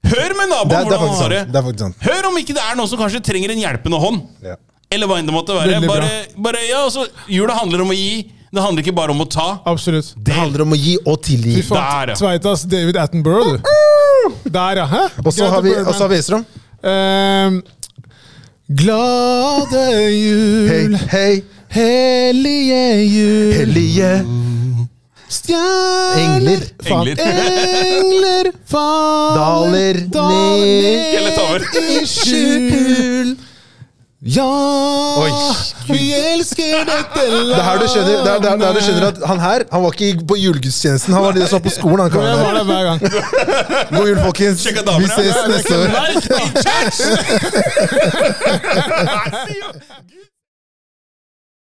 [SPEAKER 1] Hør med
[SPEAKER 2] Det,
[SPEAKER 1] naboen
[SPEAKER 2] er- det
[SPEAKER 1] hvordan
[SPEAKER 2] er faktisk
[SPEAKER 1] han har
[SPEAKER 2] sant. Det
[SPEAKER 1] det.
[SPEAKER 2] er faktisk sant.
[SPEAKER 1] Hør om ikke det er noen som kanskje trenger en hjelpende hånd.
[SPEAKER 2] Ja.
[SPEAKER 1] Eller hva enn det måtte være.
[SPEAKER 4] Veldig bra.
[SPEAKER 1] Bare, bare, ja, altså, Jula handler om å gi. Det handler ikke bare om å ta.
[SPEAKER 4] Absolutt.
[SPEAKER 2] Det handler om å gi og tilgi.
[SPEAKER 4] Fy faen,
[SPEAKER 1] Der, ja.
[SPEAKER 4] Tveitas David Attenborough, du. Der, ja. Hæ?
[SPEAKER 2] Og så har vi, og så har vi Estrom.
[SPEAKER 4] Ehm, Glade
[SPEAKER 2] Hei,
[SPEAKER 4] jul,
[SPEAKER 2] hei,
[SPEAKER 4] hellige jul,
[SPEAKER 2] hellige
[SPEAKER 4] stjerner
[SPEAKER 2] Engler.
[SPEAKER 4] faen,
[SPEAKER 1] Engler.
[SPEAKER 4] Eh. Engler
[SPEAKER 2] Daler
[SPEAKER 4] faller,
[SPEAKER 1] Hele tover.
[SPEAKER 4] i skjul. Ja,
[SPEAKER 2] Oi.
[SPEAKER 4] vi elsker dette landet.
[SPEAKER 2] Det er her du skjønner, det er, det er, det er her du skjønner at han her han var ikke på julegudstjenesten. Han var de som var på skolen. Han,
[SPEAKER 4] Jeg
[SPEAKER 2] karen
[SPEAKER 4] var
[SPEAKER 2] her.
[SPEAKER 4] der hver gang.
[SPEAKER 2] God jul, folkens.
[SPEAKER 1] Sjekk av damene.
[SPEAKER 2] Vi ses neste år.
[SPEAKER 1] Merk i kjeks!